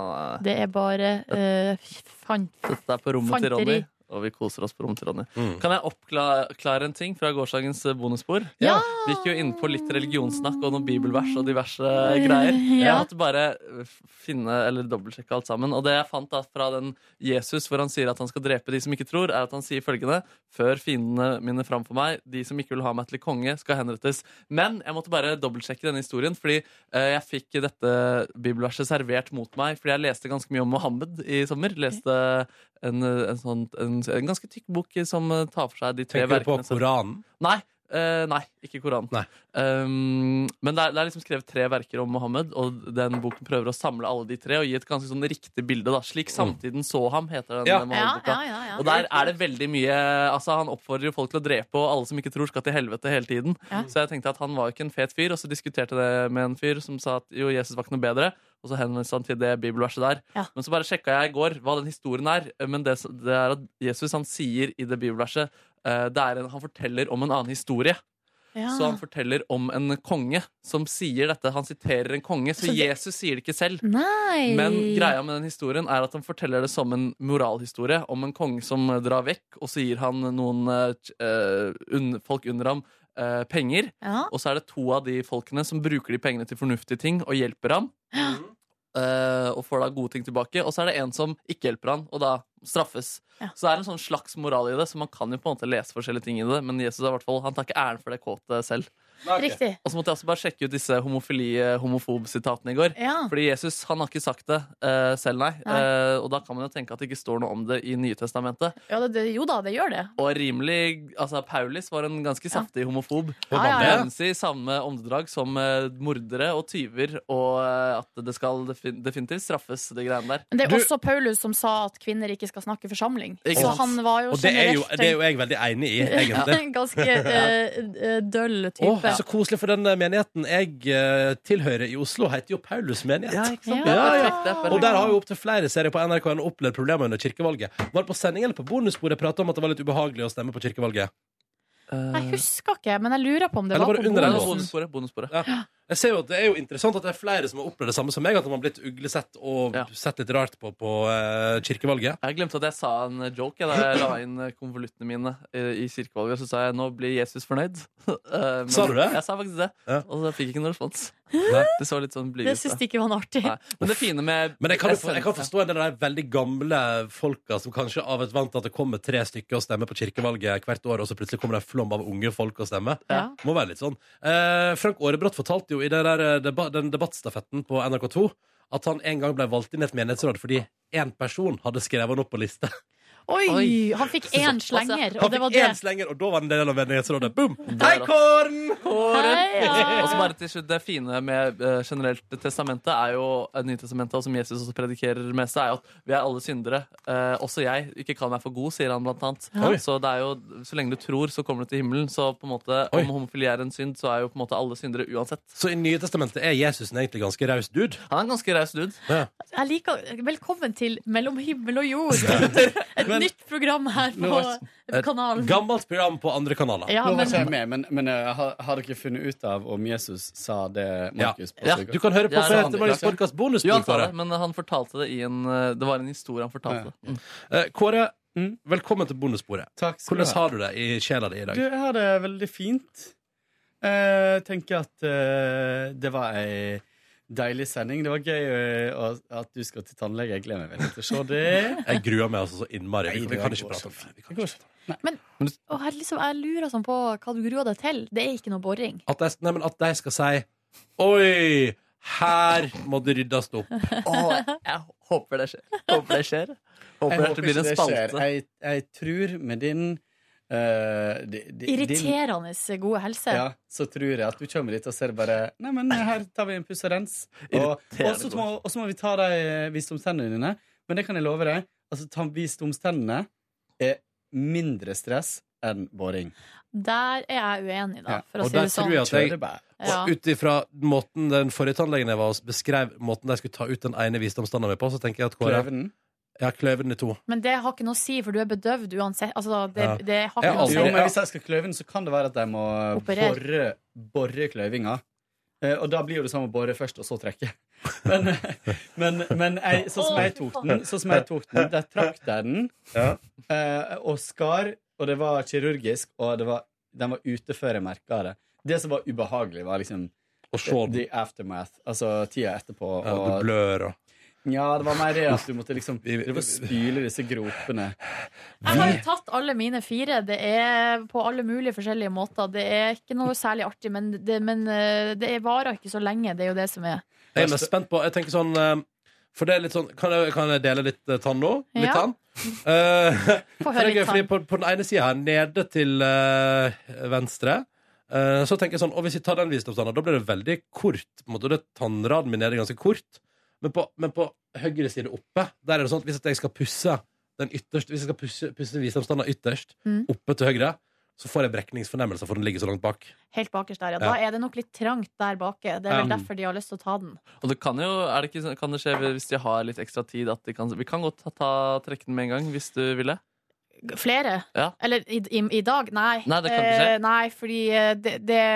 [SPEAKER 3] Det er bare eh, fan...
[SPEAKER 4] Dette er på rommet til
[SPEAKER 3] Fanteri.
[SPEAKER 4] Ronny, og vi koser oss på rommet til Ronny. Kan jeg oppklare en ting fra gårsdagens bonusspor?
[SPEAKER 3] Ja.
[SPEAKER 4] Vi gikk jo inn på litt religionssnakk og noen bibelvers og diverse greier. Jeg
[SPEAKER 3] Ja.
[SPEAKER 4] måtte bare eh, finne eller dobbeltsjekke alt sammen. Og det jeg fant da fra den Jesus hvor han sier at han skal drepe de som ikke tror, er at han sier følgende Før fiendene mine framfor meg, de som ikke vil ha meg til konge, skal henrettes. Men jeg måtte bare dobbeltsjekke denne historien, fordi eh, jeg fikk dette bibelverset servert mot meg fordi jeg leste ganske mye om Mohammed i sommer. Leste en, en, sånn, en, en ganske tykk bok som eh, tar for seg de tre
[SPEAKER 2] Tenker du på
[SPEAKER 4] verkene. som-
[SPEAKER 2] Koranen?
[SPEAKER 4] Nei. eh, nei, ikke Koranen. Um, men det er, det er liksom skrevet tre verker om Mohammed, og den boken prøver å samle alle de tre og gi et ganske sånn riktig bilde. da
[SPEAKER 2] Mm.
[SPEAKER 4] Slik samtiden så ham, heter den
[SPEAKER 2] Ja.
[SPEAKER 4] eh, Mohammed-boka.
[SPEAKER 3] Ja, ja, ja, ja.
[SPEAKER 4] Og der er det veldig mye Altså Han oppfordrer jo folk til å drepe, og alle som ikke tror, skal til helvete hele tiden.
[SPEAKER 3] Ja.
[SPEAKER 4] Så jeg tenkte at han var jo ikke en fet fyr, og så diskuterte jeg det med en fyr som sa at jo, Jesus var ikke noe bedre. Og så henvendte han til det bibelverset der.
[SPEAKER 3] Ja.
[SPEAKER 4] Men så bare sjekka jeg i går hva den historien er. Men det, det er at Jesus han sier i det bibelverset eh, det er en, Han forteller om en annen historie.
[SPEAKER 3] Ja.
[SPEAKER 2] sånn
[SPEAKER 4] Så han forteller om en konge som sier dette. Han siterer en konge, så,
[SPEAKER 3] Så det-
[SPEAKER 4] Jesus sier det ikke selv.
[SPEAKER 3] Nei!
[SPEAKER 4] Men greia med den historien er at han forteller det som en moralhistorie om en konge som eh, drar vekk, og så gir han noen eh, t- eh, un folk under ham eh, penger.
[SPEAKER 3] Ja.
[SPEAKER 4] Og så er det to av de folkene som bruker de pengene til fornuftige ting og hjelper ham. eh, og får da gode ting tilbake. Og så er det en som ikke hjelper han, og da straffes. Så det er en sånn slags moral i det, så man kan jo på en måte lese forskjellige ting i det. Men Jesus er i hvert fall, han tar ikke æren for det kåte selv.
[SPEAKER 3] Riktig.
[SPEAKER 4] Og så måtte jeg også bare sjekke ut disse homofili-homofob-sitatene i går.
[SPEAKER 3] Ja.
[SPEAKER 4] Fordi Jesus han har ikke sagt det eh, selv, nei.
[SPEAKER 3] Nei.
[SPEAKER 4] Eh, og da kan man jo tenke at det ikke står noe om det i Nye Testamentet.
[SPEAKER 3] Ja, det, det, jo da, det gjør det.
[SPEAKER 4] Og rimelig, altså Paulus var en ganske saftig homofob.
[SPEAKER 3] Ja, ja, ja.
[SPEAKER 4] Mens i samme åndedrag som eh, mordere og tyver, og eh, at det skal defin definitivt straffes, det greiene der.
[SPEAKER 3] Men det er også Paulus som sa at kvinner ikke skal snakke forsamling.
[SPEAKER 4] Ikke
[SPEAKER 3] Så
[SPEAKER 4] sant.
[SPEAKER 3] han var jo
[SPEAKER 2] Og det er jo,
[SPEAKER 3] generelt
[SPEAKER 2] det er jo jeg veldig enig i, egentlig.
[SPEAKER 3] en ganske eh, døll type.
[SPEAKER 2] Åh, så koselig for den eh, menigheten jeg eh, tilhører i Oslo, heter jo Paulus menighet.
[SPEAKER 4] Ja, ikke sant?
[SPEAKER 3] Ja.
[SPEAKER 2] Ja, ja.
[SPEAKER 4] Perfekt, det er perfekt.
[SPEAKER 2] Og der har jo opptil flere serier på NRK-en opplevd problemer under kirkevalget. Var det på sending eller på bonusbordet prata om at det var litt ubehagelig å stemme på kirkevalget?
[SPEAKER 3] Jeg husker ikke, men jeg lurer på om det
[SPEAKER 2] Eller
[SPEAKER 3] var
[SPEAKER 2] bare sånn.
[SPEAKER 3] på
[SPEAKER 4] Eh,
[SPEAKER 2] under en
[SPEAKER 3] bonusen.
[SPEAKER 2] låt.
[SPEAKER 4] Bonussporet. bonussporet.
[SPEAKER 2] Ja. Jeg ser jo at Det er jo interessant at det er flere som har opplevd det samme som meg, at de har blitt uglesett og
[SPEAKER 4] Ja.
[SPEAKER 2] sett litt rart på på eh, kirkevalget.
[SPEAKER 4] Jeg glemte at jeg sa en joke jeg, da jeg la inn eh, konvoluttene mine eh, i kirkevalget. Og så sa jeg 'nå blir Jesus fornøyd'. Eh, men
[SPEAKER 2] Sa du det?
[SPEAKER 4] Jeg sa faktisk det.
[SPEAKER 2] Ja.
[SPEAKER 4] Og så fikk jeg ikke noen respons.
[SPEAKER 2] Nei.
[SPEAKER 4] Det så litt sånn blyg
[SPEAKER 3] Det
[SPEAKER 4] ut.
[SPEAKER 3] syns
[SPEAKER 4] da.
[SPEAKER 3] de ikke var noe artig.
[SPEAKER 4] Nei. Men det fine med
[SPEAKER 2] Men jeg kan, jo for, jeg kan
[SPEAKER 4] essensen-
[SPEAKER 2] forstå en del av de veldig gamle folka som kanskje av et vant til at det kommer tre stykker og stemmer på kirkevalget hvert år, og så plutselig kommer det en flom av unge folk og stemmer.
[SPEAKER 3] Ja.
[SPEAKER 2] Må være litt sånn. Eh, Frank Aarebrot fortalte jo i den, der eh, deba den debattstafetten på NRK2 at han en gang ble valgt inn i et menighetsråd fordi én person hadde skrevet han opp på liste.
[SPEAKER 3] Oi!
[SPEAKER 4] Oi.
[SPEAKER 3] Han fikk én slenger, og
[SPEAKER 2] Han
[SPEAKER 3] det var
[SPEAKER 2] fikk
[SPEAKER 3] det.
[SPEAKER 2] én slenger, og da var han en del av menighetsrådet. Boom!
[SPEAKER 4] er
[SPEAKER 2] Hei,
[SPEAKER 4] rått.
[SPEAKER 2] Kåren!
[SPEAKER 3] Hei, ja.
[SPEAKER 4] Og så bare til slutt, Det fine med eh, generelt testamentet er jo eh, Nytestamentet, og som Jesus også predikerer mest, er jo at vi er alle syndere. Eh, også jeg. Ikke kall meg for god, sier han blant annet.
[SPEAKER 2] Ja. Oi.
[SPEAKER 4] Så det er jo, så lenge du tror, så kommer du til himmelen. Så på en måte,
[SPEAKER 2] Oi.
[SPEAKER 4] om homofili er en synd, så er jo på en måte alle syndere uansett.
[SPEAKER 2] Så i Nye Testamentet er Jesus en egentlig ganske raus dude.
[SPEAKER 4] Han er en ganske raus dude.
[SPEAKER 2] Ja.
[SPEAKER 3] Jeg liker, velkommen til Mellom himmel og jord. Et
[SPEAKER 11] Men-
[SPEAKER 3] nytt program her
[SPEAKER 11] Nå var-
[SPEAKER 3] på kanalen.
[SPEAKER 2] Gammelt program på andre kanaler.
[SPEAKER 3] Ja,
[SPEAKER 11] Nå var
[SPEAKER 3] men,
[SPEAKER 11] ikke jeg med, men, men eh, har, har dere funnet ut av om Jesus sa det Markus
[SPEAKER 4] Ja.
[SPEAKER 11] på
[SPEAKER 2] Du kan høre på
[SPEAKER 4] Ja, det er
[SPEAKER 2] Fete Marius
[SPEAKER 11] andre.
[SPEAKER 2] podkast
[SPEAKER 4] Jo,
[SPEAKER 2] bonusspor,
[SPEAKER 4] han sa
[SPEAKER 2] Kåre.
[SPEAKER 4] det, men han fortalte det i en eh, Det var en historie han fortalte. Mm.
[SPEAKER 2] Eh, Kåre, velkommen til bonussporet.
[SPEAKER 11] Takk skal
[SPEAKER 2] Hvordan
[SPEAKER 11] du ha.
[SPEAKER 2] har du det i sjela di i dag?
[SPEAKER 11] Du, jeg har det veldig fint. Jeg tenker at eh, det var ei deilig sending. Det var gøy eh, å- at du skal til tannlege. Jeg gleder meg veldig til å se det.
[SPEAKER 2] Jeg gruer meg altså så innmari. Vi,
[SPEAKER 11] eh. Nei,
[SPEAKER 2] vi
[SPEAKER 11] det
[SPEAKER 2] kan
[SPEAKER 11] går
[SPEAKER 2] ikke prate
[SPEAKER 11] så
[SPEAKER 2] om
[SPEAKER 11] fint.
[SPEAKER 2] vi kan ikke prate om det.
[SPEAKER 3] og jeg, liksom, jeg lurer sånn på hva du gruer deg til. Det er ikke noe boring.
[SPEAKER 2] At de, nei, men at de skal si Oi, Her må det ryddes opp.
[SPEAKER 4] jeg håper det skjer. Håper det skjer. Håper
[SPEAKER 11] Jeg
[SPEAKER 4] dette blir en
[SPEAKER 11] ikke det skjer.
[SPEAKER 4] spalte.
[SPEAKER 11] Jeg, jeg tror med din eh, di- di- din-
[SPEAKER 3] Irriterende god helse.
[SPEAKER 11] Ja, så tror jeg at du kommer dit og ser bare Nei, men her tar vi en puss og rens. Og
[SPEAKER 4] Irriterende
[SPEAKER 11] og så må, og så må vi ta de eh, visdomstennene dine. Men det kan jeg love deg. Altså, ta visdomstennene er mindre stress enn boring.
[SPEAKER 3] Der er jeg uenig, da.
[SPEAKER 2] Ja,
[SPEAKER 3] For å
[SPEAKER 2] og
[SPEAKER 3] si
[SPEAKER 2] der
[SPEAKER 3] det sånn.
[SPEAKER 2] tror jeg at jeg,
[SPEAKER 3] Ja.
[SPEAKER 2] og ut ifra måten den forrige tannlegen jeg var hos, beskrev måten de skulle ta ut den ene visdomstanna mi på, så tenker jeg at KrF
[SPEAKER 11] Kløver den?
[SPEAKER 2] Ja, kløver den i to.
[SPEAKER 3] Men det har ikke noe å si, for du er bedøvd uansett. Altså, det,
[SPEAKER 2] Altså, Ja.
[SPEAKER 3] det har
[SPEAKER 11] Jeg
[SPEAKER 3] ikke
[SPEAKER 11] har
[SPEAKER 3] noe å
[SPEAKER 11] aldri-
[SPEAKER 3] si.
[SPEAKER 11] jo, men hvis jeg skal kløyve den, så kan det være at jeg må
[SPEAKER 3] Operere.
[SPEAKER 11] borre, borre kløyvinga. Eh, og da blir jo det samme å borre først, og så trekke. Men, men, men jeg, sånn som jeg tok den, sånn som jeg tok den der trakk jeg den eh, og skar, og det var kirurgisk, og det var, den var ute før jeg merka det. Det som var ubehagelig, var liksom the aftermath. Altså tida etterpå.
[SPEAKER 2] Ja,
[SPEAKER 11] og-
[SPEAKER 2] du blør og
[SPEAKER 11] ja, det var mer det at du måtte liksom drive og spyle disse gropene.
[SPEAKER 3] Jeg har jo tatt alle mine fire. Det er på alle mulige forskjellige måter. Det er ikke noe særlig artig, men det, men eh, det er- varer ikke så lenge. Det er jo det som er.
[SPEAKER 2] Jeg er mest spent på Jeg tenker sånn eh, For det er litt sånn Kan jeg, kan jeg dele litt eh, tann nå? Litt
[SPEAKER 3] Ja.
[SPEAKER 2] tann? Eh,
[SPEAKER 3] Få
[SPEAKER 2] for
[SPEAKER 3] høre
[SPEAKER 2] det er
[SPEAKER 3] litt sånn.
[SPEAKER 2] gøy, fordi på, på den ene sida her, nede til eh, venstre eh, så tenker jeg sånn, og Hvis jeg tar den visdomstanna, da blir det veldig kort. På en måte, det Tannraden min nede er ganske kort. Men på, men på høyre side oppe Der er det sånn at hvis at jeg skal pusse den ytterst, Hvis jeg skal pusse, pusse visdomstanna ytterst,
[SPEAKER 3] Mm.
[SPEAKER 2] oppe til høyre, så får jeg brekningsfornemmelser, for den ligger så langt bak.
[SPEAKER 3] Helt bakerst der, ja.
[SPEAKER 2] Ja.
[SPEAKER 3] Da er det nok litt trangt der bake. Det er vel
[SPEAKER 4] Ja.
[SPEAKER 3] derfor de har lyst til å ta den.
[SPEAKER 4] Og det kan jo, er det ikke, sånn- kan det skje hvis de har litt ekstra tid at de kan Vi kan godt ta, ta trekke den med en gang, hvis du vil det.
[SPEAKER 3] Flere?
[SPEAKER 4] Ja.
[SPEAKER 3] Eller i, i, i dag? Nei.
[SPEAKER 4] Nei, det kan ikke skje.
[SPEAKER 3] Eh, nei fordi eh, det, det,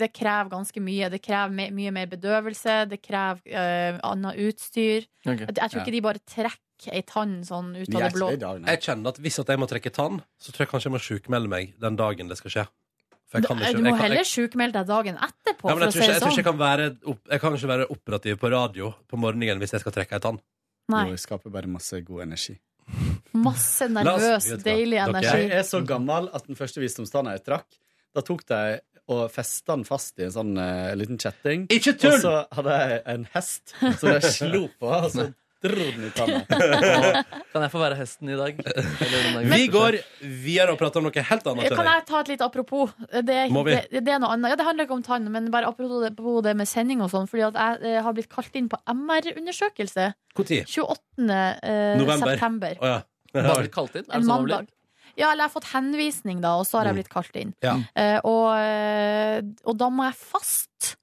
[SPEAKER 3] det krever ganske mye. Det krever me, mye mer bedøvelse, det krever eh, annet utstyr.
[SPEAKER 2] Ok.
[SPEAKER 3] Jeg, jeg tror ikke
[SPEAKER 2] Ja.
[SPEAKER 3] de bare trekker ei tann sånn ut av det blå.
[SPEAKER 2] Jeg kjenner at hvis at jeg må trekke tann, så tror jeg kanskje jeg må sjukmelde meg den dagen det skal skje. For jeg kan ikke,
[SPEAKER 3] Eh, Du må
[SPEAKER 2] jeg kan,
[SPEAKER 3] heller
[SPEAKER 2] jeg,
[SPEAKER 3] sjukmelde deg dagen etterpå,
[SPEAKER 2] ja, men jeg, tror
[SPEAKER 3] for å si
[SPEAKER 2] ikke,
[SPEAKER 3] det
[SPEAKER 2] jeg, tror ikke jeg,
[SPEAKER 3] sånn.
[SPEAKER 2] kan være, opp- jeg kan ikke være operativ på radio på morgenen hvis jeg skal trekke ei tann.
[SPEAKER 3] Nei.
[SPEAKER 11] Det skaper bare masse god energi.
[SPEAKER 3] Masse
[SPEAKER 11] La oss-
[SPEAKER 3] nervøs,
[SPEAKER 11] vet du hva?
[SPEAKER 3] deilig
[SPEAKER 11] Dere,
[SPEAKER 3] energi.
[SPEAKER 11] Jeg er så gammel at den første visdomstanna jeg trakk, da tok de og festa den fast i en sånn eh, liten kjetting.
[SPEAKER 2] Ikke tull!
[SPEAKER 11] Og så hadde jeg en hest som jeg slo på, og så dro den i tanna.
[SPEAKER 4] Kan jeg få være hesten i dag?
[SPEAKER 2] Vi går videre og prater om noe helt annet.
[SPEAKER 3] Kan jeg ta et lite apropos? Det, er-
[SPEAKER 2] Må vi?
[SPEAKER 3] det, det er noe annet. Ja, det handler ikke om tann, men bare apropos det, på det med sending og sånn. Fordi at jeg eh, har blitt kalt inn på MR-undersøkelse.
[SPEAKER 2] Når?
[SPEAKER 3] 28. eh,
[SPEAKER 2] November.
[SPEAKER 3] september.
[SPEAKER 2] Å, ja.
[SPEAKER 4] Hva blir det kalt inn? Er
[SPEAKER 3] En
[SPEAKER 4] det sånn det blir?
[SPEAKER 3] mandag. Ja, eller jeg har fått henvisning, da, og så har jeg blitt kalt inn.
[SPEAKER 2] Mm. Ja.
[SPEAKER 3] Eh, og, eh, og da må jeg fast.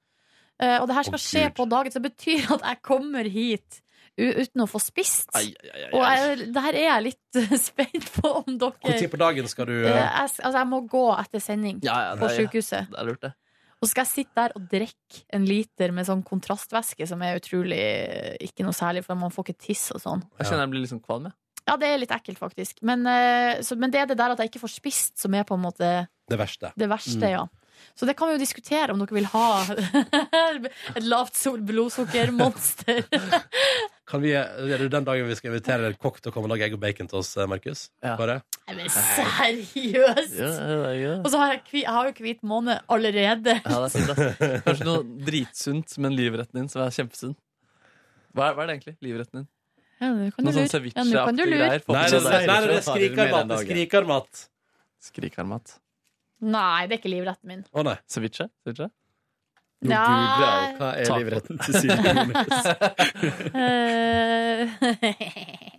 [SPEAKER 3] Eh, og det her skal skje på dagen, så det betyr at jeg kommer hit u uten å få spist.
[SPEAKER 2] Ai, ai, ai, ai.
[SPEAKER 3] Og jeg, det her er jeg litt eh, spent på om dere
[SPEAKER 2] Når på dagen skal du
[SPEAKER 3] Eh, jeg, altså, jeg må gå etter sending
[SPEAKER 4] Ja, ja,
[SPEAKER 3] på
[SPEAKER 4] det er-
[SPEAKER 3] sykehuset.
[SPEAKER 4] Det er lurt, det.
[SPEAKER 3] Og så skal jeg sitte der og drikke en liter med sånn kontrastvæske, som er utrolig eh, ikke noe særlig, for man får ikke tiss og sånn.
[SPEAKER 4] Jeg kjenner jeg blir litt sånn kvalm, jeg.
[SPEAKER 3] Ja, det er litt ekkelt, faktisk. Men, eh, så, men det er det der at jeg ikke får spist, som er på en måte
[SPEAKER 2] Det verste.
[SPEAKER 3] det verste,
[SPEAKER 2] Mm.
[SPEAKER 3] ja. Så det kan vi jo diskutere, om dere vil ha et lavt sol- blodsukkermonster.
[SPEAKER 2] Kan vi, er det den dagen vi skal invitere en kokk til å komme og lage egg og bacon til oss, eh, Markus? Bare?
[SPEAKER 3] Nei, men seriøst! Og så har jeg, kvi, jeg har jo hvit måne allerede.
[SPEAKER 4] Ja, det er fint, ass. Kanskje noe dritsunt, men livretten din som er kjempesunn. Hva er, hva er det egentlig? Livretten din?
[SPEAKER 3] Ja, nå kan
[SPEAKER 4] Noe
[SPEAKER 3] du
[SPEAKER 4] sånn
[SPEAKER 3] lure. Ja, nå kan du
[SPEAKER 4] ceviche-aktige
[SPEAKER 3] lure.
[SPEAKER 4] greier.
[SPEAKER 2] Nei, det, nei, nei, det er skrikarmat. Det er skrikarmat.
[SPEAKER 4] Skrikarmat.
[SPEAKER 3] Nei, det er ikke livretten min.
[SPEAKER 2] Å nei.
[SPEAKER 4] Ceviche? Ceviche?
[SPEAKER 3] Nå Ja. googler jeg,
[SPEAKER 11] hva er
[SPEAKER 4] Taco.
[SPEAKER 11] livretten til Silje
[SPEAKER 3] Eh,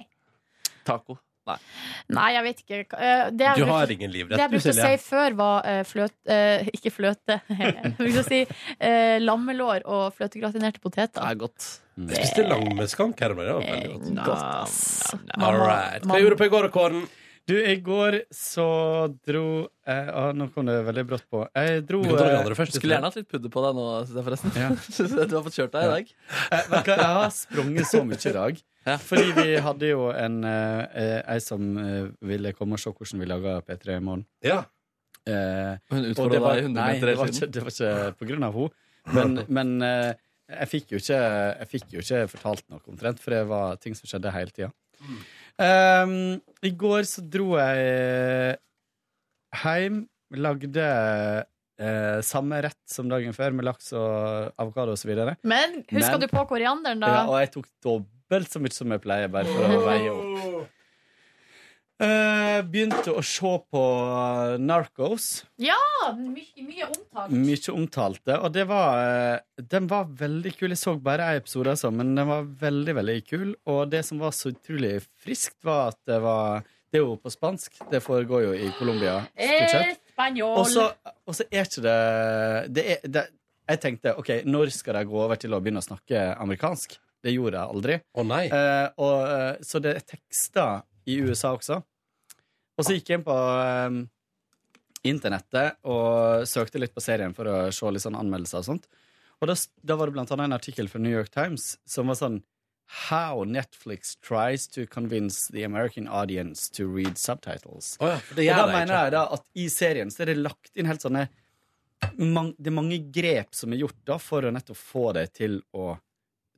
[SPEAKER 4] Taco. Nei.
[SPEAKER 3] Nei, jeg vet ikke. Eh, Det jeg
[SPEAKER 2] Du har
[SPEAKER 3] brukte-
[SPEAKER 2] ingen livrett,
[SPEAKER 3] Det jeg
[SPEAKER 2] du,
[SPEAKER 3] brukte å
[SPEAKER 2] Silje.
[SPEAKER 3] si før, var eh, fløt... eh, ikke fløte. jeg brukte å si eh, lammelår og fløtegratinerte poteter. Det
[SPEAKER 4] er godt.
[SPEAKER 2] Jeg spiste lammeskank her om dagen. Det var veldig godt.
[SPEAKER 3] Godt, ass.
[SPEAKER 2] All right. Hva gjorde du på i går, Kåren?
[SPEAKER 11] Du, i går så dro jeg ah, Nå kom det veldig brått på. Jeg dro
[SPEAKER 4] Du kan ta de
[SPEAKER 11] eh,
[SPEAKER 4] andre først. Skulle gjerne hatt litt pudder på deg nå, synes jeg forresten. Synes jeg du har fått kjørt deg i dag.
[SPEAKER 11] Eh, vet du hva, Jeg har sprunget så mye i dag. Fordi vi hadde jo en eh, eh, ei som eh, ville komme og se hvordan vi laga P3 i morgen.
[SPEAKER 2] Ja.
[SPEAKER 11] Eh,
[SPEAKER 4] Hun
[SPEAKER 11] og det
[SPEAKER 4] utfordra
[SPEAKER 11] var-
[SPEAKER 4] deg i 100
[SPEAKER 11] Nei,
[SPEAKER 4] meter
[SPEAKER 11] det
[SPEAKER 4] hele
[SPEAKER 11] var, ikke,
[SPEAKER 4] tiden.
[SPEAKER 11] det var ikke på grunn av henne. Men, men eh, jeg, fikk jo ikke, jeg fikk jo ikke fortalt noe omtrent, for det var ting som skjedde hele tida.
[SPEAKER 4] Mm.
[SPEAKER 11] Um, I går så dro jeg hjem, eh, lagde eh, samme rett som dagen før, med laks og avokado osv.
[SPEAKER 3] Men husker du på korianderen, da?
[SPEAKER 11] Ja, og jeg tok dobbelt så mye som jeg pleier, bare for å veie opp. Oh. Eh, begynte å se på eh, Narcos.
[SPEAKER 3] Ja! My, mye omtalt.
[SPEAKER 11] Mye omtalte. Og det var, eh, den var veldig kul. Jeg så bare én episode, altså, men den var veldig veldig kul. Og det som var så utrolig friskt, var at det var Det er jo på spansk. Det foregår jo i Colombia. stort sett.
[SPEAKER 3] Spanjol.
[SPEAKER 11] Og så og så er ikke det, det, er, det Jeg tenkte OK, når skal de gå over til å begynne å snakke amerikansk? Det gjorde jeg aldri. Eh, og, eh, så det er tekster i USA også. Og så gikk jeg inn på eh, internettet og søkte litt på serien for å se litt sånn anmeldelser og sånt. Og da, s- da var det blant annet en artikkel fra New York Times som var sånn How Netflix tries to convince the American audience to read subtitles.
[SPEAKER 2] for det gjør
[SPEAKER 11] og da
[SPEAKER 2] de
[SPEAKER 11] mener
[SPEAKER 2] ikke.
[SPEAKER 11] jeg da at i serien så er det lagt inn helt sånne mang- Det er mange grep som er gjort da for å nettopp få deg til å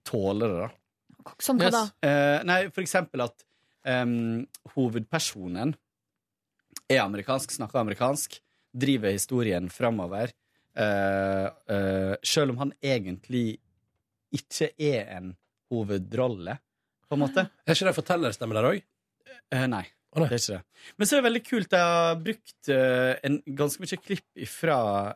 [SPEAKER 11] tåle det, da.
[SPEAKER 3] Som hva da?
[SPEAKER 11] Eh, nei, for eksempel at em, hovedpersonen er amerikansk, snakker amerikansk, driver historien framover. eh, eh, selv om han egentlig ikke er en hovedrolle, på en måte.
[SPEAKER 2] Er ikke det fortellerstemme der òg?
[SPEAKER 11] Eh, nei. Det er ikke det. Men så er det veldig kult. Jeg har brukt eh, en, ganske mye klipp fra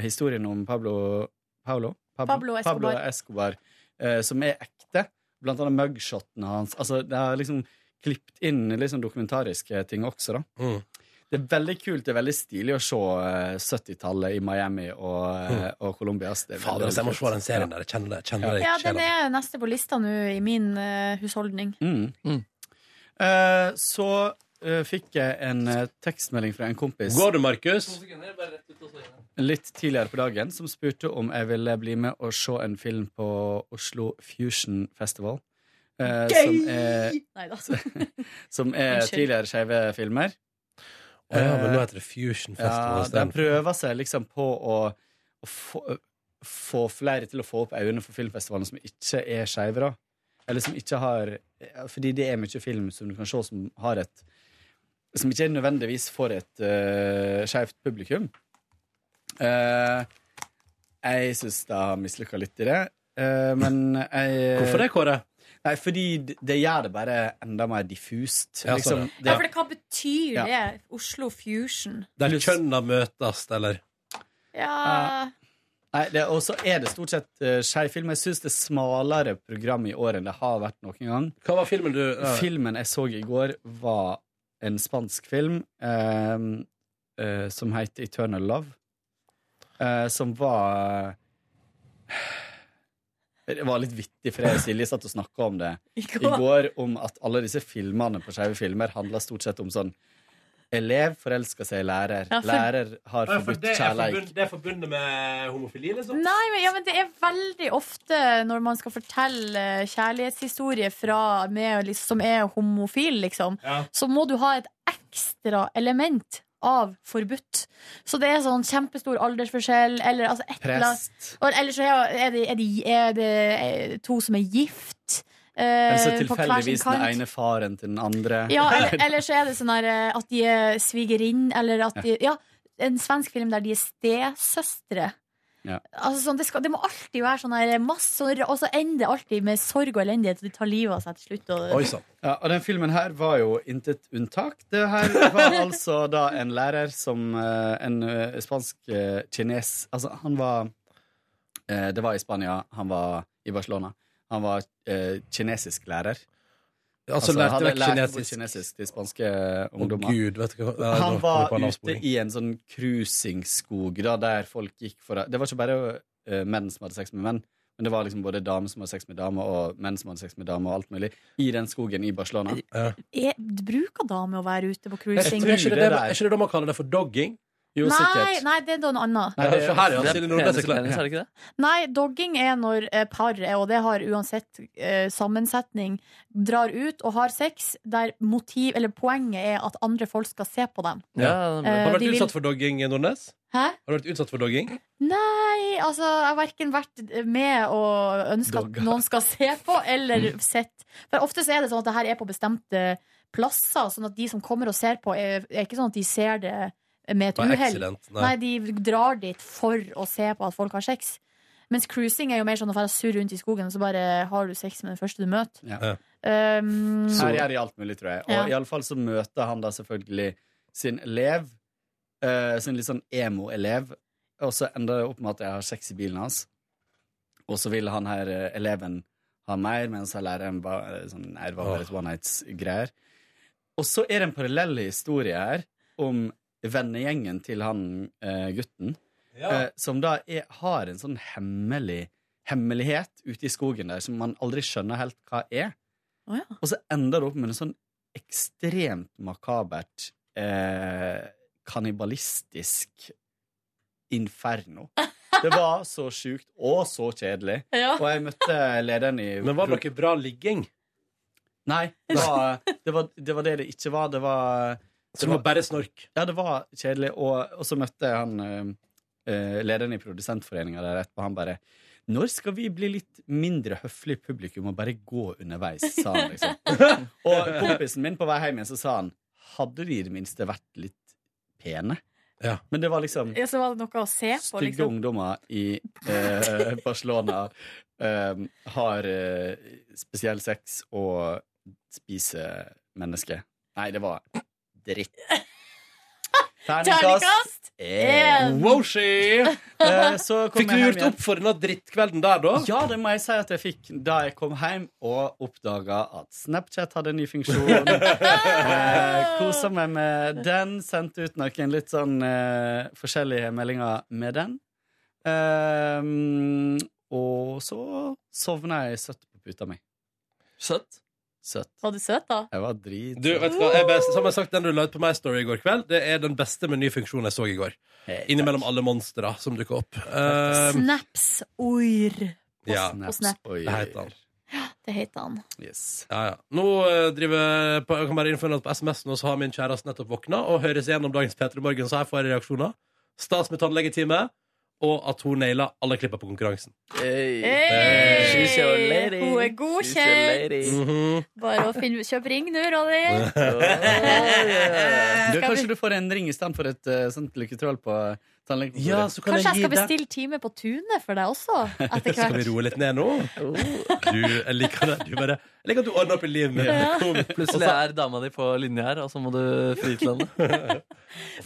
[SPEAKER 11] historien om Pablo Pablo?
[SPEAKER 3] Pablo Escobar.
[SPEAKER 11] Pablo Escobar eh, som er ekte. Blant annet mugshotene hans. Altså, det er liksom klippet inn litt sånn dokumentariske ting også, da.
[SPEAKER 2] Mm.
[SPEAKER 11] Det er veldig kult, det er veldig stilig å se eh, 70-tallet i Miami og, eh, og Colombia. ass. Det er
[SPEAKER 2] Mm. Fader,
[SPEAKER 11] veldig,
[SPEAKER 2] altså, jeg må
[SPEAKER 11] veldig
[SPEAKER 2] se den
[SPEAKER 11] kult.
[SPEAKER 2] serien
[SPEAKER 11] Ja.
[SPEAKER 2] der. Jeg kjenner det. Jeg kjenner det.
[SPEAKER 3] Ja,
[SPEAKER 2] Jeg kjenner
[SPEAKER 3] den
[SPEAKER 2] det.
[SPEAKER 3] er neste på lista nå i min eh, husholdning.
[SPEAKER 11] Mm. Eh, så eh, fikk jeg en eh, tekstmelding fra en kompis
[SPEAKER 2] Går du, Markus?
[SPEAKER 11] litt tidligere på dagen som spurte om jeg ville bli med og se en film på Oslo Fusion Festival. eh, som er,
[SPEAKER 3] Neida.
[SPEAKER 11] som er
[SPEAKER 2] Unnskyld.
[SPEAKER 11] tidligere skeive filmer.
[SPEAKER 2] Å ja, men nå heter det Fusion Festival.
[SPEAKER 11] Ja, de
[SPEAKER 2] isteden.
[SPEAKER 11] prøver seg liksom på å, å få, få flere til å få opp øynene for filmfestivalen som ikke er skeive, da. Eller som ikke har Fordi det er mye film som du kan se som har et Som ikke nødvendigvis får et uh, skeivt publikum. Eh, jeg syns det har mislykka litt i det, eh, men jeg
[SPEAKER 2] Hvorfor det, Kåre?
[SPEAKER 11] Nei, fordi det, det gjør det bare enda mer diffust.
[SPEAKER 2] Ja, sånn,
[SPEAKER 11] liksom.
[SPEAKER 2] ja.
[SPEAKER 3] Ja, for det, hva betyr
[SPEAKER 11] Ja.
[SPEAKER 3] det? Oslo Fusion?
[SPEAKER 2] Der kjønna møtes, eller?
[SPEAKER 3] Ja
[SPEAKER 11] Nei, det, og så er det stort sett uh, skeiv film. Jeg syns det er smalere program i år enn det har vært noen gang.
[SPEAKER 2] Hva var filmen du
[SPEAKER 11] Filmen jeg så i går, var en spansk film ehm, eh, som heter Eternal Love. eh, som var eh, Det var litt vittig, for jeg og Silje satt og snakka om det i
[SPEAKER 12] går.
[SPEAKER 11] går, om at alle disse filmene på skeive filmer handla stort sett om sånn Elev forelsker seg i lærer.
[SPEAKER 3] Ja, for-
[SPEAKER 11] Lærer har forbudt kjærleik.
[SPEAKER 2] Det er forbundet med homofili, liksom?
[SPEAKER 3] Nei, men, ja, men det er veldig ofte når man skal fortelle eh, kjærlighetshistorie fra med, liksom, som er homofil, liksom,
[SPEAKER 2] Ja.
[SPEAKER 3] så må du ha et ekstra element av forbudt. Så det er sånn kjempestor aldersforskjell, eller altså et eller annet.
[SPEAKER 11] Prest.
[SPEAKER 3] Og- Eller så er er det, er det, er det eh, to som er gift. eh,
[SPEAKER 11] Eller så
[SPEAKER 3] på hver sin
[SPEAKER 11] tilfeldigvis den
[SPEAKER 3] kant.
[SPEAKER 11] ene faren til den andre.
[SPEAKER 3] Ja, eller, eller så er det sånn her, eh, at de er svigerinne, eller at de Ja, en svensk film der de er stesøstre.
[SPEAKER 11] Ja.
[SPEAKER 3] Altså, sånn, det, skal, det må alltid være sånn her masse, Og så ender det alltid med sorg og elendighet, og de tar livet av seg til slutt. Og,
[SPEAKER 11] Ja, og den filmen her var jo intet unntak. Det her var altså da en lærer som eh, En eh, spansk eh, kines Altså, han var eh, Det var i Spania. Han var i Barcelona. Han var eh, kinesisk lærer.
[SPEAKER 2] Altså, lærte
[SPEAKER 11] hadde
[SPEAKER 2] vekk
[SPEAKER 11] lært bort
[SPEAKER 2] kinesisk.
[SPEAKER 11] kinesisk til spanske ungdommer.
[SPEAKER 2] Gud, vet du hva Nei,
[SPEAKER 11] han
[SPEAKER 2] nå kommer jeg
[SPEAKER 11] var
[SPEAKER 2] på en
[SPEAKER 11] ute
[SPEAKER 2] avsporing.
[SPEAKER 11] i en sånn cruisingskog da, der folk gikk for Det var ikke bare eh, menn som hadde sex med menn, men det var liksom både damer som hadde sex med damer, og menn som hadde sex med damer, og alt mulig. I den skogen i Barcelona.
[SPEAKER 3] er, bruker damer å være ute på
[SPEAKER 2] Jeg tror
[SPEAKER 3] cruising?
[SPEAKER 2] ikke det, er ikke det da man kaller det for dogging?
[SPEAKER 3] nei, nei, det er noe annet.
[SPEAKER 2] Nei, det er- her, ja.
[SPEAKER 4] Det er
[SPEAKER 2] Silje Nordnes er klar.
[SPEAKER 4] penis, er det ikke det?
[SPEAKER 3] Nei, dogging er når eh, par, er, og det har uansett eh, sammensetning, drar ut og har sex der motiv, eller poenget er at andre folk skal se på dem.
[SPEAKER 2] Ja. Har
[SPEAKER 3] Eh,
[SPEAKER 2] du
[SPEAKER 3] de
[SPEAKER 2] vært
[SPEAKER 3] vil-
[SPEAKER 2] utsatt for dogging, Nordnes?
[SPEAKER 3] Hæ?
[SPEAKER 2] Har du vært utsatt for dogging?
[SPEAKER 3] Nei, altså jeg har verken vært med og ønska at
[SPEAKER 2] Dogga.
[SPEAKER 3] noen skal se på, eller sett. For ofte så er det sånn at det her er på bestemte plasser, sånn at de som kommer og ser på, er, er ikke sånn at de ser det med et
[SPEAKER 2] By
[SPEAKER 3] uhell.
[SPEAKER 2] accident, nei.
[SPEAKER 3] Nei, de drar dit for å se på at folk har sex. Mens cruising er jo mer sånn å dra surre rundt i skogen, og så bare har du sex med den første du møter.
[SPEAKER 11] Ja.
[SPEAKER 3] Um,
[SPEAKER 11] Her gjør de alt mulig, tror jeg. Og
[SPEAKER 3] Ja.
[SPEAKER 11] i alle fall så møter han da selvfølgelig sin elev. eh, sin litt sånn emo-elev. Og så ender det opp med at jeg har sex i bilen hans. Og så vil han her eh, eleven ha mer, mens han læreren bare sånn, Nei, det var bare et one nights-greier. Og så er det en parallell historie her om vennegjengen til han eh, gutten.
[SPEAKER 2] Ja.
[SPEAKER 11] eh, som da er, har en sånn hemmelig hemmelighet ute i skogen der som man aldri skjønner helt hva er. Og så ender det opp med en sånn ekstremt makabert eh, kannibalistisk inferno. Det var så sjukt og så kjedelig.
[SPEAKER 2] Ja.
[SPEAKER 11] Og jeg møtte lederen i
[SPEAKER 2] Men var det noe bra ligging?
[SPEAKER 11] Nei. Det var det var, det var det det ikke var. Det var
[SPEAKER 2] Så det var bare snork?
[SPEAKER 11] Ja, det var kjedelig. Og, og så møtte jeg han eh, eh, lederen i Produsentforeninga der etterpå. Han bare Når skal vi bli litt mindre høflig publikum og bare gå underveis, sa han liksom. og kompisen min på vei hjem igjen, så sa han Hadde de i det minste vært litt pene? Men det var liksom
[SPEAKER 3] ja, så var det noe å se på,
[SPEAKER 11] Stygge
[SPEAKER 3] liksom.
[SPEAKER 11] ungdommer i eh, Barcelona eh, har eh, spesiell sex og spiser mennesker. Nei, det var dritt.
[SPEAKER 2] Terningkast
[SPEAKER 11] én.
[SPEAKER 2] Woshi!
[SPEAKER 11] Eh, så kom
[SPEAKER 2] Fikk du
[SPEAKER 11] jeg hjem
[SPEAKER 2] gjort
[SPEAKER 11] igjen.
[SPEAKER 2] opp for denne drittkvelden der, da?
[SPEAKER 11] Ja, det må jeg si at jeg fikk da jeg kom hjem og oppdaga at Snapchat hadde en ny funksjon. eh, Kosa meg med den. Sendte ut noen litt sånn eh, forskjellige meldinger med den. Ehm, og så sovna jeg søtt på puta mi.
[SPEAKER 4] Søtt?
[SPEAKER 11] Søtt.
[SPEAKER 3] Var du søt, da?
[SPEAKER 11] Jeg var drit...
[SPEAKER 2] Du, vet du hva, jeg best, som jeg har sagt, Den du la ut på My Story i går kveld, det er den beste med ny funksjon jeg så i går. Innimellom alle monstre som dukker opp. Eh,
[SPEAKER 3] Snaps oir.
[SPEAKER 2] ja.
[SPEAKER 3] Og snap.
[SPEAKER 11] Oi.
[SPEAKER 2] Det heter han.
[SPEAKER 3] Det heter han.
[SPEAKER 2] Ja, ja. Nå eh, driver på, jeg kan bare innføre at på SMS-en, og så har min kjæreste nettopp våkna og høres gjennom dagens P3 Morgen, så her får jeg reaksjoner. Stas med tannlegetime, og at hun naila alle klippa på konkurransen.
[SPEAKER 3] Hey!
[SPEAKER 2] She's your lady.
[SPEAKER 3] Eh, Hun er godkjent.
[SPEAKER 2] Mhm.
[SPEAKER 3] Bare å finne, kjøp ring nå, Ronny.
[SPEAKER 11] Du,
[SPEAKER 3] Eh, Skal
[SPEAKER 11] kanskje du får en ring istedenfor et eh, sånt lykketroll på tannlegekontoret.
[SPEAKER 3] Kanskje jeg skal bestille time på tunet for deg også, etter
[SPEAKER 2] Skal vi
[SPEAKER 3] hvert.
[SPEAKER 2] roe litt ned nå?
[SPEAKER 4] Oh.
[SPEAKER 2] Du, jeg liker det. Du bare, jeg liker at du ordner opp i livet mitt.
[SPEAKER 4] Ja.
[SPEAKER 2] Kom.
[SPEAKER 4] Plutselig er dama di på linje her, og så må du fri til henne.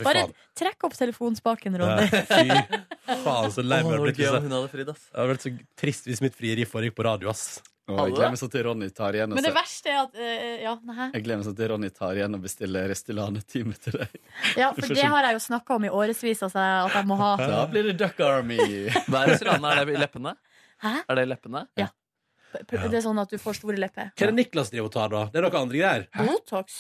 [SPEAKER 3] Bare trekk opp telefonspaken,
[SPEAKER 2] Ja,
[SPEAKER 3] Ronny.
[SPEAKER 2] Fy faen, så lei meg jeg har blitt.
[SPEAKER 4] Åh, det var gøy om
[SPEAKER 2] hvis jeg-
[SPEAKER 4] hun hadde fridd, ass.
[SPEAKER 2] Det hadde vært så trist hvis mitt frieri foregikk på radio, ass.
[SPEAKER 11] Og jeg glemmer så til Ronny tar igjen og
[SPEAKER 3] Men det
[SPEAKER 11] ser-
[SPEAKER 3] verste er at eh, Ja, nei. hæ?
[SPEAKER 11] Jeg glemmer sånn at Ronny tar igjen og bestiller Restylane-time til deg.
[SPEAKER 3] Ja, for det har jeg jo snakka om i årevis, altså, at jeg må ha.
[SPEAKER 11] Da blir det Duck Army.
[SPEAKER 4] Hva er Restylane? Er det i leppene?
[SPEAKER 3] Hæ?
[SPEAKER 4] Er det i leppene?
[SPEAKER 3] Ja. Det er sånn at du får store lepper.
[SPEAKER 2] Hva er det Niklas driver og tar, da? Det er noe andre greier.
[SPEAKER 3] Botox.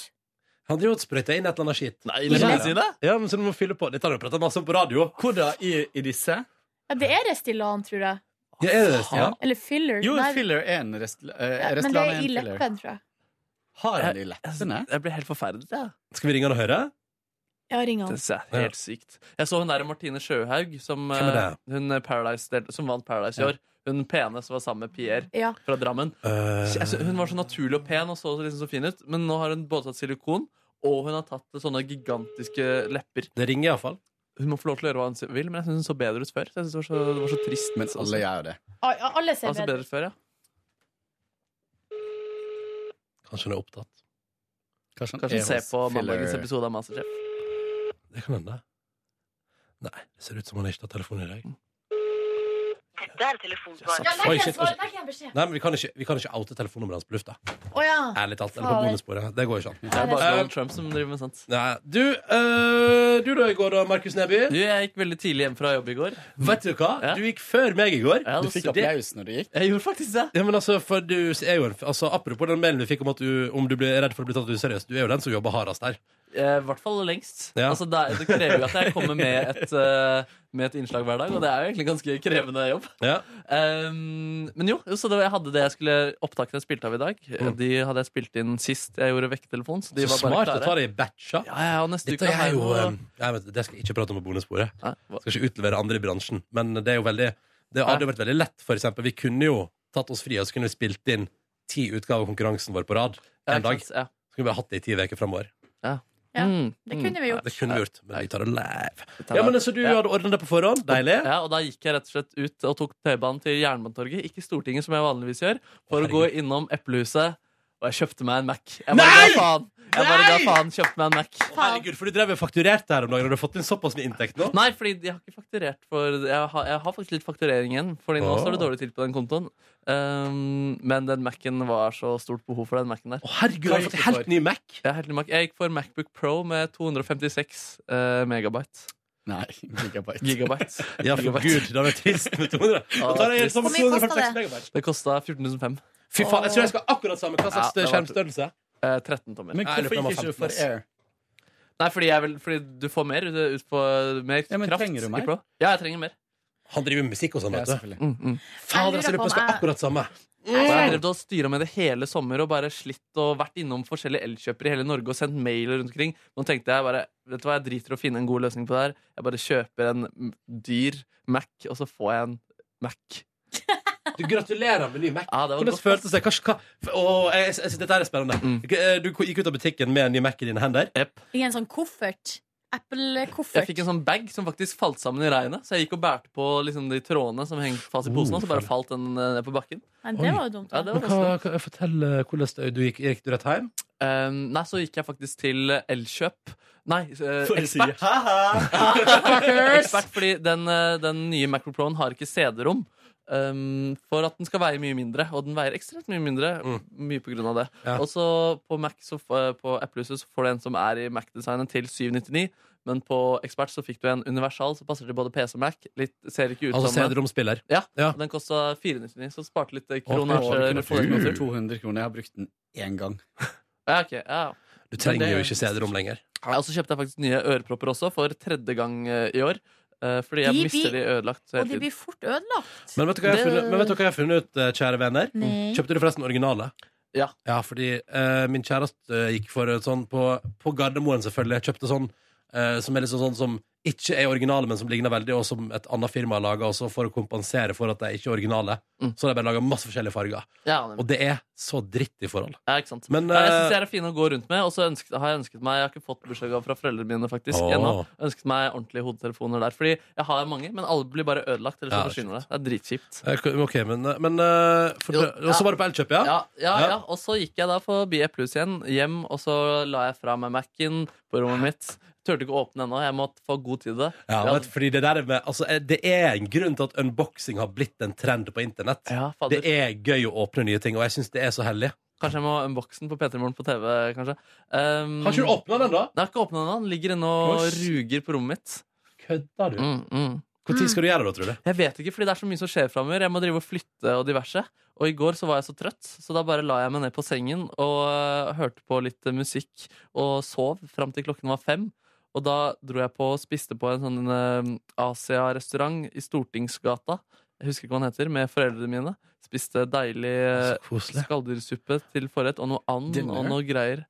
[SPEAKER 2] Han driver og sprøyter inn et eller annet skitt.
[SPEAKER 4] Nei, leppene sine?
[SPEAKER 2] Ja, men så du må fylle på. Dette har du prata masse om på radio.
[SPEAKER 11] Hvor da? I, disse?
[SPEAKER 3] Ja, det er Restylane, tror jeg.
[SPEAKER 2] Ja, er det det? Ja.
[SPEAKER 3] Eller filler.
[SPEAKER 11] Jo,
[SPEAKER 3] Nei,
[SPEAKER 11] filler er en rest, eh,
[SPEAKER 3] ja, men det er
[SPEAKER 11] Restylane
[SPEAKER 3] i
[SPEAKER 11] er en filler.
[SPEAKER 3] leppen, tror jeg.
[SPEAKER 11] Har han det i leppene?
[SPEAKER 4] Jeg blir helt forferdelig, jeg.
[SPEAKER 2] Skal vi ringe han og høre?
[SPEAKER 3] Ja, ring han.
[SPEAKER 4] Det er helt sykt. Jeg så hun der Martine Sjøhaug, som,
[SPEAKER 2] Hvem er det?
[SPEAKER 4] eh, hun Paradise, del- som vant Paradise i
[SPEAKER 2] Ja.
[SPEAKER 4] år. Hun pene som var sammen med Pierre
[SPEAKER 3] Ja.
[SPEAKER 4] fra Drammen.
[SPEAKER 2] Eh.
[SPEAKER 4] Jeg sy- Hun var så naturlig og pen og så liksom så fin ut, men nå har hun både tatt silikon og hun har tatt sånne gigantiske lepper.
[SPEAKER 2] Det ringer iallfall.
[SPEAKER 4] Hun må få lov til å gjøre hva hun vil, men jeg syns hun så bedre ut før. Så jeg synes det, var så, det var så trist altså.
[SPEAKER 11] Men alle gjør jo det.
[SPEAKER 3] Ah, ja, Alle ser
[SPEAKER 4] Han så
[SPEAKER 3] bedre
[SPEAKER 4] Altså, bedre ut før, ja.
[SPEAKER 2] Kanskje hun er opptatt.
[SPEAKER 4] Kanskje
[SPEAKER 11] Kanskje
[SPEAKER 4] hun
[SPEAKER 2] er
[SPEAKER 4] ser
[SPEAKER 2] hos
[SPEAKER 4] på
[SPEAKER 2] filler-
[SPEAKER 4] mandagens episode av Masterchef.
[SPEAKER 2] Det kan hende. Nei, det ser ut som han ikke tar telefonen i dag.
[SPEAKER 12] Dette er telefonsvaret.
[SPEAKER 2] Ja, nei, Oi, shit, oi, Nei, men vi kan ikke, vi kan ikke oute telefonnummeret hans på lufta.
[SPEAKER 3] Å ja.
[SPEAKER 2] Ærlig talt. Eller på
[SPEAKER 3] Fader.
[SPEAKER 2] bonussporet. Det går ikke an.
[SPEAKER 4] Det er bare
[SPEAKER 2] Eh,
[SPEAKER 4] Donald Trump som driver med sånt.
[SPEAKER 2] Nei, du, eh, du da i går da, Markus Neby?
[SPEAKER 4] Du, jeg gikk veldig tidlig hjem fra jobb i går.
[SPEAKER 2] Vet du hva? Du gikk før meg i går.
[SPEAKER 4] Du
[SPEAKER 11] Altså,
[SPEAKER 4] fikk applaus
[SPEAKER 11] når du gikk.
[SPEAKER 4] Jeg gjorde faktisk det.
[SPEAKER 2] Ja, men altså, for du er jo en, altså, apropos den mailen vi fikk om at du, om du ble redd for å bli tatt useriøst, du er jo den som jobber hardest her.
[SPEAKER 4] Eh, I hvert fall lengst.
[SPEAKER 2] Ja.
[SPEAKER 4] Altså, det, er- det krever jo at jeg kommer med et, eh, med et innslag hver dag, og det er jo egentlig ganske krevende jobb.
[SPEAKER 2] Ja.
[SPEAKER 4] Ehm, men jo, så det var, jeg hadde det jeg skulle opptakene jeg spilte av i dag.
[SPEAKER 2] Mm.
[SPEAKER 4] De hadde jeg spilt inn sist jeg gjorde vekketelefon. Så, de
[SPEAKER 2] Så
[SPEAKER 4] var bare
[SPEAKER 2] smart å
[SPEAKER 4] klare.
[SPEAKER 2] ta det i batcher.
[SPEAKER 4] Ja, ja, og neste
[SPEAKER 2] Dette
[SPEAKER 4] uke
[SPEAKER 2] er
[SPEAKER 4] har jeg
[SPEAKER 2] jo
[SPEAKER 4] noe-
[SPEAKER 2] eh, nei, vet du, Det skal jeg ikke prate om på bonussporet. Skal ikke utlevere andre i bransjen. Men det er jo veldig Det hadde jo vært veldig lett, for eksempel. Vi kunne jo tatt oss fri, og så kunne vi spilt inn ti utgaver av konkurransen vår på rad en dag.
[SPEAKER 4] Ja. Mm,
[SPEAKER 2] Så kunne vi bare hatt det i ti uker framover.
[SPEAKER 3] Ja, det kunne vi gjort.
[SPEAKER 2] Det kunne vi gjort, men vi tar det live. Ja, men Så du hadde ordnet det på forhånd? Deilig.
[SPEAKER 4] Ja, og da gikk jeg rett og slett ut og tok T-banen til Jernbanetorget, ikke Stortinget, som jeg vanligvis gjør, for å gå innom Eplehuset. Og jeg kjøpte meg en Mac. Jeg bare
[SPEAKER 2] Nei!
[SPEAKER 4] ga faen. Jeg bare ga
[SPEAKER 2] Nei!
[SPEAKER 4] faen, kjøpte meg en Mac.
[SPEAKER 2] Herregud, for du drev og fakturerte her om dagen. Har du fått inn såpass med inntekt nå?
[SPEAKER 4] Nei, fordi jeg har ikke fakturert for Jeg har, jeg har faktisk litt fakturering igjen, Fordi nå
[SPEAKER 2] Åh.
[SPEAKER 4] står det dårlig til på den kontoen. Um, men den Mac-en var så stort behov for den Mac-en der.
[SPEAKER 2] herregud, har du fått helt ny Mac?
[SPEAKER 4] Ja, helt ny Mac. Jeg gikk for Macbook Pro med 256 eh, megabyte.
[SPEAKER 11] Nei, gigabyte.
[SPEAKER 4] Gigabyte.
[SPEAKER 2] Ja, for gud, det hadde vært trist med 200. Da tar jeg helt sammen
[SPEAKER 4] Hvor mye kostet
[SPEAKER 2] 246
[SPEAKER 4] det?
[SPEAKER 2] megabyte.
[SPEAKER 4] Det kosta 14.500.
[SPEAKER 2] Fy faen, jeg tror jeg skal akkurat samme. Hva slags
[SPEAKER 4] Ja, det var-
[SPEAKER 2] skjermstørrelse?
[SPEAKER 4] Eh, 13 tommer.
[SPEAKER 11] Men hvorfor gikk ikke du for Air?
[SPEAKER 4] Nei, fordi, jeg vil, fordi du får mer ut, ut på mer
[SPEAKER 11] men
[SPEAKER 4] kraft.
[SPEAKER 11] trenger du
[SPEAKER 4] i
[SPEAKER 11] mer?
[SPEAKER 4] Pro. Ja, jeg trenger mer.
[SPEAKER 2] Han driver med musikk og sånn,
[SPEAKER 11] Ja,
[SPEAKER 2] vet du.
[SPEAKER 11] selvfølgelig.
[SPEAKER 4] Mm, mm.
[SPEAKER 2] Fader, jeg lurer på,
[SPEAKER 3] Jeg lurer på
[SPEAKER 2] jeg skal
[SPEAKER 3] om jeg-
[SPEAKER 2] akkurat samme.
[SPEAKER 4] Så jeg
[SPEAKER 2] Mm.
[SPEAKER 4] har drevet og styra med det hele sommer og bare slitt og vært innom forskjellige elkjøpere i hele Norge og sendt mailer rundt omkring. Nå tenkte jeg bare Vet du hva, jeg driter i å finne en god løsning på det her. Jeg bare kjøper en m- dyr Mac, og så får jeg en Mac.
[SPEAKER 2] Du gratulerer med ny Mac.
[SPEAKER 4] Ja, det var
[SPEAKER 2] Hvordan
[SPEAKER 4] godt.
[SPEAKER 2] føltes det? Hva- hva- Åh, jeg, jeg, synes dette er spennende. Eh, Du gikk ut av butikken med en ny Mac i dine hender.
[SPEAKER 3] I en sånn koffert.
[SPEAKER 4] Jeg
[SPEAKER 3] Apple-koffert.
[SPEAKER 4] fikk en sånn bag som faktisk falt sammen i regnet. Så jeg gikk og bærte på liksom, de trådene som hengte fast i posen, og så
[SPEAKER 2] Uh.
[SPEAKER 4] bare falt den eh, ned på bakken.
[SPEAKER 3] Nei, det var jo dumt. da.
[SPEAKER 4] Ja, det var
[SPEAKER 2] Men
[SPEAKER 4] ganske
[SPEAKER 2] hva, hva, fortell eh, hvordan det- du gikk. Gikk du rett hjem?
[SPEAKER 4] Um, nei, så gikk jeg faktisk til Elkjøp. Nei, eh,
[SPEAKER 2] For å si
[SPEAKER 4] ekspert.
[SPEAKER 2] Fuckers!
[SPEAKER 4] ekspert. Fordi den, eh, den nye Macro Pro-en har ikke CD-rom. Um, for at den skal veie mye mindre, og den veier ekstremt mye mindre. Mye på grunn av det Og så på, Mac, så, f- eh, på Apple-huset så får du en som er i Mac-designen, til 799. Men på Expert så fikk du en universal som passer til både PC og Mac. Litt, ser ikke ut
[SPEAKER 2] Altså
[SPEAKER 4] som
[SPEAKER 2] CD-romspiller.
[SPEAKER 4] Ja, og Den kosta 499, så sparte litt eh, kroner.
[SPEAKER 11] Kroner
[SPEAKER 4] for- for-
[SPEAKER 11] 200 kroner. Jeg har brukt den én gang.
[SPEAKER 4] Ja, ok, ja.
[SPEAKER 2] Du trenger jo ikke CD-rom lenger.
[SPEAKER 4] Ja, og så kjøpte jeg faktisk nye ørepropper også, for tredje gang eh, i år. Eh, Fordi jeg
[SPEAKER 3] De blir-
[SPEAKER 4] mister de ødelagt eh,
[SPEAKER 3] Og de
[SPEAKER 4] hele
[SPEAKER 3] blir
[SPEAKER 4] tiden.
[SPEAKER 3] fort ødelagt.
[SPEAKER 2] Men vet du hva jeg har
[SPEAKER 3] Det- Mm.
[SPEAKER 2] funnet, men vet dere hva jeg har funnet ut, eh, kjære venner?
[SPEAKER 4] Mm.
[SPEAKER 3] Nei.
[SPEAKER 2] Kjøpte du forresten originale?
[SPEAKER 4] Ja.
[SPEAKER 2] fordi eh, min kjæreste eh, gikk for et sånn på, på Gardermoen, selvfølgelig. Jeg kjøpte sånn eh, som er liksom sånn som ikke er originale, men som ligner veldig, og som et annet firma har laga for å kompensere for at de ikke er originale. Så har de bare laga masse forskjellige farger.
[SPEAKER 4] Ja,
[SPEAKER 2] Og det er så dritt i forhold.
[SPEAKER 4] ja, ikke sant.
[SPEAKER 2] Men,
[SPEAKER 4] Nei, jeg
[SPEAKER 2] eh,
[SPEAKER 4] syns de er fine å gå rundt med, og så ønsket, har jeg ønsket meg Jeg har ikke fått bursdagsgave fra foreldrene mine faktisk
[SPEAKER 2] Åh.
[SPEAKER 4] ennå. Ønsket meg ordentlige hodetelefoner der. Fordi jeg har mange, men alle blir bare ødelagt. Eller så
[SPEAKER 2] Ja,
[SPEAKER 4] forsvinner det. Det er dritkjipt.
[SPEAKER 2] Eh, Ok, men, men eh, for,
[SPEAKER 4] Jo,
[SPEAKER 2] Og så
[SPEAKER 4] ja.
[SPEAKER 2] var det på Elkjøp, ja?
[SPEAKER 4] Ja, ja,
[SPEAKER 2] Ja.
[SPEAKER 4] ja. Og så gikk jeg da forbi Eplehus igjen, hjem, og så la jeg fra meg Mac-en på rommet mitt. Turte ikke å åpne ennå. Jeg måtte få god tid til det.
[SPEAKER 2] Ja,
[SPEAKER 4] Jeg
[SPEAKER 2] vet, du, fordi det, der er med, altså, eh, det er en grunn til at unboxing har blitt en trend på internett.
[SPEAKER 4] fader.
[SPEAKER 2] det er gøy å åpne nye ting, og jeg syns det er så hellig.
[SPEAKER 4] Kanskje jeg må unboxe den på P3 Morgen på TV. kanskje um,
[SPEAKER 2] Har ikke du åpna den, da?
[SPEAKER 4] Jeg har ikke åpnet den. da. Den ligger inne og ruger på rommet mitt.
[SPEAKER 2] Kødder du?
[SPEAKER 4] Mm, mm.
[SPEAKER 2] Hvor tid skal du gjøre det, da, tror du?
[SPEAKER 4] Jeg vet ikke, fordi det er så mye som skjer framover. Jeg må drive og flytte og diverse. Og i går så var jeg så trøtt, så da bare la jeg meg ned på sengen og øh, hørte på litt øh, musikk og sov fram til klokken var fem. Og da dro jeg på og spiste på en sånn øh, Asia-restaurant i Stortingsgata. Jeg husker ikke hva den heter, med foreldrene mine. Spiste deilig
[SPEAKER 2] Eh,
[SPEAKER 4] øh, skalldyrsuppe til forrett og noe and
[SPEAKER 2] Dinner?
[SPEAKER 4] og noe greier.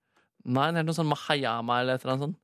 [SPEAKER 4] Nei, det er noe sånn mahayama eller et eller annet sånt.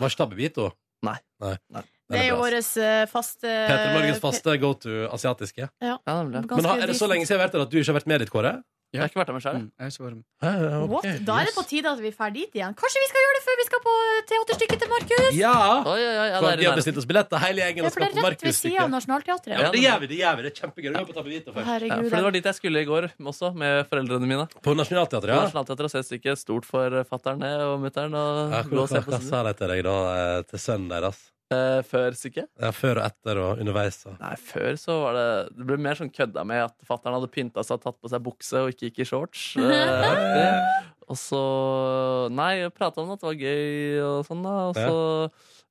[SPEAKER 2] Var stabbebit, da?
[SPEAKER 4] Nei.
[SPEAKER 2] Nei.
[SPEAKER 3] Det er jo eh, vår faste
[SPEAKER 2] Peter Morgens faste go to asiatiske.
[SPEAKER 3] Ja.
[SPEAKER 4] nemlig.
[SPEAKER 2] Men har, er det så lenge siden jeg har vært der at du ikke har vært med ditt, Kåre?
[SPEAKER 4] Jeg har ikke vært der med
[SPEAKER 2] Mm.
[SPEAKER 4] sjøl.
[SPEAKER 11] Mm, Jeg har ikke vært med.
[SPEAKER 3] What? Da er det på tide at vi drar dit igjen. Kanskje vi skal gjøre det før vi skal på teaterstykket til Markus?
[SPEAKER 2] Ja!
[SPEAKER 4] Oi, oi, oi, ja, det
[SPEAKER 2] For de har
[SPEAKER 4] er i nærheten.
[SPEAKER 2] bestilt oss billetter, hele gjengen.
[SPEAKER 3] Ja,
[SPEAKER 2] og
[SPEAKER 3] for det
[SPEAKER 2] skal på
[SPEAKER 3] er rett ved sida av
[SPEAKER 2] Markus-stykket.
[SPEAKER 3] Nationaltheatret.
[SPEAKER 2] Ja, men det gjør vi. det gjør vi Det er kjempegøy. Vi går på Tabavita først.
[SPEAKER 3] Herregud,
[SPEAKER 4] Ja, for det var dit jeg skulle i går også, med foreldrene mine. Sånn
[SPEAKER 2] På Nationaltheatret, ja.
[SPEAKER 4] På Nationaltheatret og se stykket stort for fattern og mutter'n. Og
[SPEAKER 2] Ja,
[SPEAKER 4] gå
[SPEAKER 2] Hva
[SPEAKER 4] og se på
[SPEAKER 2] hva sa de til deg da, eh, til sønnen deres?
[SPEAKER 4] Eh, før stykket?
[SPEAKER 2] Ja, før og etter og underveis? Og.
[SPEAKER 4] Nei, før så var det Det ble mer sånn kødda med at fattern hadde pynta seg og tatt på seg bukse og ikke gikk i shorts. Eh, og så Nei, prata om at det var gøy og sånn, da. Og så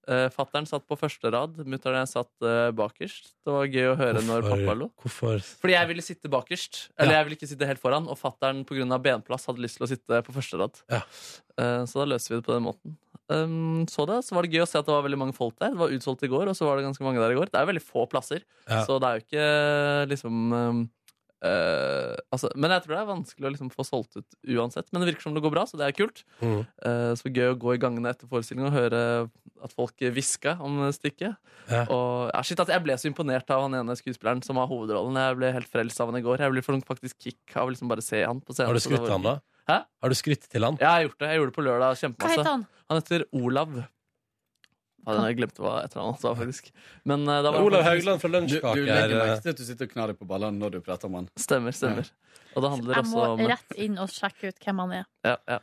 [SPEAKER 4] eh, Fattern satt på første rad, mutter'n og jeg satt eh, bakerst. Det var gøy å høre når
[SPEAKER 2] Hvorfor-
[SPEAKER 4] pappa lo.
[SPEAKER 2] Hvorfor
[SPEAKER 4] Fordi jeg ville sitte bakerst. Eller jeg ville ikke sitte helt foran. Og fattern pga. benplass hadde lyst til å sitte på første rad. Eh, Så da løser vi det på den måten. Um, så det, så var det gøy å se at det var veldig mange folk der. Det var utsolgt i går, og så var det ganske mange der i går. Det er veldig få plasser,
[SPEAKER 2] Ja.
[SPEAKER 4] så det er jo ikke liksom um, eh, altså, Men jeg tror det er vanskelig å liksom få solgt ut uansett. Men det virker som det går bra, så det er kult.
[SPEAKER 2] Mhm.
[SPEAKER 4] Eh, så gøy å gå i gangene etter forestillingen og høre at folk hviska om stykket.
[SPEAKER 2] Ja.
[SPEAKER 4] Og, ja, shit, altså, jeg ble så imponert av han ene skuespilleren som har hovedrollen. Jeg ble helt frelst av han i går. Jeg ble faktisk kick av å liksom bare se han på scenen.
[SPEAKER 2] Har du
[SPEAKER 4] så det
[SPEAKER 2] skutt
[SPEAKER 4] var-
[SPEAKER 2] han da?
[SPEAKER 4] Hæ?
[SPEAKER 2] Har du skrytt til han?
[SPEAKER 4] Ja, jeg har gjort det. Jeg gjorde det på lørdag kjempemasse.
[SPEAKER 3] Hva heter han?
[SPEAKER 4] Han heter Olav. Ja, den- jeg glemte hva etternavnet hans var, faktisk. Men, eh, da var
[SPEAKER 2] Olav
[SPEAKER 4] han-
[SPEAKER 2] Haugland fra Lunsjkaker. eh,
[SPEAKER 11] Du legger merke til at du sitter og knar deg på ballene når du prater om han.
[SPEAKER 4] Stemmer, stemmer. Og det handler
[SPEAKER 3] Jeg
[SPEAKER 4] også
[SPEAKER 3] må
[SPEAKER 4] om
[SPEAKER 3] rett inn og sjekke ut hvem han er.
[SPEAKER 4] Ja, ja.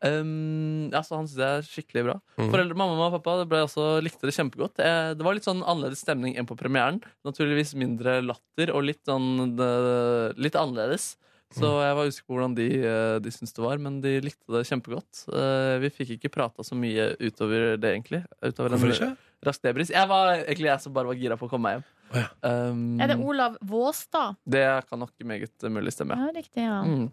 [SPEAKER 4] Um, altså, han synes det er skikkelig bra.
[SPEAKER 2] Mhm.
[SPEAKER 4] Foreldre, Mamma og pappa det ble også, likte det kjempegodt. Eh, det var litt sånn annerledes stemning enn på premieren. Naturligvis mindre latter og litt, sånn, eh, litt annerledes. Så
[SPEAKER 2] Mhm.
[SPEAKER 4] jeg var usikker på hvordan de, eh, de syntes det var, men de likte det kjempegodt. Eh, vi fikk ikke prata så mye utover det, egentlig. Utover en
[SPEAKER 2] Hvorfor ikke?
[SPEAKER 4] Rask debris. Jeg var egentlig jeg som bare var gira på å komme meg hjem. Um,
[SPEAKER 3] Er det Olav Våstad?
[SPEAKER 4] det kan nok meget mulig stemme.
[SPEAKER 3] Ja, riktig, ja.
[SPEAKER 4] Mm.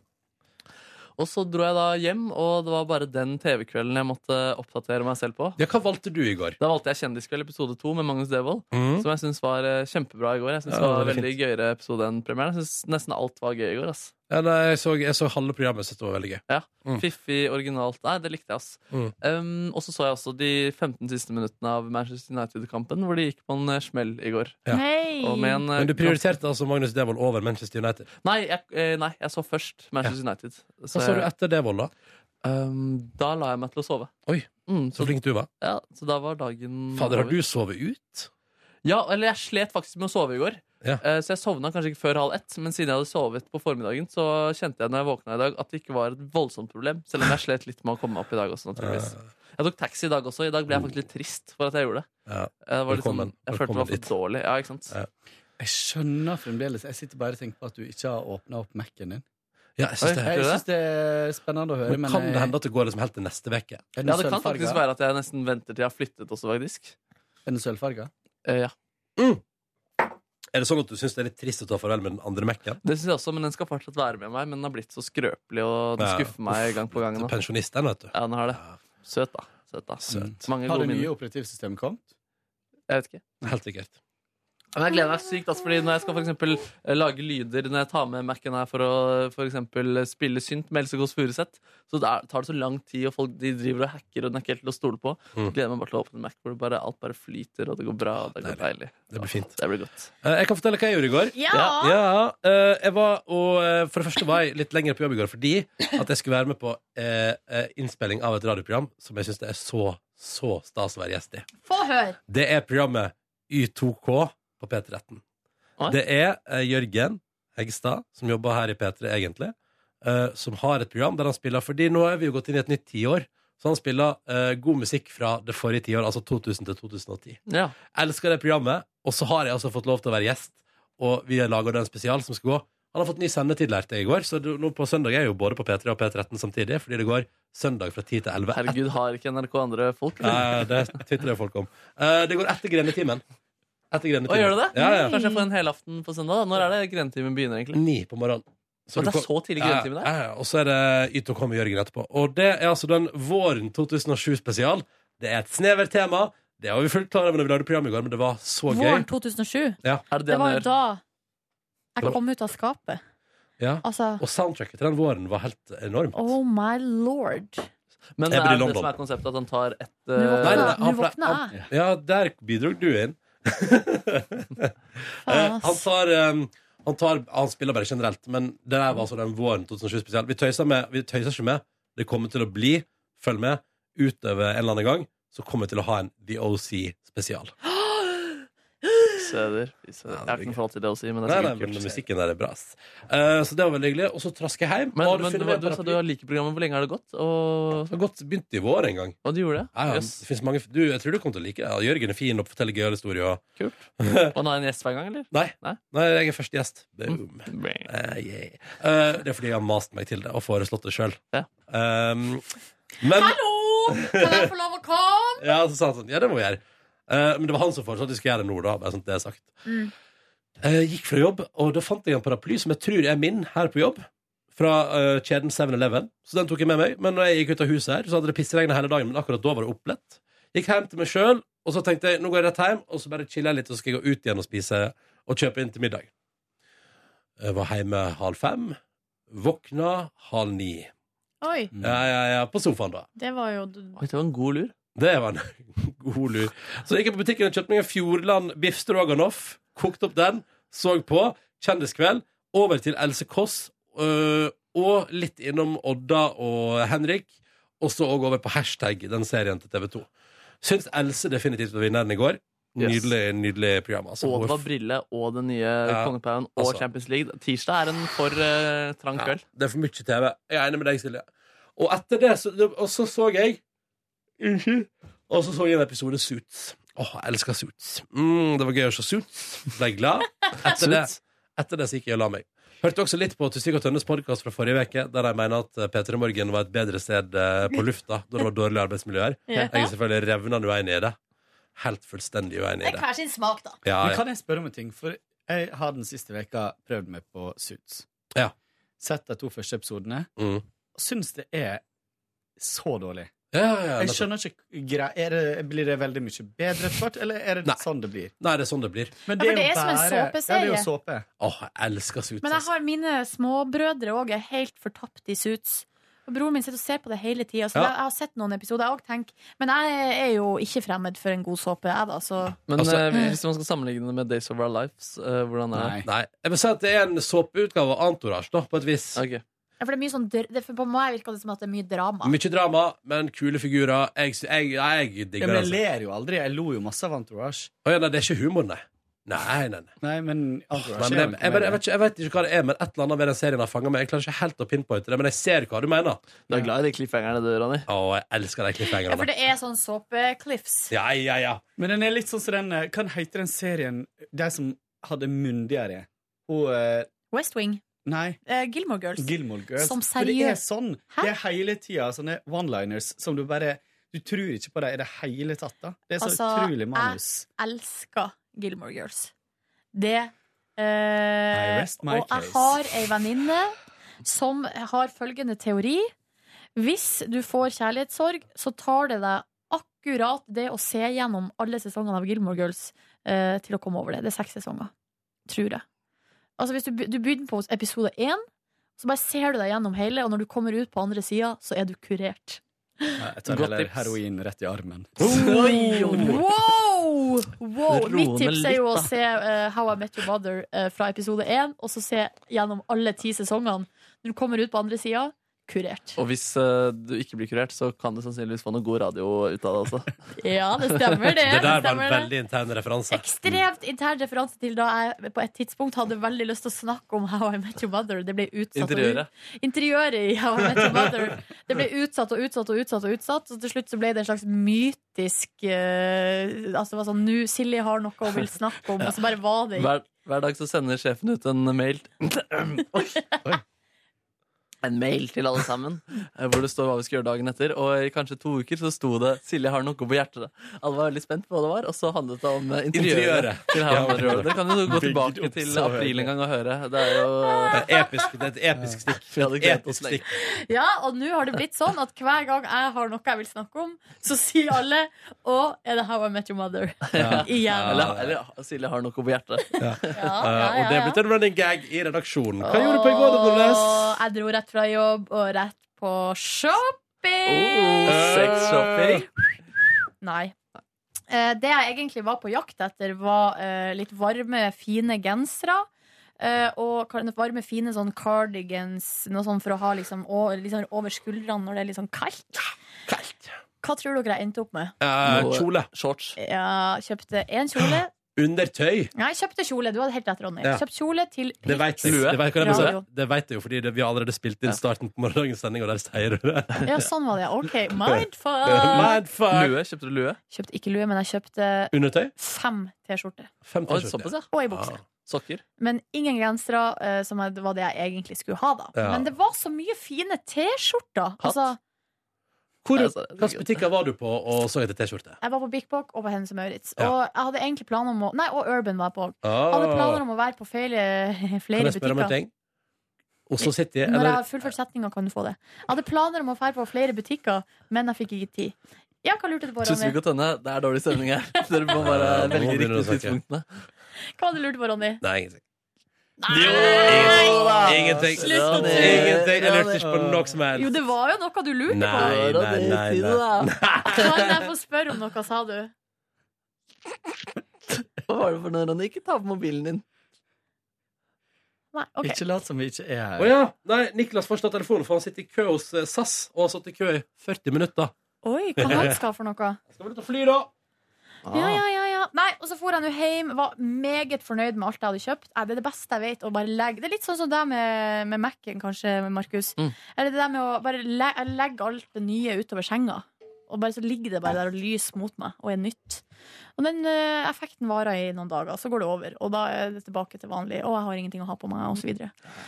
[SPEAKER 4] Og så dro jeg da hjem, og det var bare den TV-kvelden jeg måtte oppdatere meg selv på.
[SPEAKER 2] Ja, Hva valgte du i går?
[SPEAKER 4] Da valgte jeg Kjendiskveld episode to med Magnus Devold.
[SPEAKER 2] Mm.
[SPEAKER 4] Som jeg syns var eh, kjempebra i går. Jeg synes
[SPEAKER 2] Ja,
[SPEAKER 4] det var
[SPEAKER 2] det var
[SPEAKER 4] Veldig gøyere episode enn premieren. Jeg syns nesten alt var gøy i går. ass.
[SPEAKER 2] Ja, nei, jeg, så, jeg så halve programmet, så det var veldig gøy.
[SPEAKER 4] Ja, Fiffig, originalt. Nei, det likte jeg, ass.
[SPEAKER 2] Mm.
[SPEAKER 4] Um, og så så jeg også de 15 siste minuttene av Manchester United-kampen, hvor de gikk på en eh, smell i går.
[SPEAKER 2] Ja.
[SPEAKER 4] Og med en,
[SPEAKER 2] Mm.
[SPEAKER 4] eh,
[SPEAKER 2] Men du prioriterte altså Magnus Devold over Manchester United.
[SPEAKER 4] Nei jeg, eh, nei, jeg så først Manchester United.
[SPEAKER 2] Hva så du etter Devold, da?
[SPEAKER 4] Um, da la jeg meg til å sove. Mm,
[SPEAKER 2] Oi,
[SPEAKER 4] så
[SPEAKER 2] flink du var.
[SPEAKER 4] Ja, så da var dagen
[SPEAKER 2] Fader, har
[SPEAKER 4] over.
[SPEAKER 2] du sovet ut?
[SPEAKER 4] Ja, eller jeg slet faktisk med å sove i går.
[SPEAKER 2] Ja.
[SPEAKER 4] Eh, Så jeg sovna kanskje ikke før halv ett, men siden jeg hadde sovet på formiddagen, så kjente jeg når jeg våkna i dag at det ikke var et voldsomt problem. Selv om jeg slet litt med å komme meg opp i dag også, naturligvis. Jeg tok taxi i dag også. I dag ble jeg faktisk litt trist for at jeg gjorde det.
[SPEAKER 2] Ja.
[SPEAKER 4] Jeg, var litt sånn,
[SPEAKER 11] Velkommen.
[SPEAKER 4] jeg følte det
[SPEAKER 11] Velkommen
[SPEAKER 4] var for dårlig. Ja, ikke sant?
[SPEAKER 11] Jeg skjønner fremdeles. Jeg sitter bare og tenker på at du ikke har åpna opp Mac-en din.
[SPEAKER 2] Ja, jeg syns det.
[SPEAKER 11] Jeg syns det er spennende å høre,
[SPEAKER 2] Men
[SPEAKER 11] men,
[SPEAKER 2] kan det
[SPEAKER 11] jeg-
[SPEAKER 2] hende at det går liksom helt til neste uke?
[SPEAKER 11] Er den
[SPEAKER 4] Ja, det kan
[SPEAKER 11] sølvfarga?
[SPEAKER 4] faktisk være at jeg nesten venter til jeg har flyttet også, faktisk. Eh,
[SPEAKER 11] Er den sølvfarga?
[SPEAKER 4] Ja.
[SPEAKER 2] Er det sånn at du syns det er litt trist å ta farvel med den andre Mac-en?
[SPEAKER 4] Det synes jeg også, men den skal fortsatt være med meg, men den har blitt så skrøpelig, og den
[SPEAKER 2] Ja.
[SPEAKER 4] skuffer meg
[SPEAKER 2] Uff,
[SPEAKER 4] gang på gang.
[SPEAKER 2] blitt
[SPEAKER 4] nå.
[SPEAKER 2] pensjonist, den, Altså, vet du.
[SPEAKER 4] Ja, den har det. Søt, da. Søt, da. Mange
[SPEAKER 11] Har
[SPEAKER 4] gode
[SPEAKER 11] det nye
[SPEAKER 4] minner.
[SPEAKER 11] operativsystemet kommet?
[SPEAKER 4] Jeg vet ikke.
[SPEAKER 2] Helt sikkert.
[SPEAKER 4] Men jeg gleder meg sykt, altså, fordi når jeg skal for eksempel eh, lage lyder når jeg tar med Mac-en her for å eh, for eksempel spille synt med Else Kåss Furuseth, så det er- tar det så lang tid, og folk de driver og hacker, og den er ikke helt til å stole på.
[SPEAKER 2] Mm.
[SPEAKER 4] Jeg gleder meg bare til å åpne Mac, hvor det bare, alt bare flyter, og det går bra, og det går deilig.
[SPEAKER 2] Det blir fint.
[SPEAKER 4] Det blir godt.
[SPEAKER 2] Eh, Jeg kan fortelle hva jeg gjorde i går.
[SPEAKER 4] Ja!
[SPEAKER 2] Ja, eh, jeg var, og eh, For det første var jeg litt lenger på jobb i går fordi at jeg skulle være med på eh, eh, innspilling av et radioprogram som jeg syns det er så, så stas å være gjest i.
[SPEAKER 3] Få høre!
[SPEAKER 2] Det er programmet Y2K på P13. Det er eh, Jørgen Hegstad, som jobber her i P3 egentlig, eh, som har et program der han spiller Fordi nå er vi jo gått inn i et nytt tiår, så han spiller eh, god musikk fra det forrige tiåret, altså 2000 til 2010.
[SPEAKER 4] Ja.
[SPEAKER 2] Elsker det programmet, og så har jeg altså fått lov til å være gjest, og vi lager da en spesial som skal gå. Han har fått ny sendetid, lærte jeg i går, så det- nå på søndag er jeg jo både på P3 og P13 samtidig, fordi det går søndag fra 10 til 11.
[SPEAKER 4] Herregud, har ikke NRK andre folk?
[SPEAKER 2] Nei, det tvitrer folk om. Eh, det går etter Grennetimen. Etter Grennetimen.
[SPEAKER 4] Å, gjør det det?
[SPEAKER 2] Ja, ja.
[SPEAKER 4] Kanskje jeg får en helaften på søndag? da? Når er det grentimen begynner, egentlig?
[SPEAKER 2] Ni på morgenen.
[SPEAKER 4] Så det
[SPEAKER 2] du
[SPEAKER 4] er så
[SPEAKER 2] kom-
[SPEAKER 4] tidlig
[SPEAKER 2] Ja,
[SPEAKER 4] grentimen der?
[SPEAKER 2] Ja, ja. Og så er det Yt og kom med Jørgen etterpå. Og det er altså den våren 2007-spesial. Det er et snevert tema. Det var vi fullt klar over når vi lagde program i går, men det var så gøy.
[SPEAKER 3] Våren 2007.
[SPEAKER 2] Ja.
[SPEAKER 3] Det var jo da jeg kom ut av skapet.
[SPEAKER 2] Ja.
[SPEAKER 3] Altså-
[SPEAKER 2] Og soundtracket til den våren var helt enormt.
[SPEAKER 3] Oh my lord.
[SPEAKER 4] Men
[SPEAKER 2] Jeg
[SPEAKER 4] det
[SPEAKER 2] blir
[SPEAKER 4] er det
[SPEAKER 2] London.
[SPEAKER 4] som er konseptet, at han tar ett
[SPEAKER 3] Nå våkner
[SPEAKER 4] eh,
[SPEAKER 3] jeg. Nei, nei, han- Nå våkner jeg.
[SPEAKER 2] Ja, der bidrog du inn. Eh, han tar eh, han, tar, han spiller bare generelt, men det der var altså den våren 2007 spesielt. Vi tøyser, med, vi tøyser ikke med. Det kommer til å bli, følg med, utover en eller annen gang, så kommer vi til å ha en The OC-spesial.
[SPEAKER 4] Søder. Fy søder. Jeg har ikke noe forhold til det å si, men det
[SPEAKER 2] Nei,
[SPEAKER 4] er
[SPEAKER 2] nei,
[SPEAKER 4] sikkert
[SPEAKER 2] men
[SPEAKER 4] kult.
[SPEAKER 2] musikken der er bra. ass. Eh, så det var veldig hyggelig. Og så trask jeg hjem.
[SPEAKER 4] Men,
[SPEAKER 2] Har du
[SPEAKER 4] men
[SPEAKER 2] funnet
[SPEAKER 4] hva- altså,
[SPEAKER 2] med
[SPEAKER 4] du sa
[SPEAKER 2] paraply?
[SPEAKER 4] du har liker programmet. Hvor lenge har det gått? Og...
[SPEAKER 2] Det har gått begynt i vår en gang.
[SPEAKER 4] Og du gjorde det?
[SPEAKER 2] Ja, ja,
[SPEAKER 4] Jøss.
[SPEAKER 2] det finnes mange, du, jeg tror du kommer til å like det. Ja, Jørgen er fin og forteller gøyale historier. og-
[SPEAKER 4] Og han har en gjest hver gang, eller?
[SPEAKER 2] Nei.
[SPEAKER 4] Nei.
[SPEAKER 2] jeg er første gjest. Boom.
[SPEAKER 4] Mm.
[SPEAKER 2] Eh, yeah. Eh, det er fordi jeg har mast meg til det og foreslått det sjøl. Um, men
[SPEAKER 3] Hallo! Kan jeg få lov å komme?
[SPEAKER 2] ja, så sa han sånn, ja, det må vi gjøre. Eh, men det var han som foreslo at vi skulle gjøre det nå, da. Bare sånn at det er sagt.
[SPEAKER 3] Mm.
[SPEAKER 2] Jeg gikk fra jobb, og da fant jeg en paraply som jeg tror er min her på jobb. Fra eh, kjeden 7-Eleven. Så den tok jeg med meg. Men når jeg gikk ut av huset her, så hadde det pissregnet hele dagen. Men akkurat da var det opplett. Gikk hjem til meg sjøl, og så tenkte jeg nå går jeg rett hjem, og så bare chiller jeg litt, og så skal jeg gå ut igjen og spise og kjøpe inn til middag. Jeg var hjemme halv fem. Våkna halv ni.
[SPEAKER 3] Oi,
[SPEAKER 2] Ja, ja, ja. På sofaen, da.
[SPEAKER 3] det var jo
[SPEAKER 4] Oi, det var en god lur.
[SPEAKER 2] Det var en god lur. Så gikk jeg på butikken og kjøpte meg en Fjordland biff stroganoff. Kokte opp den, så på. Kjendiskveld. Over til Else Kåss øh, og litt innom Odda og Henrik. Og så òg over på hashtag den serien til TV 2. Syns Else definitivt var vinneren i går.
[SPEAKER 4] Yes.
[SPEAKER 2] Nydelig, nydelig program. Altså.
[SPEAKER 4] og det
[SPEAKER 2] Hun
[SPEAKER 4] var Brille og den nye
[SPEAKER 2] Ja,
[SPEAKER 4] Kongepauen og
[SPEAKER 2] altså.
[SPEAKER 4] Champions League. Tirsdag er en for eh, trang
[SPEAKER 2] Ja,
[SPEAKER 4] kveld.
[SPEAKER 2] det er for mye TV. Jeg er enig med deg, Silje. Og etter det så, og så, så jeg Unnskyld. Og så så jeg en episode Suits. Åh, jeg elsker Suits. Mm, det var gøy å se Suits. Ble glad. Etter det,
[SPEAKER 4] Suits.
[SPEAKER 2] etter det så gikk jeg og la meg. Hørte også litt på Tusvik og Tønnes podkast fra forrige uke, der de mener at eh, P3 Morgen var et bedre sted eh, på lufta da det var dårlig arbeidsmiljø her.
[SPEAKER 3] Ja.
[SPEAKER 2] Jeg er selvfølgelig revnende uenig i det. Helt fullstendig uenig
[SPEAKER 3] Det
[SPEAKER 2] i
[SPEAKER 3] er
[SPEAKER 2] det.
[SPEAKER 3] hver sin smak, da.
[SPEAKER 2] Ja,
[SPEAKER 11] Men
[SPEAKER 2] ja.
[SPEAKER 11] kan jeg spørre om en ting? For jeg har den siste veka prøvd meg på Suits.
[SPEAKER 2] Ja.
[SPEAKER 11] Sett de to første episodene.
[SPEAKER 2] Mm.
[SPEAKER 11] Syns det er så dårlig.
[SPEAKER 2] ja,
[SPEAKER 11] jeg
[SPEAKER 2] nettopp.
[SPEAKER 11] skjønner ikke grei- er det, Blir det veldig mye bedre etter hvert, eller er det sånn det blir?
[SPEAKER 2] Nei, det er sånn det blir.
[SPEAKER 11] Men
[SPEAKER 3] Ja, for det er som en såpeserie.
[SPEAKER 11] Ja, det er jo såpe.
[SPEAKER 2] Åh, jeg elsker Suits. altså.
[SPEAKER 3] Men jeg har mine småbrødre òg er helt fortapt i suits. Og Broren min sitter og ser på det hele tida, så
[SPEAKER 2] Ja.
[SPEAKER 3] jeg- jeg har sett noen episoder. Jeg også, tenk. Men jeg er jo ikke fremmed for en god såpe, jeg, da. Så
[SPEAKER 4] Men
[SPEAKER 2] Altså-
[SPEAKER 4] eh, hvis man skal sammenligne det med Days of Our Lives, eh, hvordan er det?
[SPEAKER 2] Nei. Jeg vil si at det er en såpeutgave av Antorage, da, på et vis.
[SPEAKER 3] Ja, For det er mye sånn dr- det, for På meg virker det som at det er mye drama.
[SPEAKER 2] Mye drama, men kule figurer. Jeg, sy- jeg, jeg, digger
[SPEAKER 11] Ja, men
[SPEAKER 2] det.
[SPEAKER 11] jeg
[SPEAKER 2] Altså.
[SPEAKER 11] ler jo aldri. Jeg lo jo masse av Entourage.
[SPEAKER 2] Å, ja, nei, det er ikke humor, nei. Nei, nei, nei.
[SPEAKER 11] Nei, men
[SPEAKER 2] Nei,
[SPEAKER 11] Entourage
[SPEAKER 2] men jeg, jeg, bare- jeg, vet ikke, jeg vet ikke hva det er, men et eller annet ved den serien har fanget meg. Jeg klarer ikke helt å pinpointe det, men jeg ser hva du mener.
[SPEAKER 4] Du er glad i de cliffhangerne du, Ronny?
[SPEAKER 2] Å, jeg elsker de
[SPEAKER 3] Ja, for
[SPEAKER 2] cliffhangerne.
[SPEAKER 3] det er sånn såpe-cliffs.
[SPEAKER 2] Ja, ja, ja.
[SPEAKER 11] Men den er litt sånn som den eh, Hva heter den serien De som hadde myndigere? Hun eh,
[SPEAKER 3] West Wing.
[SPEAKER 11] Nei.
[SPEAKER 3] Eh, Gilmore Girls.
[SPEAKER 11] Gilmore Girls.
[SPEAKER 3] Som
[SPEAKER 11] For det er
[SPEAKER 3] seriøst.
[SPEAKER 11] sånn. Det er hele tida sånne one-liners som du bare Du tror ikke på dem i det hele tatt. da Det er så
[SPEAKER 3] Altså,
[SPEAKER 11] utrolig manus.
[SPEAKER 3] Jeg elsker Gilmore Girls. Det eh,
[SPEAKER 11] rest my
[SPEAKER 3] Og jeg
[SPEAKER 11] case.
[SPEAKER 3] har ei venninne som har følgende teori. Hvis du får kjærlighetssorg, så tar det deg akkurat det å se gjennom alle sesongene av Gilmore Girls eh, til å komme over det. Det er seks sesonger, tror jeg. Altså hvis du, be- du begynner på episode én, så bare ser du deg gjennom hele, og når du kommer ut på andre sida, så er du kurert.
[SPEAKER 11] Nei, Jeg tar
[SPEAKER 4] Godt
[SPEAKER 11] heller
[SPEAKER 4] tips.
[SPEAKER 11] heroin rett i armen.
[SPEAKER 3] Wow! wow!
[SPEAKER 11] Roe
[SPEAKER 3] Mitt tips
[SPEAKER 11] ned
[SPEAKER 3] er jo
[SPEAKER 11] litt,
[SPEAKER 3] å
[SPEAKER 11] da.
[SPEAKER 3] se eh, How I Met Your Mother eh, fra episode 1, og så se gjennom alle ti sesongene. Når du kommer ut på andre sida, kurert.
[SPEAKER 4] Og hvis eh, du ikke blir kurert, så kan du sannsynligvis få noe god radio ut av det også.
[SPEAKER 3] Ja, det stemmer, det.
[SPEAKER 2] Det der var en
[SPEAKER 3] stemmer det.
[SPEAKER 2] veldig intern referanse.
[SPEAKER 3] Ekstremt intern referanse til da jeg på et tidspunkt hadde veldig lyst til å snakke om How I Met Your Mother. Det ble utsatt
[SPEAKER 4] Interiøret.
[SPEAKER 3] og ut- Interiøret i How I Met Your Mother. Det ble utsatt og utsatt og utsatt, og utsatt Så til slutt så ble det en slags mytisk eh, Altså det var sånn Nå, Silje har noe hun vil snakke om, og så bare var det
[SPEAKER 4] Hver, hver dag så sender sjefen ut en mail Oi. En mail til alle sammen eh, hvor det står hva vi skal gjøre dagen etter. Og i kanskje to uker så sto det 'Silje har noe på hjertet'. Alle var veldig spent på hva det var, og så handlet det om eh, interiøret.
[SPEAKER 2] Interiøret.
[SPEAKER 4] til her
[SPEAKER 2] Ja,
[SPEAKER 4] og der. Dere kan jo gå
[SPEAKER 2] bygd
[SPEAKER 4] tilbake
[SPEAKER 2] opp
[SPEAKER 4] til
[SPEAKER 2] så
[SPEAKER 4] april
[SPEAKER 2] høyt.
[SPEAKER 4] en gang og høre. Det er jo
[SPEAKER 2] Det er episk, det er et episk stikk.
[SPEAKER 4] Vi hadde gledet oss
[SPEAKER 2] Episk stikk.
[SPEAKER 3] Ja, og nå har det blitt sånn at hver gang jeg har noe jeg vil snakke om, så sier alle Å, er det How I Met Your Mother? Igjen.
[SPEAKER 4] Eller, eller 'Silje har noe på hjertet'.
[SPEAKER 2] Eh, og det er blitt en running gag i redaksjonen. Hva gjorde du på i går, da,
[SPEAKER 3] Åh,
[SPEAKER 2] Nordnes?
[SPEAKER 3] Jeg dro rett fra jobb og rett på
[SPEAKER 2] Oh.
[SPEAKER 3] shopping!
[SPEAKER 4] Sexshopping.
[SPEAKER 3] Nei. Eh, Det jeg egentlig var på jakt etter, var eh, litt varme, fine gensere. eh, og kan- varme, fine sånn cardigans, noe sånn for å ha liksom, over, liksom over skuldrene når det er litt sånn kaldt. Hva tror dere jeg endte opp med?
[SPEAKER 2] Eh,
[SPEAKER 4] Noe-
[SPEAKER 2] kjole.
[SPEAKER 4] Shorts.
[SPEAKER 3] Jeg kjøpte én kjole.
[SPEAKER 2] Undertøy.
[SPEAKER 3] Nei, jeg kjøpte kjole. Du hadde helt rett, Ronny.
[SPEAKER 2] Ja.
[SPEAKER 3] Kjøpt kjole til
[SPEAKER 2] Det vet jeg, det vet, kan jeg, bare
[SPEAKER 3] radio.
[SPEAKER 2] si. det vet jeg jo, fordi det, vi har allerede spilt inn starten på morgendagens sending, og der sier du det.
[SPEAKER 3] Ja, sånn var det. OK, mindfuck.
[SPEAKER 2] Mindfuck.
[SPEAKER 4] Lue. Kjøpte du lue?
[SPEAKER 3] Kjøpte ikke lue, men jeg kjøpte
[SPEAKER 2] Undertøy?
[SPEAKER 3] fem T-skjorter.
[SPEAKER 2] Fem
[SPEAKER 4] Oi,
[SPEAKER 2] T-skjorter.
[SPEAKER 4] såpass, ja.
[SPEAKER 3] Og ei bukse.
[SPEAKER 4] Sokker.
[SPEAKER 3] Men ingen gensere, eh, som er- var det jeg egentlig skulle ha, da.
[SPEAKER 2] Ja.
[SPEAKER 3] Men det var så mye fine T-skjorter.
[SPEAKER 2] Hatt?
[SPEAKER 3] Altså,
[SPEAKER 2] Hvor, hvilke butikker var du på og så etter T-skjorte?
[SPEAKER 3] jeg var på Big Bock og på Hennes og Maurits.
[SPEAKER 2] Ja.
[SPEAKER 3] Og jeg hadde egentlig planer om å Nei, og Urban var jeg på.
[SPEAKER 2] Ah.
[SPEAKER 3] Hadde planer om å være på flere,
[SPEAKER 2] Kan
[SPEAKER 3] flere
[SPEAKER 2] jeg spørre om en
[SPEAKER 3] butikker.
[SPEAKER 2] ting? Oslo City,
[SPEAKER 3] Når jeg
[SPEAKER 2] eller
[SPEAKER 3] har fullført setninga, kan du få det. Jeg hadde planer om å dra på flere butikker, men jeg fikk ikke tid. Ja, hva lurte du på,
[SPEAKER 4] Tusvik
[SPEAKER 3] Ronny?
[SPEAKER 4] og Tønne, det er dårlig stemning her. Dere må bare
[SPEAKER 2] Nå
[SPEAKER 4] velge
[SPEAKER 2] begynner du å
[SPEAKER 4] riktige
[SPEAKER 2] snakke.
[SPEAKER 4] tidspunktene.
[SPEAKER 3] Hva hadde du lurt på, Ronny?
[SPEAKER 2] Nei, ingenting.
[SPEAKER 3] Nei!
[SPEAKER 2] Ingenting.
[SPEAKER 3] Slutt å tulle.
[SPEAKER 2] Ingenting. Jeg lurte ikke på noe som
[SPEAKER 3] Jo,
[SPEAKER 2] helst.
[SPEAKER 3] det var jo noe du lurte
[SPEAKER 2] Nei,
[SPEAKER 3] på.
[SPEAKER 2] nei, nei. nei.
[SPEAKER 3] Kan jeg få spørre om noe, sa du?
[SPEAKER 4] Hva var det for noe, Ronny? Ikke ta på mobilen din.
[SPEAKER 3] Nei, ok.
[SPEAKER 11] Ikke lat som vi ikke er her.
[SPEAKER 2] Å ja. Nei, Niklas får ikke ta telefonen, for han sitter i kø hos eh, SAS og har satt i kø i 40 minutter.
[SPEAKER 3] Oi, hva han skal for noe?
[SPEAKER 2] Skal vel ut og fly, da?
[SPEAKER 3] Ja, ja, ja, ja. Nei, og så for han jo hjem, var meget fornøyd med alt jeg hadde kjøpt. Nei, det er det beste jeg vet, å bare legge Det er litt sånn som det med, med Mac-en, kanskje, Markus.
[SPEAKER 13] Mm.
[SPEAKER 3] Eller det der med å bare le jeg legger alt det nye utover senga. Og bare så ligger det bare der og lyser mot meg, og er nytt. Og den eh, effekten varer i noen dager, så går det over. Og da er det tilbake til vanlig. Å, jeg har ingenting å ha på meg, og så videre.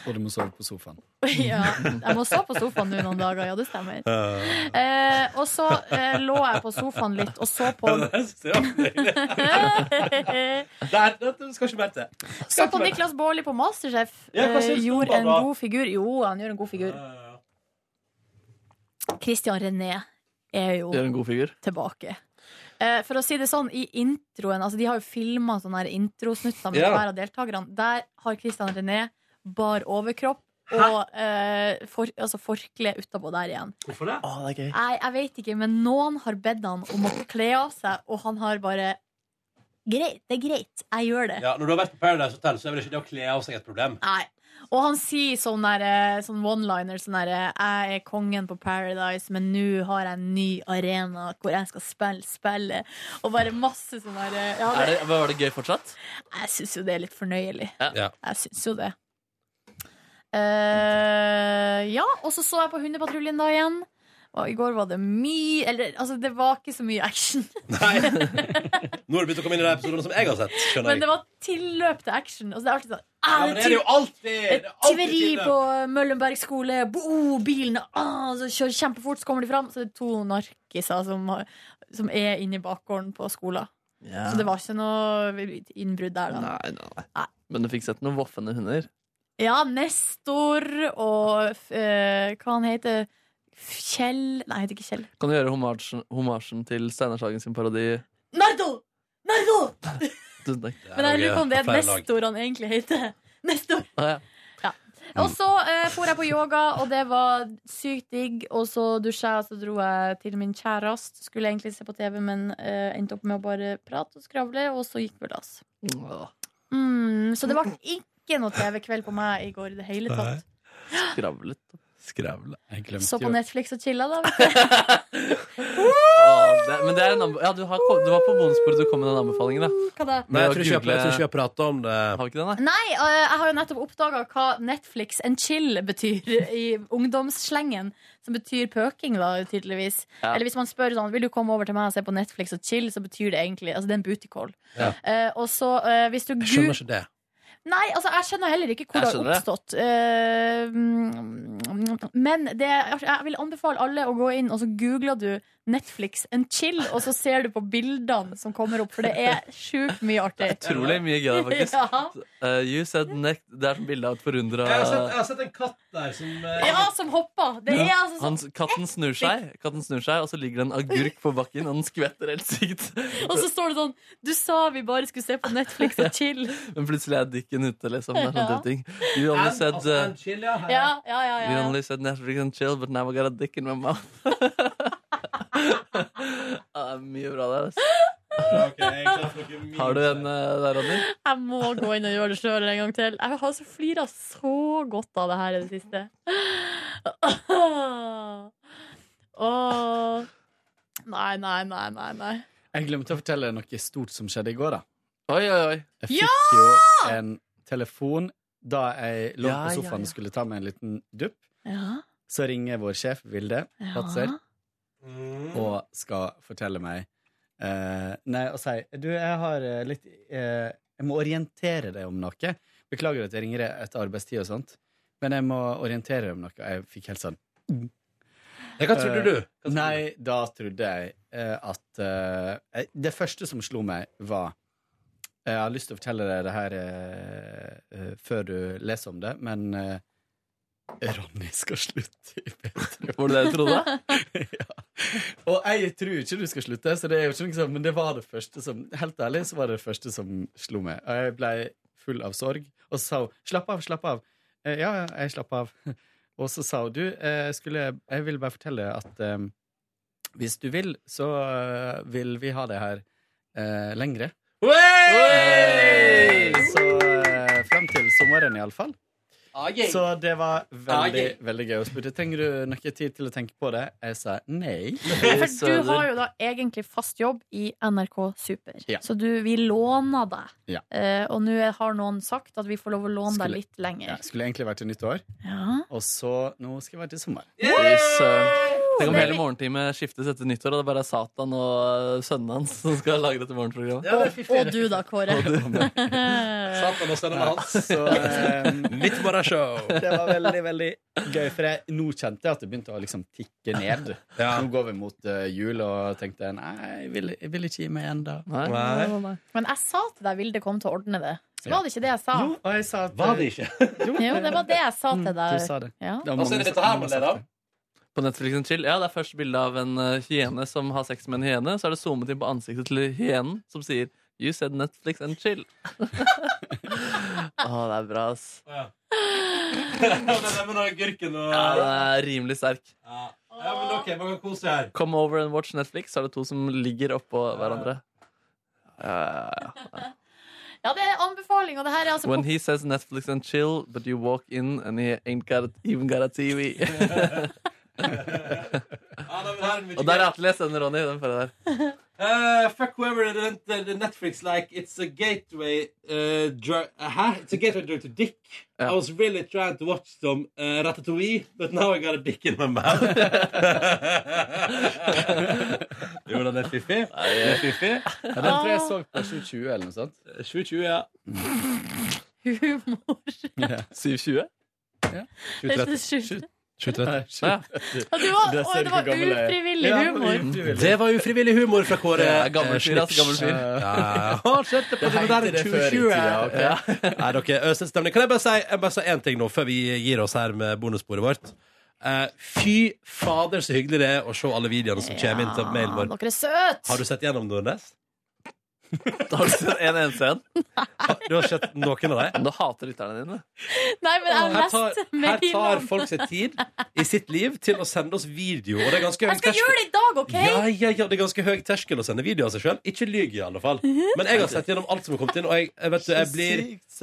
[SPEAKER 11] Og du må sove på sofaen.
[SPEAKER 3] ja, jeg må sove på sofaen nå noen dager, ja, det stemmer. Eh, og så eh, lå jeg på sofaen litt og så på
[SPEAKER 2] Der, det skal ikke mer til.
[SPEAKER 3] Så på Niklas Baarli på Masterchef
[SPEAKER 2] Ja, hva
[SPEAKER 3] eh,
[SPEAKER 2] syns du om
[SPEAKER 3] gjorde
[SPEAKER 2] han
[SPEAKER 3] en
[SPEAKER 2] da?
[SPEAKER 3] god figur. Jo, han gjør en god figur. Christian René er jo
[SPEAKER 4] Gjør en god figur.
[SPEAKER 3] tilbake. Eh, For å si det sånn, i introen altså De har jo filma sånne her introsnutter med
[SPEAKER 13] Ja.
[SPEAKER 3] hver av deltakerne. Der har Christian René bar overkropp og eh, for, altså forkle utapå der igjen.
[SPEAKER 2] Hvorfor det?
[SPEAKER 4] Å, det er gøy.
[SPEAKER 3] Nei, jeg vet ikke, men noen har bedt han om å kle av seg, og han har bare Greit, det er greit. Jeg gjør det.
[SPEAKER 2] Ja, når du har vært på Paradise Hotel, så er vel ikke det å kle av seg et problem.
[SPEAKER 3] Nei. Og han sier sånn, der, eh, sånn one-liner sånn der, Jeg er kongen på Paradise, men nå har jeg en ny arena hvor jeg skal spille spillet. Og bare masse sånn der eh, ja,
[SPEAKER 4] Er det,
[SPEAKER 3] det,
[SPEAKER 4] var det gøy fortsatt?
[SPEAKER 3] Jeg syns jo det er litt fornøyelig.
[SPEAKER 4] Ja.
[SPEAKER 3] Jeg syns jo det. Eh, ja, og så så jeg på Hundepatruljen da igjen. Og i går var det mye Eller altså, det var ikke så mye action.
[SPEAKER 2] Nå har du begynt å komme inn i de episodene som jeg har sett.
[SPEAKER 3] Men
[SPEAKER 2] skjønner
[SPEAKER 3] det
[SPEAKER 2] jeg
[SPEAKER 3] var tilløp til action. Og så er det alltid sånn
[SPEAKER 2] Ja, men det er det jo alltid! Det er alltid
[SPEAKER 3] Tyveri
[SPEAKER 2] tilløp.
[SPEAKER 3] på Møllenberg skole. Bo, bilene ah, så kjører kjempefort, så kommer de fram. Så det er to narkiser som, har- som er inne i bakgården på skolen.
[SPEAKER 4] Ja.
[SPEAKER 3] Så det var ikke noe innbrudd der, da.
[SPEAKER 4] Nei, nei, nei. Men du fikk sett noen voffende hunder.
[SPEAKER 3] Ja, Nestor og f- eh, hva han heter Kjell Nei, han heter ikke Kjell.
[SPEAKER 4] Kan du gjøre homasjen, homasjen til Steinar Sagen sin parodi?
[SPEAKER 3] Nardo! Nardo!
[SPEAKER 4] Tusen takk.
[SPEAKER 3] Men jeg lurer på om det er Nestor han egentlig heter. Nestor.
[SPEAKER 4] Ah, ja.
[SPEAKER 3] Og så eh, for jeg på yoga, og det var sykt digg. Og så dusja jeg, og så dro jeg til min kjæreste. Skulle egentlig se på TV, men eh, endte opp med å bare prate og skravle, og så gikk vi dass. Mm, så det ble ikke noe TV-kveld på meg i går i det hele tatt.
[SPEAKER 4] Skravlet.
[SPEAKER 2] Skravle. Jeg glemte
[SPEAKER 3] Så på Netflix og chilla, da. vet
[SPEAKER 4] Å, det, men det er en anbe- ja, du, har kom, du var på bonusbordet du kom med den anbefalingen, da.
[SPEAKER 3] du. Hva da?
[SPEAKER 2] Nei, jeg tror ikke jeg- jeg tror ikke jeg har pratet om det.
[SPEAKER 4] Har vi ikke det, nei?
[SPEAKER 3] Nei, og jeg har jo nettopp oppdaga hva Netflix and chill betyr i ungdomsslengen. Som betyr pøking, da, tydeligvis.
[SPEAKER 13] Ja.
[SPEAKER 3] Eller hvis man spør sånn Vil du komme over til meg og se på Netflix og chill, så betyr det egentlig Altså, det er en booty call.
[SPEAKER 2] Ja.
[SPEAKER 3] Eh, og så eh, hvis du
[SPEAKER 2] Jeg skjønner ikke det.
[SPEAKER 3] Nei, altså, jeg skjønner heller ikke hvor
[SPEAKER 2] Jeg
[SPEAKER 3] det har
[SPEAKER 2] skjønner det.
[SPEAKER 3] oppstått. Eh, mm, men det, jeg vil anbefale alle å gå inn, og så googler du Netflix and chill, og så ser du på bildene som kommer opp, for det er sjukt mye artig.
[SPEAKER 4] Utrolig mye gøy, faktisk.
[SPEAKER 3] Ja.
[SPEAKER 4] Eh, you said neck Det er som bilde av et forundra
[SPEAKER 2] Jeg har, sett, jeg har sett en katt der som eh,
[SPEAKER 3] Ja, som hopper. Det er altså
[SPEAKER 4] Han, katten, snur seg, katten snur seg, og så ligger det en agurk på bakken, og den skvetter helt sykt.
[SPEAKER 3] Og så står det sånn Du sa vi bare skulle se på Netflix og chill.
[SPEAKER 4] Men plutselig er dikken ute, liksom. Det er sånn
[SPEAKER 3] Ja.
[SPEAKER 4] type ting. You only said,
[SPEAKER 2] altså,
[SPEAKER 4] uh,
[SPEAKER 3] Ja, ja, ja, ja,
[SPEAKER 4] you
[SPEAKER 3] ja.
[SPEAKER 4] only said Netflix and chill, but now I got a dick in my mouth. Ah, mye bra der, altså. Har du en eh, der, Ronny?
[SPEAKER 3] Jeg må gå inn og gjøre det sjøl en gang til. Jeg har så flira så godt av det her i det siste. Åh. Nei, nei, nei, nei. nei.
[SPEAKER 11] Jeg glemte å fortelle noe stort som skjedde i går, da.
[SPEAKER 4] Oi, oi, oi.
[SPEAKER 11] Jeg fikk jo en telefon da jeg lå
[SPEAKER 4] Ja,
[SPEAKER 11] på
[SPEAKER 4] ja,
[SPEAKER 11] sofaen
[SPEAKER 4] ja.
[SPEAKER 11] og skulle ta meg en liten dupp.
[SPEAKER 3] Ja.
[SPEAKER 11] Så ringer vår sjef, Vilde
[SPEAKER 3] Ja.
[SPEAKER 11] Fatser, og skal fortelle meg eh, Nei, og sier Du, jeg har eh, litt eh, Jeg må orientere deg om noe. Beklager at jeg ringer deg etter arbeidstid og sånt, men jeg må orientere deg om noe. Jeg fikk helt sånn
[SPEAKER 2] Ja, hva trodde
[SPEAKER 11] Eh,
[SPEAKER 2] du?
[SPEAKER 11] Nei, da trodde jeg eh, at eh, Det første som slo meg, var Jeg har lyst til å fortelle deg det her eh, eh, før du leser om det, men eh, Ronny skal slutte i P3.
[SPEAKER 4] Var det det du trodde?
[SPEAKER 11] ja. Og jeg tror ikke du skal slutte, så det er jo ikke noe sånn, men det var det første som Helt ærlig så var det det første som slo meg. Og jeg ble full av sorg. Og så sa hun 'slapp av, slapp av'. Eh, ja, ja, jeg slapp av. Og så sa hun 'du, eh, skulle, jeg vil bare fortelle at eh, hvis du vil, så eh, vil vi ha det her eh, lengre'.
[SPEAKER 2] Hey!
[SPEAKER 11] Så eh, frem til eh, sommeren, iallfall. Så det var veldig,
[SPEAKER 2] Ah,
[SPEAKER 11] veldig gøy. Og spurte trenger du noe tid til å tenke på det. Jeg sa nei.
[SPEAKER 3] For du har jo da egentlig fast jobb i NRK Super,
[SPEAKER 11] Ja.
[SPEAKER 3] så du, vi låner deg.
[SPEAKER 11] Ja.
[SPEAKER 3] Eh, og nå har noen sagt at vi får lov å låne
[SPEAKER 11] Skulle-
[SPEAKER 3] deg litt lenger.
[SPEAKER 11] Jeg skulle egentlig vært til nyttår,
[SPEAKER 3] Ja.
[SPEAKER 11] og så Nå skal jeg være til sommer.
[SPEAKER 4] Tenk om hele morgentime skiftes etter nyttår, og det er bare Satan og eh, sønnen hans som skal lage dette morgenprogrammet.
[SPEAKER 3] Og, og du da, Kåre.
[SPEAKER 2] Satan og sønnen hans.
[SPEAKER 11] Mitt
[SPEAKER 2] bare show.
[SPEAKER 11] ehm, Det var veldig, veldig gøy, for jeg, nå kjente jeg at det begynte å liksom tikke ned. Nå går vi mot eh, jul, og tenkte nei, jeg vil, jeg vil ikke gi meg ennå.
[SPEAKER 2] Nei.
[SPEAKER 3] Men jeg sa til deg Vilde kom til å ordne det. Så var det ikke det jeg sa?
[SPEAKER 11] Og jeg sa at eh,
[SPEAKER 2] Var det ikke?
[SPEAKER 3] Jo, det var det jeg sa til
[SPEAKER 11] Mm,
[SPEAKER 3] deg.
[SPEAKER 4] du sa det.
[SPEAKER 3] Ja.
[SPEAKER 11] Da må Hva sier man- dette her med det da?
[SPEAKER 4] På Netflix and Chill, ja, Det er først bilde av en eh, hyene som har sex med en hyene. Så er det zoomet inn på ansiktet til hyenen, som sier You said Netflix and chill. Å, det er bra, ass.
[SPEAKER 2] Den og agurken og
[SPEAKER 4] Ja, den er rimelig sterk.
[SPEAKER 2] Ja, men OK, man kan kose seg her.
[SPEAKER 4] Come over and watch Netflix, så er det to som ligger oppå hverandre. Ja, ja, ja.
[SPEAKER 3] Ja, det er anbefaling, og det her er altså
[SPEAKER 4] When he says Netflix and chill, but you walk in and he ain't got a, even got a TV. Og der er Atle sender Ronny den forrige der.
[SPEAKER 2] Uh, fuck whoever invented the, Netflix like it's a gateway uh, drug. Uh, huh? It's a gateway drug to dick. I was really trying to watch some uh, Ratatouille, but now I got a dick in my mouth. jo da, det er fiffig. Det er fiffig.
[SPEAKER 11] Ja, den tror jeg jeg så på 720 eller noe sånt.
[SPEAKER 2] 720, ja.
[SPEAKER 3] humor.
[SPEAKER 4] 720?
[SPEAKER 3] Det er sjukt.
[SPEAKER 2] Ja.
[SPEAKER 3] Og det var- og det var ufrivillig humor.
[SPEAKER 2] Det var ufrivillig humor fra Kåre.
[SPEAKER 4] Ja,
[SPEAKER 2] Eh,
[SPEAKER 4] gammel fyr, ass, gammel fyr.
[SPEAKER 2] Ja. Å, sett det på
[SPEAKER 11] Det
[SPEAKER 2] det
[SPEAKER 11] heter
[SPEAKER 2] moderne
[SPEAKER 11] det før i
[SPEAKER 2] 2020.
[SPEAKER 11] tida, ok.
[SPEAKER 2] Ja. Nei, dere, øset stemning. Kan jeg bare si jeg bare si én ting nå, før vi gir oss her med bonussporet vårt? Eh, fy fader, så hyggelig det er å se alle videoene som kommer inn til mailen vår.
[SPEAKER 3] Dere er søte!
[SPEAKER 2] Har du sett gjennom Nordnes?
[SPEAKER 4] Har du sett en eneste en?
[SPEAKER 2] Du har sett noen av dem?
[SPEAKER 4] Du hater lytterne dine.
[SPEAKER 3] Nei, men jeg
[SPEAKER 2] Her tar,
[SPEAKER 3] leste
[SPEAKER 2] her
[SPEAKER 3] mailen.
[SPEAKER 2] tar folk seg tid i sitt liv til å sende oss video. Og det er ganske høy
[SPEAKER 3] Jeg skal
[SPEAKER 2] terskel.
[SPEAKER 3] gjøre det i dag, OK?
[SPEAKER 2] Ja, ja, ja, det er ganske høy terskel å sende video av seg sjøl. Ikke lyg, i alle fall.
[SPEAKER 3] Mhm.
[SPEAKER 2] Men jeg har sett gjennom alt som har kommet inn, og jeg, jeg, vet, du, jeg blir,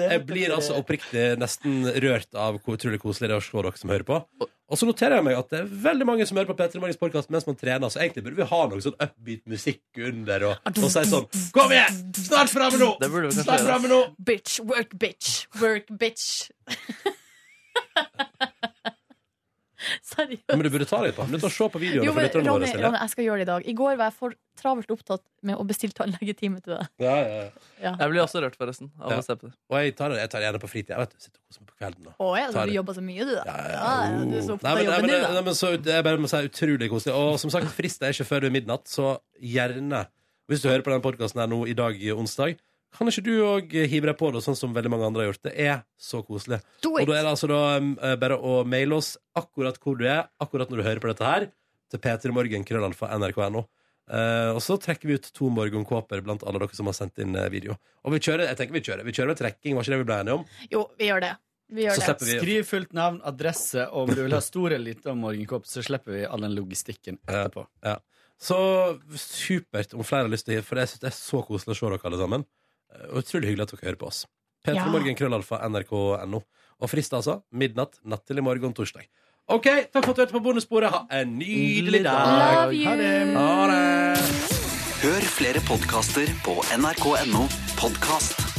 [SPEAKER 2] jeg blir altså oppriktig nesten rørt av hvor utrolig koselig det er å se dere som hører på. Og så noterer jeg meg at det er veldig mange som hører på P3 Morgens podkast mens man trener, så egentlig burde vi ha noe sånn upbeat musikk under og, og si sånn Kom igjen! Snart framme nå!
[SPEAKER 4] Det burde vi kanskje
[SPEAKER 2] Snart
[SPEAKER 4] gjøre.
[SPEAKER 2] framme nå!
[SPEAKER 3] Bitch, work, bitch. Work, bitch. Seriøst.
[SPEAKER 2] Men du burde ta deg et par minutter og se på videoene.
[SPEAKER 3] Jo,
[SPEAKER 2] for
[SPEAKER 3] men
[SPEAKER 2] lytterne våre,
[SPEAKER 3] Ronny,
[SPEAKER 2] Silje.
[SPEAKER 3] Ronny, jeg skal gjøre det i dag. I går var jeg for travelt opptatt med å bestille tannlegetime til deg.
[SPEAKER 2] Ja, ja, ja.
[SPEAKER 3] Ja.
[SPEAKER 4] Jeg blir også rørt, forresten. Av
[SPEAKER 2] Ja.
[SPEAKER 4] å se på det.
[SPEAKER 2] Og jeg tar det, jeg tar det gjerne på fritida. vet du. Sitter og koser meg på kvelden. da.
[SPEAKER 3] Å ja, så
[SPEAKER 2] Tar
[SPEAKER 3] du
[SPEAKER 2] det.
[SPEAKER 3] jobber så mye, du, da. Ja, Du er så opptatt
[SPEAKER 2] Nei,
[SPEAKER 3] av
[SPEAKER 2] men, nei,
[SPEAKER 3] jobben
[SPEAKER 2] men,
[SPEAKER 3] din, da.
[SPEAKER 2] nei, men så, det er bare må si utrolig koselig. Og som sagt, frist er ikke før det er midnatt, så gjerne, hvis du hører på den podkasten her nå i dag, i onsdag, kan ikke du òg hive deg på det, sånn som veldig mange andre har gjort? Det er så koselig.
[SPEAKER 3] Do
[SPEAKER 2] Og
[SPEAKER 3] it.
[SPEAKER 2] da er det altså da um, eh, bare å maile oss akkurat hvor du er, akkurat når du hører på dette her, til p3morgen.krøllalfa.nrk.no. Eh, og så trekker vi ut to morgenkåper blant alle dere som har sendt inn eh, video. Og vi kjører jeg tenker vi kjører, vi kjører med trekking, var ikke det vi ble enige om?
[SPEAKER 3] Jo, vi gjør det. Vi gjør
[SPEAKER 2] Så
[SPEAKER 3] det.
[SPEAKER 2] slipper vi-
[SPEAKER 11] Skriv fullt navn, adresse, og om du vil ha stor eller liten morgenkopp, så slipper vi all den logistikken etterpå.
[SPEAKER 2] Ja. Så supert om flere har lyst til å gi, for jeg synes det er så koselig å se dere alle sammen. Eh, Og utrolig hyggelig at dere hører på oss. P3
[SPEAKER 11] Ja.
[SPEAKER 2] Morgen, krøllalfa, nrk.no. Og frist altså midnatt natt til i morgen torsdag. OK, takk for at du hørte på Bondesporet. Ha en nydelig
[SPEAKER 1] Love
[SPEAKER 2] dag.
[SPEAKER 1] you.
[SPEAKER 2] Ha det. Ha det.
[SPEAKER 1] Hør flere podkaster på nrk.no podkast.